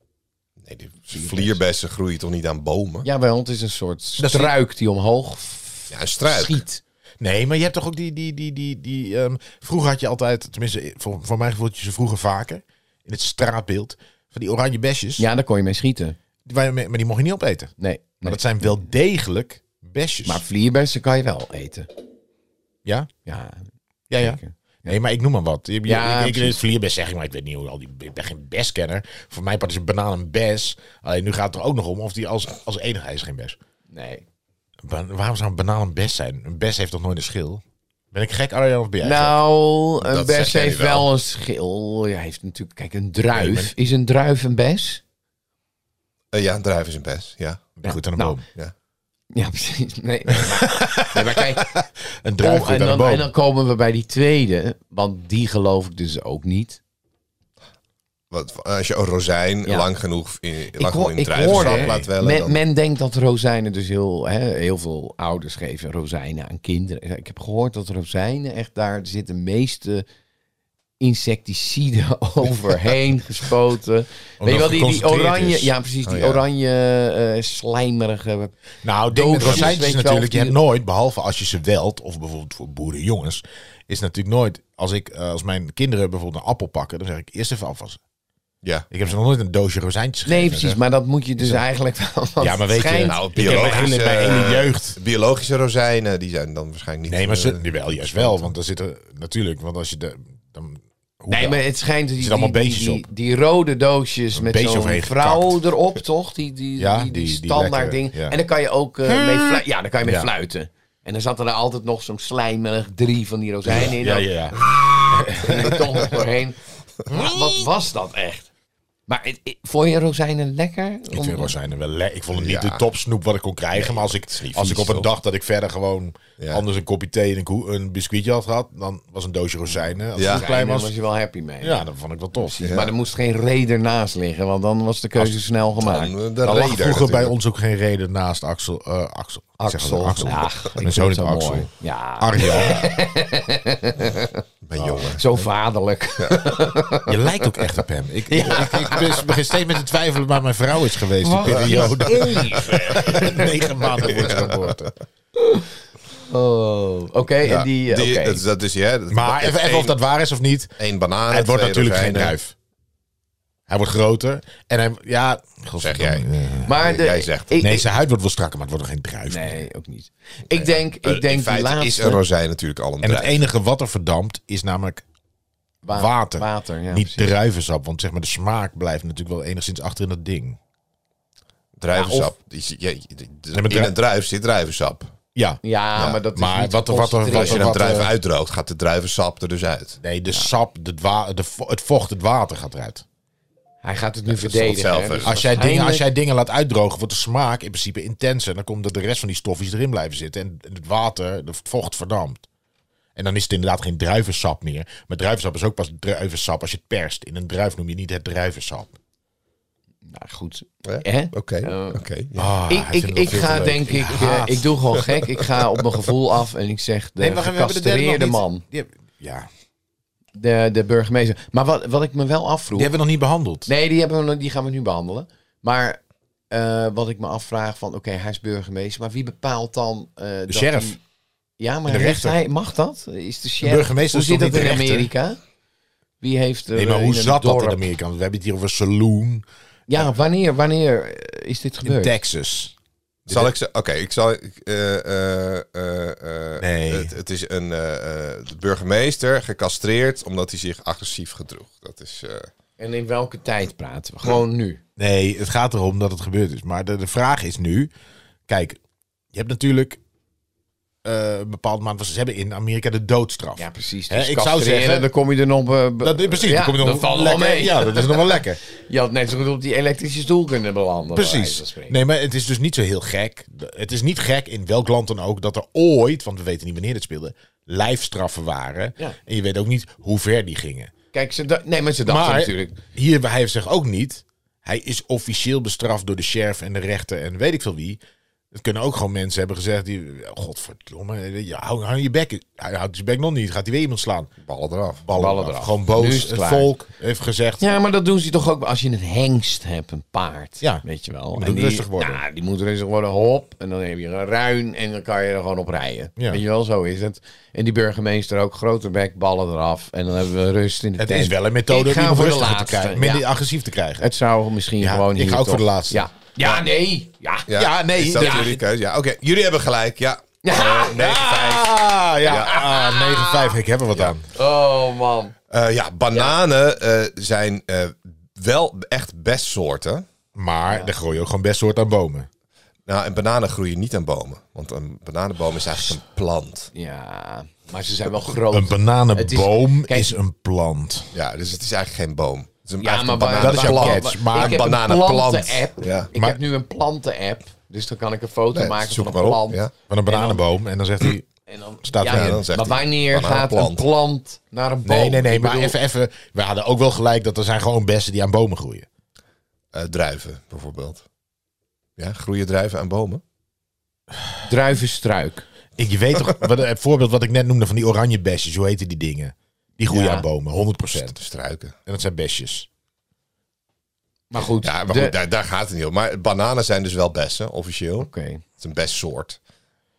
[SPEAKER 2] Nee, die vlierbessen groeien toch niet aan bomen? Ja,
[SPEAKER 3] Ja, bij ons is een soort
[SPEAKER 1] Dat zie-
[SPEAKER 3] struik die omhoog f-
[SPEAKER 2] een struik.
[SPEAKER 3] schiet.
[SPEAKER 1] Nee, maar je hebt toch ook die... die, die, die, die ehm, vroeger had je altijd, tenminste voor, voor mijn gevoel had je ze vroeger vaker, in het straatbeeld, van die oranje besjes,
[SPEAKER 3] Ja, daar kon je mee schieten.
[SPEAKER 1] die waar je mee- maar die mocht je niet opeten. Maar
[SPEAKER 3] Nee. nee.
[SPEAKER 1] dat zijn wel degelijk besjes.
[SPEAKER 3] Maar vlierbessen kan je wel eten.
[SPEAKER 1] ja?
[SPEAKER 3] Ja,
[SPEAKER 1] Ja, ja.
[SPEAKER 3] zeker.
[SPEAKER 1] Nee, maar ik noem maar wat. Je- je-
[SPEAKER 3] Ja,
[SPEAKER 1] ik, ik,
[SPEAKER 3] precies.
[SPEAKER 1] vlierbes zeg ik, maar ik weet niet hoe al die. Ik ben geen beskenner. Voor mij part is een banaan een bes. Alleen nu gaat het er ook nog om of die als, als enige hij is geen bes.
[SPEAKER 3] Nee.
[SPEAKER 1] Ba- waarom zou een banaan een bes zijn? Een bes heeft toch nooit een schil? Ben ik gek, Arjan, of ben jij gek?
[SPEAKER 3] Nou, een
[SPEAKER 2] Dat
[SPEAKER 3] bes
[SPEAKER 2] zeg jij
[SPEAKER 3] heeft
[SPEAKER 2] wel.
[SPEAKER 3] wel een schil. Ja, heeft natuurlijk, kijk, een druif.
[SPEAKER 1] Nee, maar-
[SPEAKER 3] Is een druif een bes?
[SPEAKER 2] Eh, ja, een druif is een bes. Ja.
[SPEAKER 1] Ben goed aan een
[SPEAKER 3] nou,
[SPEAKER 1] boom.
[SPEAKER 3] Ja, precies.
[SPEAKER 2] <laughs>
[SPEAKER 3] Nee, nee, maar, nee, maar kijk,
[SPEAKER 1] Een druif
[SPEAKER 3] om- oh,
[SPEAKER 1] goed
[SPEAKER 3] en,
[SPEAKER 1] aan een
[SPEAKER 3] dan, en
[SPEAKER 1] boom.
[SPEAKER 3] dan komen we bij die tweede, want die geloof ik dus ook niet.
[SPEAKER 2] Wat, als je een rozijn
[SPEAKER 3] Ja.
[SPEAKER 2] lang genoeg in,
[SPEAKER 3] Ik,
[SPEAKER 2] lang genoeg
[SPEAKER 3] hoor,
[SPEAKER 2] in
[SPEAKER 3] ik
[SPEAKER 2] druivensap
[SPEAKER 3] hoorde,
[SPEAKER 2] laat wellen,
[SPEAKER 3] men,
[SPEAKER 2] dan-
[SPEAKER 3] men denkt dat rozijnen dus heel, hè, heel veel ouders geven rozijnen aan kinderen. Ik heb gehoord dat rozijnen echt daar zitten de meeste insecticiden <laughs> overheen gespoten. Weet je wel, die, die
[SPEAKER 1] geconcentreerd
[SPEAKER 3] oranje,
[SPEAKER 1] is.
[SPEAKER 3] ja precies, die
[SPEAKER 2] Oh, ja.
[SPEAKER 3] oranje eh, slijmerige
[SPEAKER 1] Nou, ding met
[SPEAKER 3] doosjes,
[SPEAKER 1] rozijntjes
[SPEAKER 3] weet je wel, of
[SPEAKER 1] natuurlijk. Je
[SPEAKER 3] die-
[SPEAKER 1] hebt nooit, behalve als je ze welt, of bijvoorbeeld voor boerenjongens, is natuurlijk nooit. Als ik, eh, als mijn kinderen bijvoorbeeld een appel pakken, dan zeg ik eerst even afwassen.
[SPEAKER 2] Ja.
[SPEAKER 1] Ik heb ze nog nooit een doosje rozijntjes gegeven.
[SPEAKER 3] Nee, precies,
[SPEAKER 1] Zeg,
[SPEAKER 3] maar dat moet je dus eigenlijk wel. want
[SPEAKER 1] Ja,
[SPEAKER 3] het
[SPEAKER 1] maar weet je,
[SPEAKER 3] schijnt-
[SPEAKER 2] Nou,
[SPEAKER 1] Ik heb mijn hele,
[SPEAKER 2] biologische,
[SPEAKER 1] mijn hele jeugd
[SPEAKER 2] biologische rozijnen, die zijn dan waarschijnlijk niet...
[SPEAKER 1] eh, Nee, maar ze,
[SPEAKER 2] eh,
[SPEAKER 1] jawel, juist wel. Want daar zitten natuurlijk, want als je de, dan. hoe
[SPEAKER 3] Nee,
[SPEAKER 1] wel?
[SPEAKER 3] maar het schijnt die,
[SPEAKER 1] zitten allemaal
[SPEAKER 3] die,
[SPEAKER 1] beestjes
[SPEAKER 3] die,
[SPEAKER 1] op.
[SPEAKER 3] die rode doosjes met
[SPEAKER 1] beestje
[SPEAKER 3] zo'n
[SPEAKER 1] overheen
[SPEAKER 3] vrouw
[SPEAKER 1] gekakt.
[SPEAKER 3] erop, toch? Die, die, die,
[SPEAKER 1] Ja,
[SPEAKER 3] die
[SPEAKER 1] die- die
[SPEAKER 3] standaard
[SPEAKER 1] lekkere,
[SPEAKER 3] ding.
[SPEAKER 1] ja.
[SPEAKER 3] En dan kan je ook eh, mee, flu- ja, dan kan je mee
[SPEAKER 1] Ja.
[SPEAKER 3] fluiten. En dan zat er altijd nog zo'n slijmerig drie van die rozijnen in.
[SPEAKER 1] ja,
[SPEAKER 3] Dan
[SPEAKER 1] ja, ja.
[SPEAKER 3] ging je toch nog doorheen. Ja, wat was dat echt? Maar het- het- vond je rozijnen lekker?
[SPEAKER 1] Ik vind rozijnen wel lekker. Ik vond het niet
[SPEAKER 2] Ja.
[SPEAKER 1] de topsnoep wat ik kon krijgen. maar als ik,
[SPEAKER 2] niet
[SPEAKER 1] als
[SPEAKER 2] vies,
[SPEAKER 1] ik op een
[SPEAKER 2] toch?
[SPEAKER 1] dag dat ik verder gewoon
[SPEAKER 2] Ja.
[SPEAKER 1] anders een kopje thee en een, koe- een biscuitje had gehad, dan was een doosje rozijnen. Als
[SPEAKER 2] Ja.
[SPEAKER 1] ja. het
[SPEAKER 3] Rozijnen
[SPEAKER 1] zo klein was.
[SPEAKER 3] was je wel happy mee.
[SPEAKER 1] Ja, dat vond ik wel tof.
[SPEAKER 3] Maar er moest geen reden naast liggen, want dan was de keuze snel gemaakt.
[SPEAKER 2] Dan, eh, de
[SPEAKER 1] Er lag
[SPEAKER 2] reder
[SPEAKER 1] vroeger bij
[SPEAKER 2] natuurlijk.
[SPEAKER 1] ons ook geen reden naast Axel. eh, Axel. Ik zeg altijd Axel.
[SPEAKER 3] Ja, ik
[SPEAKER 1] Mijn
[SPEAKER 3] vind
[SPEAKER 1] zoon
[SPEAKER 3] het
[SPEAKER 1] is
[SPEAKER 3] zo
[SPEAKER 1] Axel.
[SPEAKER 3] mooi. Ja,
[SPEAKER 1] Arjan,
[SPEAKER 2] Mijn jongen.
[SPEAKER 3] zo vaderlijk.
[SPEAKER 1] je lijkt ook echt op hem. Ik, ik, ik, ik begin steeds met te twijfelen waar mijn vrouw is geweest die
[SPEAKER 3] Wacht
[SPEAKER 1] periode.
[SPEAKER 3] even.
[SPEAKER 1] <laughs> Negen maanden voor zijn <laughs> geboorte.
[SPEAKER 3] Oh, oké.
[SPEAKER 2] Ja,
[SPEAKER 3] en die, eh,
[SPEAKER 2] die-
[SPEAKER 3] oké.
[SPEAKER 2] dat, dat is, ja, dat-
[SPEAKER 1] Maar even, even of dat waar is of niet.
[SPEAKER 2] één banaan.
[SPEAKER 1] het wordt
[SPEAKER 2] twee
[SPEAKER 1] natuurlijk geen
[SPEAKER 2] rozijnen.
[SPEAKER 1] druif. Hij wordt groter. En hij, ja,
[SPEAKER 2] Zeg jij.
[SPEAKER 1] eh,
[SPEAKER 3] Maar de,
[SPEAKER 2] Jij zegt het.
[SPEAKER 3] ik-
[SPEAKER 1] Nee,
[SPEAKER 3] ik-
[SPEAKER 1] zijn huid wordt wel strakker, maar het wordt nog geen druif.
[SPEAKER 3] nee, ook niet. Ik
[SPEAKER 1] eh,
[SPEAKER 3] denk, ik
[SPEAKER 2] Eh, In
[SPEAKER 3] denk de
[SPEAKER 2] feite is
[SPEAKER 3] laatste.
[SPEAKER 2] een rozijn natuurlijk al een
[SPEAKER 1] En het e-
[SPEAKER 2] druif.
[SPEAKER 1] enige wat er verdampt is namelijk
[SPEAKER 3] wa-
[SPEAKER 1] water.
[SPEAKER 3] Water, ja.
[SPEAKER 1] niet
[SPEAKER 3] precies.
[SPEAKER 1] druivensap. Want zeg maar, de smaak blijft natuurlijk wel enigszins achter in dat ding.
[SPEAKER 2] Druivensap. Die zie- je- je-
[SPEAKER 1] maar
[SPEAKER 2] in
[SPEAKER 1] druif-
[SPEAKER 2] een druif zit druivensap.
[SPEAKER 1] Ja.
[SPEAKER 3] Ja, maar dat is
[SPEAKER 1] maar
[SPEAKER 3] niet
[SPEAKER 1] wat- wat- wat-
[SPEAKER 3] geconcentreerd.
[SPEAKER 2] Als je een
[SPEAKER 1] Wat,
[SPEAKER 2] druif
[SPEAKER 1] eh,
[SPEAKER 2] uitdroogt, gaat de druivensap er dus uit.
[SPEAKER 1] Nee, de sap, de dwa- de vo- het vocht, het water gaat eruit.
[SPEAKER 3] Hij gaat het nu
[SPEAKER 2] is
[SPEAKER 3] verdedigen.
[SPEAKER 2] hetzelfde.
[SPEAKER 3] hè, dus
[SPEAKER 1] Als jij, dingen, als
[SPEAKER 3] waarschijnlijk-
[SPEAKER 1] jij dingen laat uitdrogen, wordt de smaak in principe intenser. En dan komt dat de rest van die stoffies erin blijven zitten. En het water, het vocht verdampt. En dan is het inderdaad geen druivensap meer. Maar druivensap is ook pas druivensap als je het perst. In een druif noem je niet het druivensap.
[SPEAKER 3] Nou, goed.
[SPEAKER 2] Ja.
[SPEAKER 3] Hè?
[SPEAKER 2] Oké,
[SPEAKER 3] Eh,
[SPEAKER 2] oké. ja.
[SPEAKER 1] Ah, hij
[SPEAKER 3] ik
[SPEAKER 1] vindt
[SPEAKER 3] ik,
[SPEAKER 1] wel
[SPEAKER 3] ik
[SPEAKER 1] veel te
[SPEAKER 3] ga
[SPEAKER 1] leuk.
[SPEAKER 3] denk ik, eh,
[SPEAKER 1] haat.
[SPEAKER 3] ik doe gewoon gek. Ik ga op mijn gevoel af en ik zeg de
[SPEAKER 1] Nee, wacht, we hebben de derde nog
[SPEAKER 3] gecastreerde
[SPEAKER 1] niet.
[SPEAKER 3] man,
[SPEAKER 1] Die heb- ja,
[SPEAKER 3] de, de burgemeester. Maar wat, wat ik me wel afvroeg,
[SPEAKER 1] die hebben we nog niet behandeld.
[SPEAKER 3] Nee, die, hebben we, die gaan we nu behandelen. Maar eh, wat ik me afvraag van, oké, hij is burgemeester, maar wie bepaalt dan... eh de
[SPEAKER 1] sheriff.
[SPEAKER 3] ja, maar
[SPEAKER 1] En de
[SPEAKER 3] heeft
[SPEAKER 1] rechter.
[SPEAKER 3] hij, mag dat? Is de sheriff...
[SPEAKER 1] burgemeester
[SPEAKER 3] hoe
[SPEAKER 1] is
[SPEAKER 3] zit
[SPEAKER 1] toch
[SPEAKER 3] dat in
[SPEAKER 1] niet de rechter?
[SPEAKER 3] Amerika? Wie heeft er
[SPEAKER 1] Nee, maar
[SPEAKER 3] eh,
[SPEAKER 1] hoe
[SPEAKER 3] een
[SPEAKER 1] zat dat in
[SPEAKER 3] dorp-
[SPEAKER 1] Amerika? Want we hebben het hier over een saloon
[SPEAKER 3] Ja, wanneer, wanneer eh, is dit
[SPEAKER 1] in
[SPEAKER 3] gebeurd?
[SPEAKER 1] Texas.
[SPEAKER 2] Zal ik ze? Oké, ik zal. ik, eh, eh, eh, eh,
[SPEAKER 1] Nee.
[SPEAKER 2] Het, het is een eh, eh, de burgemeester gecastreerd omdat hij zich agressief gedroeg. Dat is. eh,
[SPEAKER 3] En in welke tijd praten we? Gewoon nu.
[SPEAKER 1] Nee, het gaat erom dat het gebeurd is. Maar de, de vraag is nu... Kijk, je hebt natuurlijk... eh, een bepaald maand... Ze hebben in Amerika de doodstraf.
[SPEAKER 3] Ja, precies.
[SPEAKER 1] Hè,
[SPEAKER 3] Dus
[SPEAKER 1] ik zou
[SPEAKER 3] castreren,
[SPEAKER 1] zeggen-
[SPEAKER 3] dan kom je er nog... eh, be-
[SPEAKER 1] dat, precies,
[SPEAKER 3] ja,
[SPEAKER 1] dan kom je nog
[SPEAKER 3] dat valt wel
[SPEAKER 1] lekker,
[SPEAKER 3] mee.
[SPEAKER 1] Ja, dat is nog wel lekker.
[SPEAKER 3] <laughs> Je had net zo goed op die elektrische stoel kunnen belanden. bij wijze van
[SPEAKER 1] Precies.
[SPEAKER 3] spreken.
[SPEAKER 1] Nee, maar het is dus niet zo heel gek. De- Het is niet gek in welk land dan ook dat er ooit, want we weten niet wanneer dit speelde, lijfstraffen waren.
[SPEAKER 3] Ja.
[SPEAKER 1] En je weet ook niet hoe ver die gingen.
[SPEAKER 3] Kijk, ze da- nee, maar ze dachten
[SPEAKER 1] maar
[SPEAKER 3] natuurlijk...
[SPEAKER 1] hier, hij heeft zich ook niet. Hij is officieel bestraft door de sheriff en de rechter en weet ik veel wie. Het kunnen ook gewoon mensen hebben gezegd die... Godverdomme, je hou, hou je bek. Hij houdt zijn bek nog niet. Gaat hij weer iemand slaan.
[SPEAKER 2] Ballen eraf.
[SPEAKER 1] Ballen,
[SPEAKER 3] Ballen
[SPEAKER 1] eraf.
[SPEAKER 3] eraf.
[SPEAKER 1] Gewoon
[SPEAKER 3] Nu is
[SPEAKER 1] boos.
[SPEAKER 3] het
[SPEAKER 1] Het
[SPEAKER 3] klaar.
[SPEAKER 1] volk heeft gezegd...
[SPEAKER 3] Ja, maar dat doen ze toch ook als je een hengst hebt, een paard.
[SPEAKER 1] Ja.
[SPEAKER 3] Weet je wel.
[SPEAKER 1] moet
[SPEAKER 3] En
[SPEAKER 1] ook
[SPEAKER 3] die,
[SPEAKER 1] rustig worden.
[SPEAKER 3] Ja, die moet rustig worden. Hop. En dan heb je een ruin en dan kan je er gewoon op rijden.
[SPEAKER 1] Ja.
[SPEAKER 3] Weet je wel, zo is het. En die burgemeester ook. Grote bek, ballen eraf. En dan hebben we rust in de
[SPEAKER 1] Het
[SPEAKER 3] tent.
[SPEAKER 1] is wel een methode
[SPEAKER 3] Ik
[SPEAKER 1] om
[SPEAKER 3] ga
[SPEAKER 1] iemand
[SPEAKER 3] voor de
[SPEAKER 1] rustiger te
[SPEAKER 3] laatste,
[SPEAKER 1] krijgen. Minder
[SPEAKER 3] ja.
[SPEAKER 1] agressief te krijgen.
[SPEAKER 3] Het zou misschien
[SPEAKER 1] Ja,
[SPEAKER 3] gewoon
[SPEAKER 1] ik
[SPEAKER 3] hier
[SPEAKER 1] ga ook
[SPEAKER 3] toch-
[SPEAKER 1] voor de laatste.
[SPEAKER 3] Ja, ja nee. Ja, ja. nee.
[SPEAKER 2] Is dat
[SPEAKER 3] Ja.
[SPEAKER 2] jullie keuze? Ja, oké. Jullie hebben gelijk. Ja.
[SPEAKER 3] Ja.
[SPEAKER 2] Eh, 9-5.
[SPEAKER 1] Ah, Oh, ja. Ah, 9-5. Ik heb er wat aan.
[SPEAKER 3] Oh, man.
[SPEAKER 2] Eh, ja, bananen eh, zijn eh, wel echt best soorten.
[SPEAKER 1] Maar daar groei je ook gewoon best soort aan bomen.
[SPEAKER 2] Nou, en bananen groeien niet aan bomen. Want een bananenboom is eigenlijk een plant.
[SPEAKER 3] Ja, maar ze zijn wel groot.
[SPEAKER 1] Een bananenboom
[SPEAKER 3] Het
[SPEAKER 1] is,
[SPEAKER 3] is- kijk-
[SPEAKER 1] een plant.
[SPEAKER 2] Ja, dus het is eigenlijk geen boom. Het is een,
[SPEAKER 3] Ja, maar
[SPEAKER 2] eigenlijk een
[SPEAKER 1] Dat is jouw
[SPEAKER 2] bananenplant.
[SPEAKER 1] catch, maar
[SPEAKER 3] ik heb een
[SPEAKER 2] bananenplant.
[SPEAKER 3] planten-app.
[SPEAKER 2] Ja.
[SPEAKER 3] Ik
[SPEAKER 1] Maar-
[SPEAKER 3] heb nu een planten-app. Dus dan kan ik een foto
[SPEAKER 2] Nee,
[SPEAKER 3] maken
[SPEAKER 2] zoek
[SPEAKER 3] van een
[SPEAKER 2] maar op,
[SPEAKER 3] plant.
[SPEAKER 2] ja.
[SPEAKER 1] Van een bananenboom. En dan zegt hij...
[SPEAKER 3] En dan
[SPEAKER 1] Staat
[SPEAKER 3] ja,
[SPEAKER 1] erin,
[SPEAKER 3] ja,
[SPEAKER 2] dan zegt
[SPEAKER 3] maar
[SPEAKER 2] hij,
[SPEAKER 3] wanneer gaat een
[SPEAKER 2] bananenplant.
[SPEAKER 3] plant naar een boom?
[SPEAKER 1] Nee, nee, nee.
[SPEAKER 3] Ik
[SPEAKER 1] Maar
[SPEAKER 3] bedoel,
[SPEAKER 1] even, even. We hadden ook wel gelijk dat er zijn gewoon bessen die aan bomen groeien.
[SPEAKER 2] Eh, druiven, bijvoorbeeld. Ja, groeien druiven aan bomen?
[SPEAKER 3] druivenstruik.
[SPEAKER 1] Ik, je weet toch, wat, het voorbeeld wat ik net noemde van die oranje besjes. Hoe heten die dingen? Die groeien
[SPEAKER 3] Ja.
[SPEAKER 1] aan bomen, 100%.
[SPEAKER 2] Struiken.
[SPEAKER 1] En dat zijn besjes.
[SPEAKER 3] Maar goed.
[SPEAKER 2] Ja, maar
[SPEAKER 3] de-
[SPEAKER 2] goed, daar, daar gaat het niet om. Maar bananen zijn dus wel bessen, officieel.
[SPEAKER 3] Oké.
[SPEAKER 2] Het is een bestsoort.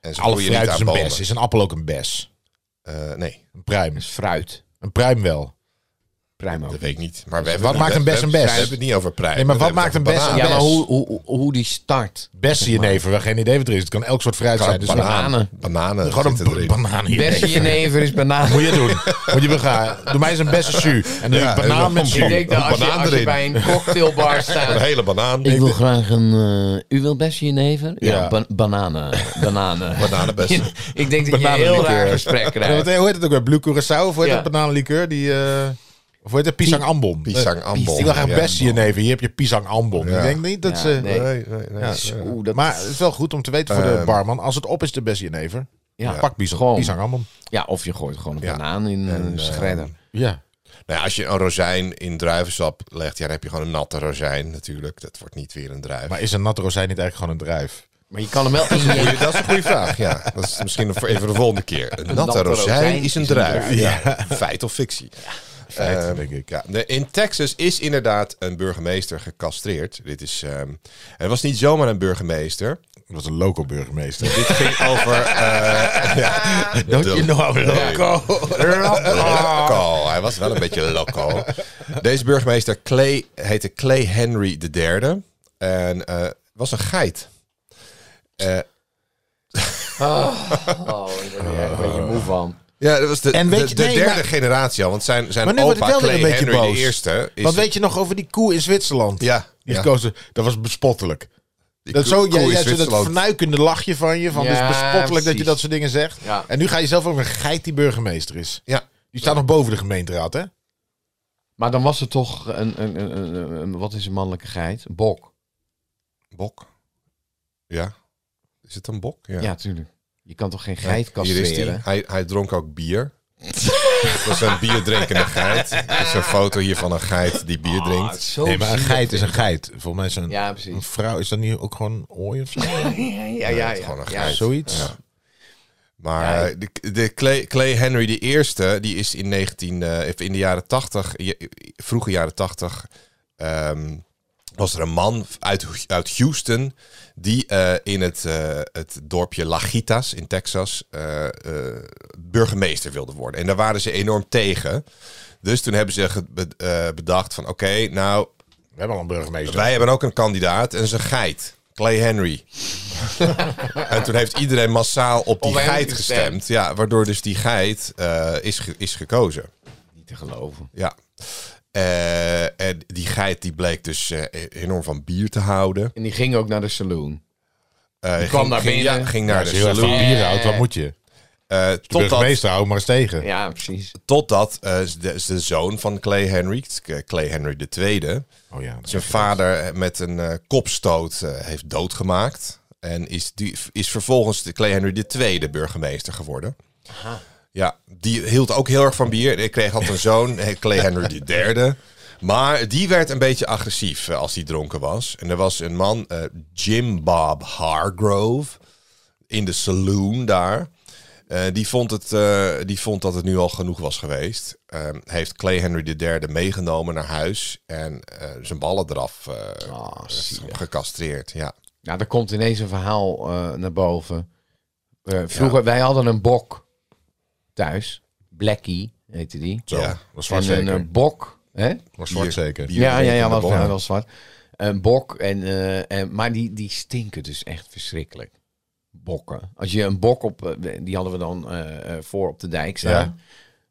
[SPEAKER 2] En ze
[SPEAKER 1] Alle
[SPEAKER 2] groeien niet
[SPEAKER 1] fruit is
[SPEAKER 2] aan
[SPEAKER 1] een
[SPEAKER 2] bomen.
[SPEAKER 1] bes. Is een appel ook een bes?
[SPEAKER 2] Eh, nee,
[SPEAKER 1] Een pruim.
[SPEAKER 3] Dus fruit.
[SPEAKER 1] Een pruim wel.
[SPEAKER 3] Primo.
[SPEAKER 2] dat weet ik niet. Maar we hebben
[SPEAKER 1] wat
[SPEAKER 2] het-
[SPEAKER 1] maakt een
[SPEAKER 2] we-
[SPEAKER 1] bes een
[SPEAKER 2] we-
[SPEAKER 1] bes?
[SPEAKER 2] We hebben het niet over prijs.
[SPEAKER 1] Nee, maar wat maakt een bes een
[SPEAKER 3] Ja, maar
[SPEAKER 1] best.
[SPEAKER 3] hoe, hoe, hoe die start.
[SPEAKER 1] Bessen jenever, waar geen idee wat er is. Het kan elk soort fruit zijn. Dus
[SPEAKER 3] banaan.
[SPEAKER 2] bananen.
[SPEAKER 3] bananen.
[SPEAKER 2] Bananen
[SPEAKER 1] Gewoon
[SPEAKER 2] zitten
[SPEAKER 1] een
[SPEAKER 2] erin.
[SPEAKER 1] banaan hier.
[SPEAKER 3] Bessie jenever is banaan. <laughs>
[SPEAKER 1] Moet je doen. <laughs> Moet je begaan. Doe mij eens een bessen jus. En dan doe
[SPEAKER 2] Ja,
[SPEAKER 1] ik
[SPEAKER 2] en dan
[SPEAKER 1] banaan met
[SPEAKER 2] een
[SPEAKER 1] jus.
[SPEAKER 3] Ik denk dat als je,
[SPEAKER 2] banaan
[SPEAKER 3] als je
[SPEAKER 2] erin.
[SPEAKER 3] bij een cocktailbar
[SPEAKER 2] Een
[SPEAKER 3] staat...
[SPEAKER 2] hele banaan.
[SPEAKER 3] Ik wil graag een... eh, u wil best jenever? Ja,
[SPEAKER 1] Ja.
[SPEAKER 3] ban- bananen. Bananen.
[SPEAKER 1] <laughs>
[SPEAKER 2] Bananenbessen.
[SPEAKER 3] <laughs> ik denk dat je een heel
[SPEAKER 1] Bananenlikeur.
[SPEAKER 3] raar gesprek
[SPEAKER 1] Ja, wat-
[SPEAKER 3] krijgt.
[SPEAKER 1] hoe heet het ook weer? Blue Curaçao of hoe heet
[SPEAKER 3] Ja.
[SPEAKER 1] het bananenlikeur? Die, eh, of hoe heet het? Pisang Ambon. Eh,
[SPEAKER 2] Pisang ambon.
[SPEAKER 1] Ik wil graag
[SPEAKER 2] Ja.
[SPEAKER 1] bessie jenever. Hier heb je Pisang Ambon.
[SPEAKER 2] Ja.
[SPEAKER 1] Ik denk niet dat
[SPEAKER 3] Ja,
[SPEAKER 1] ze...
[SPEAKER 3] nee.
[SPEAKER 2] Nee, nee, nee. Ja. eh,
[SPEAKER 3] Oeh, dat,
[SPEAKER 1] Maar het is wel goed om te weten voor de
[SPEAKER 2] Ehm.
[SPEAKER 1] barman. Als het op is de bessie jenever,
[SPEAKER 3] ja,
[SPEAKER 1] pak pisang,
[SPEAKER 3] gewoon.
[SPEAKER 1] pisang Ambon.
[SPEAKER 3] Ja, of je gooit gewoon een
[SPEAKER 2] Ja.
[SPEAKER 3] banaan in
[SPEAKER 2] En,
[SPEAKER 3] een
[SPEAKER 2] eh,
[SPEAKER 3] shredder.
[SPEAKER 1] Ja.
[SPEAKER 2] Nou ja, als je een rozijn in druivensap legt, ja, dan heb je gewoon een natte rozijn natuurlijk. Dat wordt niet weer een druif.
[SPEAKER 1] Maar is een natte rozijn niet eigenlijk gewoon een druif?
[SPEAKER 3] Maar je kan hem wel in je...
[SPEAKER 2] <laughs> Goeie- dat is een goede vraag, ja. Dat is misschien voor even de volgende keer. Een natte,
[SPEAKER 3] natte
[SPEAKER 2] rozijn,
[SPEAKER 3] rozijn
[SPEAKER 2] is een
[SPEAKER 3] is een
[SPEAKER 2] druif.
[SPEAKER 3] druif.
[SPEAKER 2] Ja. <laughs> Feit of fictie?
[SPEAKER 1] Feit,
[SPEAKER 2] Ehm,
[SPEAKER 1] denk ik.
[SPEAKER 2] Ja. Nee, In Texas is inderdaad een burgemeester gecastreerd. Dit is, ehm, en het was niet zomaar een burgemeester.
[SPEAKER 1] Dat was een loco burgemeester.
[SPEAKER 2] Dit ging <laughs> over... eh ja,
[SPEAKER 1] Don't you know I'm loco?
[SPEAKER 2] Loco. Hij was wel een beetje loco. Deze burgemeester Clay, heette Clay Henry III. En eh, was een geit. Eh,
[SPEAKER 3] Oh, ik ben er echt een beetje moe van.
[SPEAKER 2] ja, dat was de,
[SPEAKER 1] En weet
[SPEAKER 2] de-
[SPEAKER 1] je-
[SPEAKER 2] de
[SPEAKER 1] nee,
[SPEAKER 2] derde
[SPEAKER 1] maar-
[SPEAKER 2] generatie al. Want zijn,
[SPEAKER 1] Maar
[SPEAKER 2] zijn
[SPEAKER 1] nu word ik
[SPEAKER 2] opa
[SPEAKER 1] wel weer
[SPEAKER 2] Clay
[SPEAKER 1] een beetje
[SPEAKER 2] Henry
[SPEAKER 1] boos.
[SPEAKER 2] I is...
[SPEAKER 1] Wat weet je nog over die koe in Zwitserland?
[SPEAKER 2] Ja,
[SPEAKER 1] Die
[SPEAKER 2] ja.
[SPEAKER 1] gekozen, dat was bespottelijk.
[SPEAKER 2] Die
[SPEAKER 1] Dat
[SPEAKER 2] ko-
[SPEAKER 1] zo,
[SPEAKER 2] koe
[SPEAKER 1] jij,
[SPEAKER 2] in
[SPEAKER 1] jij zo dat
[SPEAKER 2] Zwitserland.
[SPEAKER 1] vernuikende lachje van je. Van,
[SPEAKER 3] Ja,
[SPEAKER 1] dus bespottelijk dat je
[SPEAKER 3] precies.
[SPEAKER 1] dat soort dingen zegt.
[SPEAKER 3] Ja.
[SPEAKER 1] En nu ga je zelf ook een geit die burgemeester is.
[SPEAKER 2] Ja,
[SPEAKER 1] Die staat nog boven de gemeenteraad, hè?
[SPEAKER 3] Maar dan was er toch een, een, een, een- een- een- wat is een mannelijke geit? Een bok.
[SPEAKER 2] bok. Ja. Is het een bok?
[SPEAKER 3] Ja, tuurlijk. Je kan toch geen geit
[SPEAKER 2] Hier is die.
[SPEAKER 3] castreren?
[SPEAKER 2] Hij, hij dronk ook bier. <laughs> Het was een bierdrinkende geit. Er is een foto hier van een geit die bier
[SPEAKER 3] Ah,
[SPEAKER 2] drinkt.
[SPEAKER 3] zo
[SPEAKER 1] Nee, maar een
[SPEAKER 3] zielig.
[SPEAKER 1] geit is een geit. Volgens mij is een,
[SPEAKER 3] Ja,
[SPEAKER 1] een
[SPEAKER 3] precies.
[SPEAKER 1] vrouw... Is dat niet ook gewoon een ooi of zo?
[SPEAKER 3] <laughs> Ja, ja, ja.
[SPEAKER 2] het is gewoon een
[SPEAKER 3] ja.
[SPEAKER 2] geit.
[SPEAKER 1] Zoiets.
[SPEAKER 2] Ja. Maar eh, de, de Clay, Clay Henry de eerste, die is in 19, eh, of in de jaren 80, je- vroege jaren 80, ehm, was er een man uit, uit Houston die eh, in het, eh, het dorpje Lagitas in Texas eh, eh, burgemeester wilde worden. En daar waren ze enorm tegen. Dus toen hebben ze ge- be- eh, bedacht van oké, nou
[SPEAKER 1] We hebben al een burgemeester.
[SPEAKER 2] wij hebben ook een kandidaat en dat is een geit. Clay
[SPEAKER 3] <laughs>
[SPEAKER 2] Henry. en toen heeft iedereen massaal op die
[SPEAKER 3] Op hem
[SPEAKER 2] geit
[SPEAKER 3] gestemd.
[SPEAKER 2] gestemd. Ja, waardoor dus die geit eh, is, ge- is gekozen.
[SPEAKER 3] Niet te geloven.
[SPEAKER 2] Ja. Eh, en die geit die bleek dus eh, enorm van bier te houden.
[SPEAKER 3] En die ging ook naar de saloon.
[SPEAKER 2] Eh, ging,
[SPEAKER 3] kwam daar
[SPEAKER 2] ging-
[SPEAKER 3] binnen.
[SPEAKER 2] ja, ging
[SPEAKER 1] Ja,
[SPEAKER 2] naar
[SPEAKER 1] als
[SPEAKER 2] de
[SPEAKER 1] je heel erg
[SPEAKER 2] saloon.
[SPEAKER 1] van bieren houdt, wat moet je?
[SPEAKER 2] Eh,
[SPEAKER 1] De
[SPEAKER 2] totdat
[SPEAKER 1] burgemeester houdt maar eens tegen.
[SPEAKER 3] Ja, precies.
[SPEAKER 2] totdat eh, de, de zoon van Clay Henry, Clay Henry II,
[SPEAKER 1] Oh ja. dat-
[SPEAKER 2] Zijn vader met een eh, kopstoot eh, heeft doodgemaakt. En is, die, is vervolgens de Clay Henry II burgemeester geworden. Ja, die hield ook heel erg van bier. Ik kreeg had een zoon, eh, Clay Henry III. Maar die werd een beetje agressief eh, als hij dronken was. En er was een man, eh, Jim Bob Hargrove, in de saloon daar. Eh, die, vond het, eh, die vond dat het nu al genoeg was geweest. Eh, heeft Clay Henry III meegenomen naar huis en eh, zijn ballen eraf eh,
[SPEAKER 3] Ah, zielig.
[SPEAKER 2] gecastreerd. Ja.
[SPEAKER 3] Nou, er komt ineens een verhaal eh, naar boven. Eh, vroeger, wij hadden een bok thuis. Blackie heette die.
[SPEAKER 1] Zo,
[SPEAKER 2] Ja.
[SPEAKER 1] was zwart
[SPEAKER 3] En een
[SPEAKER 1] zeker.
[SPEAKER 3] eh, bok. Hè?
[SPEAKER 1] was zwart
[SPEAKER 2] bier-
[SPEAKER 1] zeker.
[SPEAKER 2] bier-
[SPEAKER 3] Ja, ja,
[SPEAKER 2] drinken
[SPEAKER 3] ja,
[SPEAKER 2] in de
[SPEAKER 3] was
[SPEAKER 2] bok.
[SPEAKER 3] wel, wel zwart. Een bok. En, eh, en, maar die, die stinken dus echt verschrikkelijk. Bokken. Als je een bok op... eh, Die hadden we dan eh, eh, voor op de dijk staan.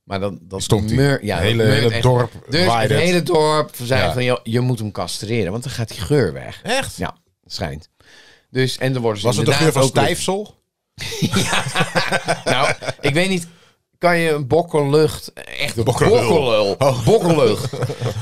[SPEAKER 3] Maar dan, dat
[SPEAKER 1] Stonk die.
[SPEAKER 3] meur- ja, dat
[SPEAKER 1] hele,
[SPEAKER 3] meurt
[SPEAKER 1] hele
[SPEAKER 3] echt.
[SPEAKER 1] dorp
[SPEAKER 3] Dus het
[SPEAKER 1] waaide het.
[SPEAKER 3] hele dorp zei
[SPEAKER 1] Ja.
[SPEAKER 3] van... joh, Je moet hem castreren, want dan gaat die geur weg.
[SPEAKER 1] Echt?
[SPEAKER 3] Ja, schijnt. Dus, en dan worden ze
[SPEAKER 1] Was het de
[SPEAKER 3] inderdaad
[SPEAKER 1] geur van
[SPEAKER 3] ook weer-
[SPEAKER 1] stijfsel?
[SPEAKER 3] Nou, ik weet niet. Kan je een bokkenlucht, echt een
[SPEAKER 1] Bokkelul.
[SPEAKER 3] bokkelul,
[SPEAKER 1] Oh.
[SPEAKER 3] bokkenlucht.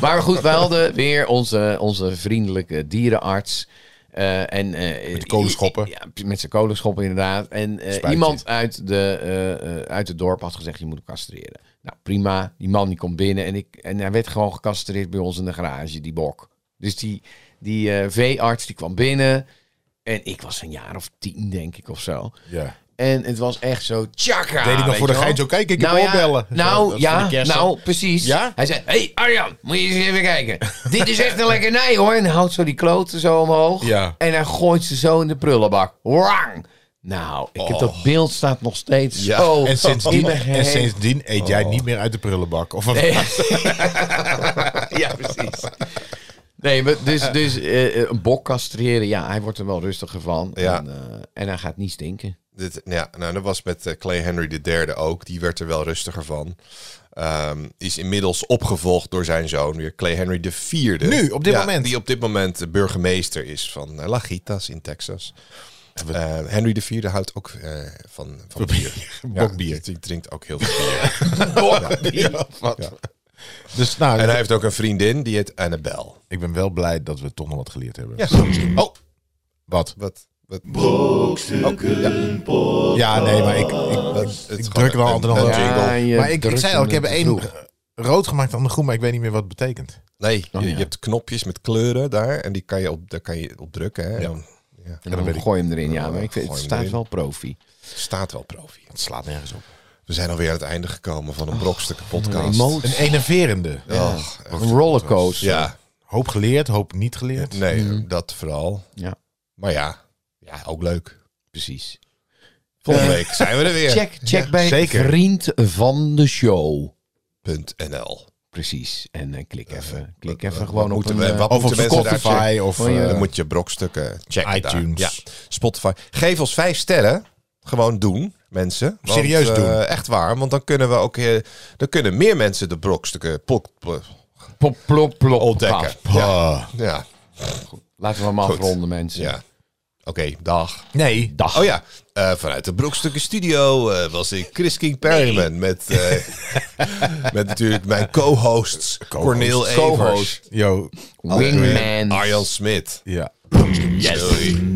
[SPEAKER 3] Maar goed, we hadden weer onze, onze vriendelijke dierenarts. eh, en, eh,
[SPEAKER 1] Met kolenschoppen.
[SPEAKER 3] Ja, met zijn kolenschoppen inderdaad. En eh,
[SPEAKER 1] Spuitje.
[SPEAKER 3] iemand uit, de, eh, eh, uit het dorp had gezegd, je moet hem castreren. Nou, prima. Die man die komt binnen en, ik, en hij werd gewoon gecastreerd bij ons in de garage, die bok. Dus die, die eh, veearts die kwam binnen en ik was een jaar of tien, denk ik, of zo.
[SPEAKER 1] Ja. Ah,
[SPEAKER 3] En het was echt zo, tjaka.
[SPEAKER 1] Deed hij nog
[SPEAKER 3] weet
[SPEAKER 1] voor de
[SPEAKER 3] je wel? Nou
[SPEAKER 1] geit zo kijken? Ik heb
[SPEAKER 3] ja,
[SPEAKER 1] oorbellen. Zo, dat
[SPEAKER 3] Nou,
[SPEAKER 1] is voor de
[SPEAKER 3] ja,
[SPEAKER 1] kerst dan.
[SPEAKER 3] nou, precies.
[SPEAKER 1] Ja?
[SPEAKER 3] Hij zei, hey Arjan, moet je eens even kijken.
[SPEAKER 1] <laughs>
[SPEAKER 3] Dit is echt een lekkernij hoor. En hij houdt zo die kloten zo omhoog.
[SPEAKER 1] Ja.
[SPEAKER 3] En hij gooit ze zo in de prullenbak. Wrang! Nou, ik heb dat beeld staat nog steeds
[SPEAKER 2] Ja,
[SPEAKER 3] zo
[SPEAKER 1] Oh. En
[SPEAKER 3] in
[SPEAKER 1] sindsdien,
[SPEAKER 3] mijn
[SPEAKER 1] en
[SPEAKER 3] geheugen.
[SPEAKER 1] sindsdien eet jij niet meer uit de prullenbak.
[SPEAKER 3] <laughs>
[SPEAKER 1] Of
[SPEAKER 3] Nee. ja, precies. Nee, maar dus, dus eh, eh, een bok castreren, ja, hij wordt er wel rustiger van.
[SPEAKER 2] Ja.
[SPEAKER 3] En, eh, en hij gaat niet stinken.
[SPEAKER 2] Dit, ja, nou, dat was met eh, Clay Henry III ook. Die werd er wel rustiger van. Ehm, is inmiddels opgevolgd door zijn zoon, weer Clay Henry IV.
[SPEAKER 1] Nu, op dit
[SPEAKER 2] Ja,
[SPEAKER 1] moment?
[SPEAKER 2] Die op dit moment de burgemeester is van eh, Lagitas in Texas. Eh Henry IV houdt ook eh, van, van
[SPEAKER 1] <laughs>
[SPEAKER 2] bier.
[SPEAKER 1] Bokbier.
[SPEAKER 2] Ja, die drinkt ook heel veel bier.
[SPEAKER 1] Ja, wat? Dus nou,
[SPEAKER 2] en hij heeft ook een vriendin, die heet Annabelle.
[SPEAKER 1] ik ben wel blij dat we toch nog wat geleerd hebben.
[SPEAKER 2] Oh,
[SPEAKER 1] Wat?
[SPEAKER 2] wat... wat Oh,
[SPEAKER 1] Ja, nee, maar ik, ik, ik, druk wel altijd nog
[SPEAKER 2] een
[SPEAKER 1] wel.
[SPEAKER 3] Ja,
[SPEAKER 2] jingle.
[SPEAKER 3] je
[SPEAKER 1] maar ik, ik
[SPEAKER 3] drukt
[SPEAKER 1] zei al, ik
[SPEAKER 3] hem
[SPEAKER 1] heb
[SPEAKER 3] te
[SPEAKER 1] één
[SPEAKER 3] vroeg.
[SPEAKER 1] rood gemaakt aan de groen, maar ik weet niet meer wat het betekent.
[SPEAKER 2] Nee, je,
[SPEAKER 3] ja.
[SPEAKER 2] je hebt knopjes met kleuren daar. En die kan je op, daar kan je op drukken. Hè? En dan
[SPEAKER 3] En dan
[SPEAKER 1] weet ik.
[SPEAKER 3] gooi je hem erin, ja. Maar ik
[SPEAKER 2] Gooi
[SPEAKER 3] vind, het
[SPEAKER 2] hem
[SPEAKER 3] staat
[SPEAKER 2] erin.
[SPEAKER 3] wel profi.
[SPEAKER 2] staat wel profi.
[SPEAKER 1] Het slaat nergens op.
[SPEAKER 2] We zijn alweer aan het einde gekomen van een brokstukken podcast.
[SPEAKER 3] Emotie.
[SPEAKER 1] Een enerverende.
[SPEAKER 2] Och,
[SPEAKER 3] Een rollercoaster.
[SPEAKER 2] ja,
[SPEAKER 1] Hoop geleerd, hoop niet geleerd.
[SPEAKER 2] nee, dat vooral.
[SPEAKER 3] Ja.
[SPEAKER 2] Maar ja, ja, ook leuk.
[SPEAKER 3] Precies.
[SPEAKER 2] Volgende
[SPEAKER 3] Eh,
[SPEAKER 2] week zijn we er weer.
[SPEAKER 3] Check, check bij
[SPEAKER 1] zeker.
[SPEAKER 3] vriend van de show.
[SPEAKER 2] .nl.
[SPEAKER 3] Precies. En eh, klik even. Klik
[SPEAKER 2] wat-
[SPEAKER 3] even
[SPEAKER 2] wat
[SPEAKER 3] gewoon op
[SPEAKER 2] moeten
[SPEAKER 3] een...
[SPEAKER 2] we-
[SPEAKER 3] eh,
[SPEAKER 2] wat
[SPEAKER 1] Of op
[SPEAKER 2] moeten mensen daar
[SPEAKER 1] Spotify of
[SPEAKER 3] Gewoon je-
[SPEAKER 1] eh,
[SPEAKER 2] Dan moet je brokstukken checken.
[SPEAKER 1] iTunes.
[SPEAKER 2] Daar. Ja. Spotify. Geef ons vijf sterren. Gewoon doen, mensen. Want,
[SPEAKER 1] Serieus
[SPEAKER 2] eh,
[SPEAKER 1] doen.
[SPEAKER 2] Echt waar, want dan kunnen we ook... eh, dan kunnen meer mensen de brokstukken pod- pod-
[SPEAKER 3] plop, plop, plop.
[SPEAKER 2] ontdekken.
[SPEAKER 3] Gaaf.
[SPEAKER 1] ah.
[SPEAKER 2] Ja,
[SPEAKER 3] Laten we hem afronden, mensen.
[SPEAKER 2] ja. Oké, dag.
[SPEAKER 1] Nee.
[SPEAKER 3] Dag.
[SPEAKER 2] Oh ja, eh, vanuit de Brokstukken Studio eh, was ik Chris King Perryman met, eh, met natuurlijk mijn co-hosts Cornel Evers
[SPEAKER 1] Yo.
[SPEAKER 3] Wingman.
[SPEAKER 2] en Arjan Smit.
[SPEAKER 1] Ja.
[SPEAKER 2] Doei.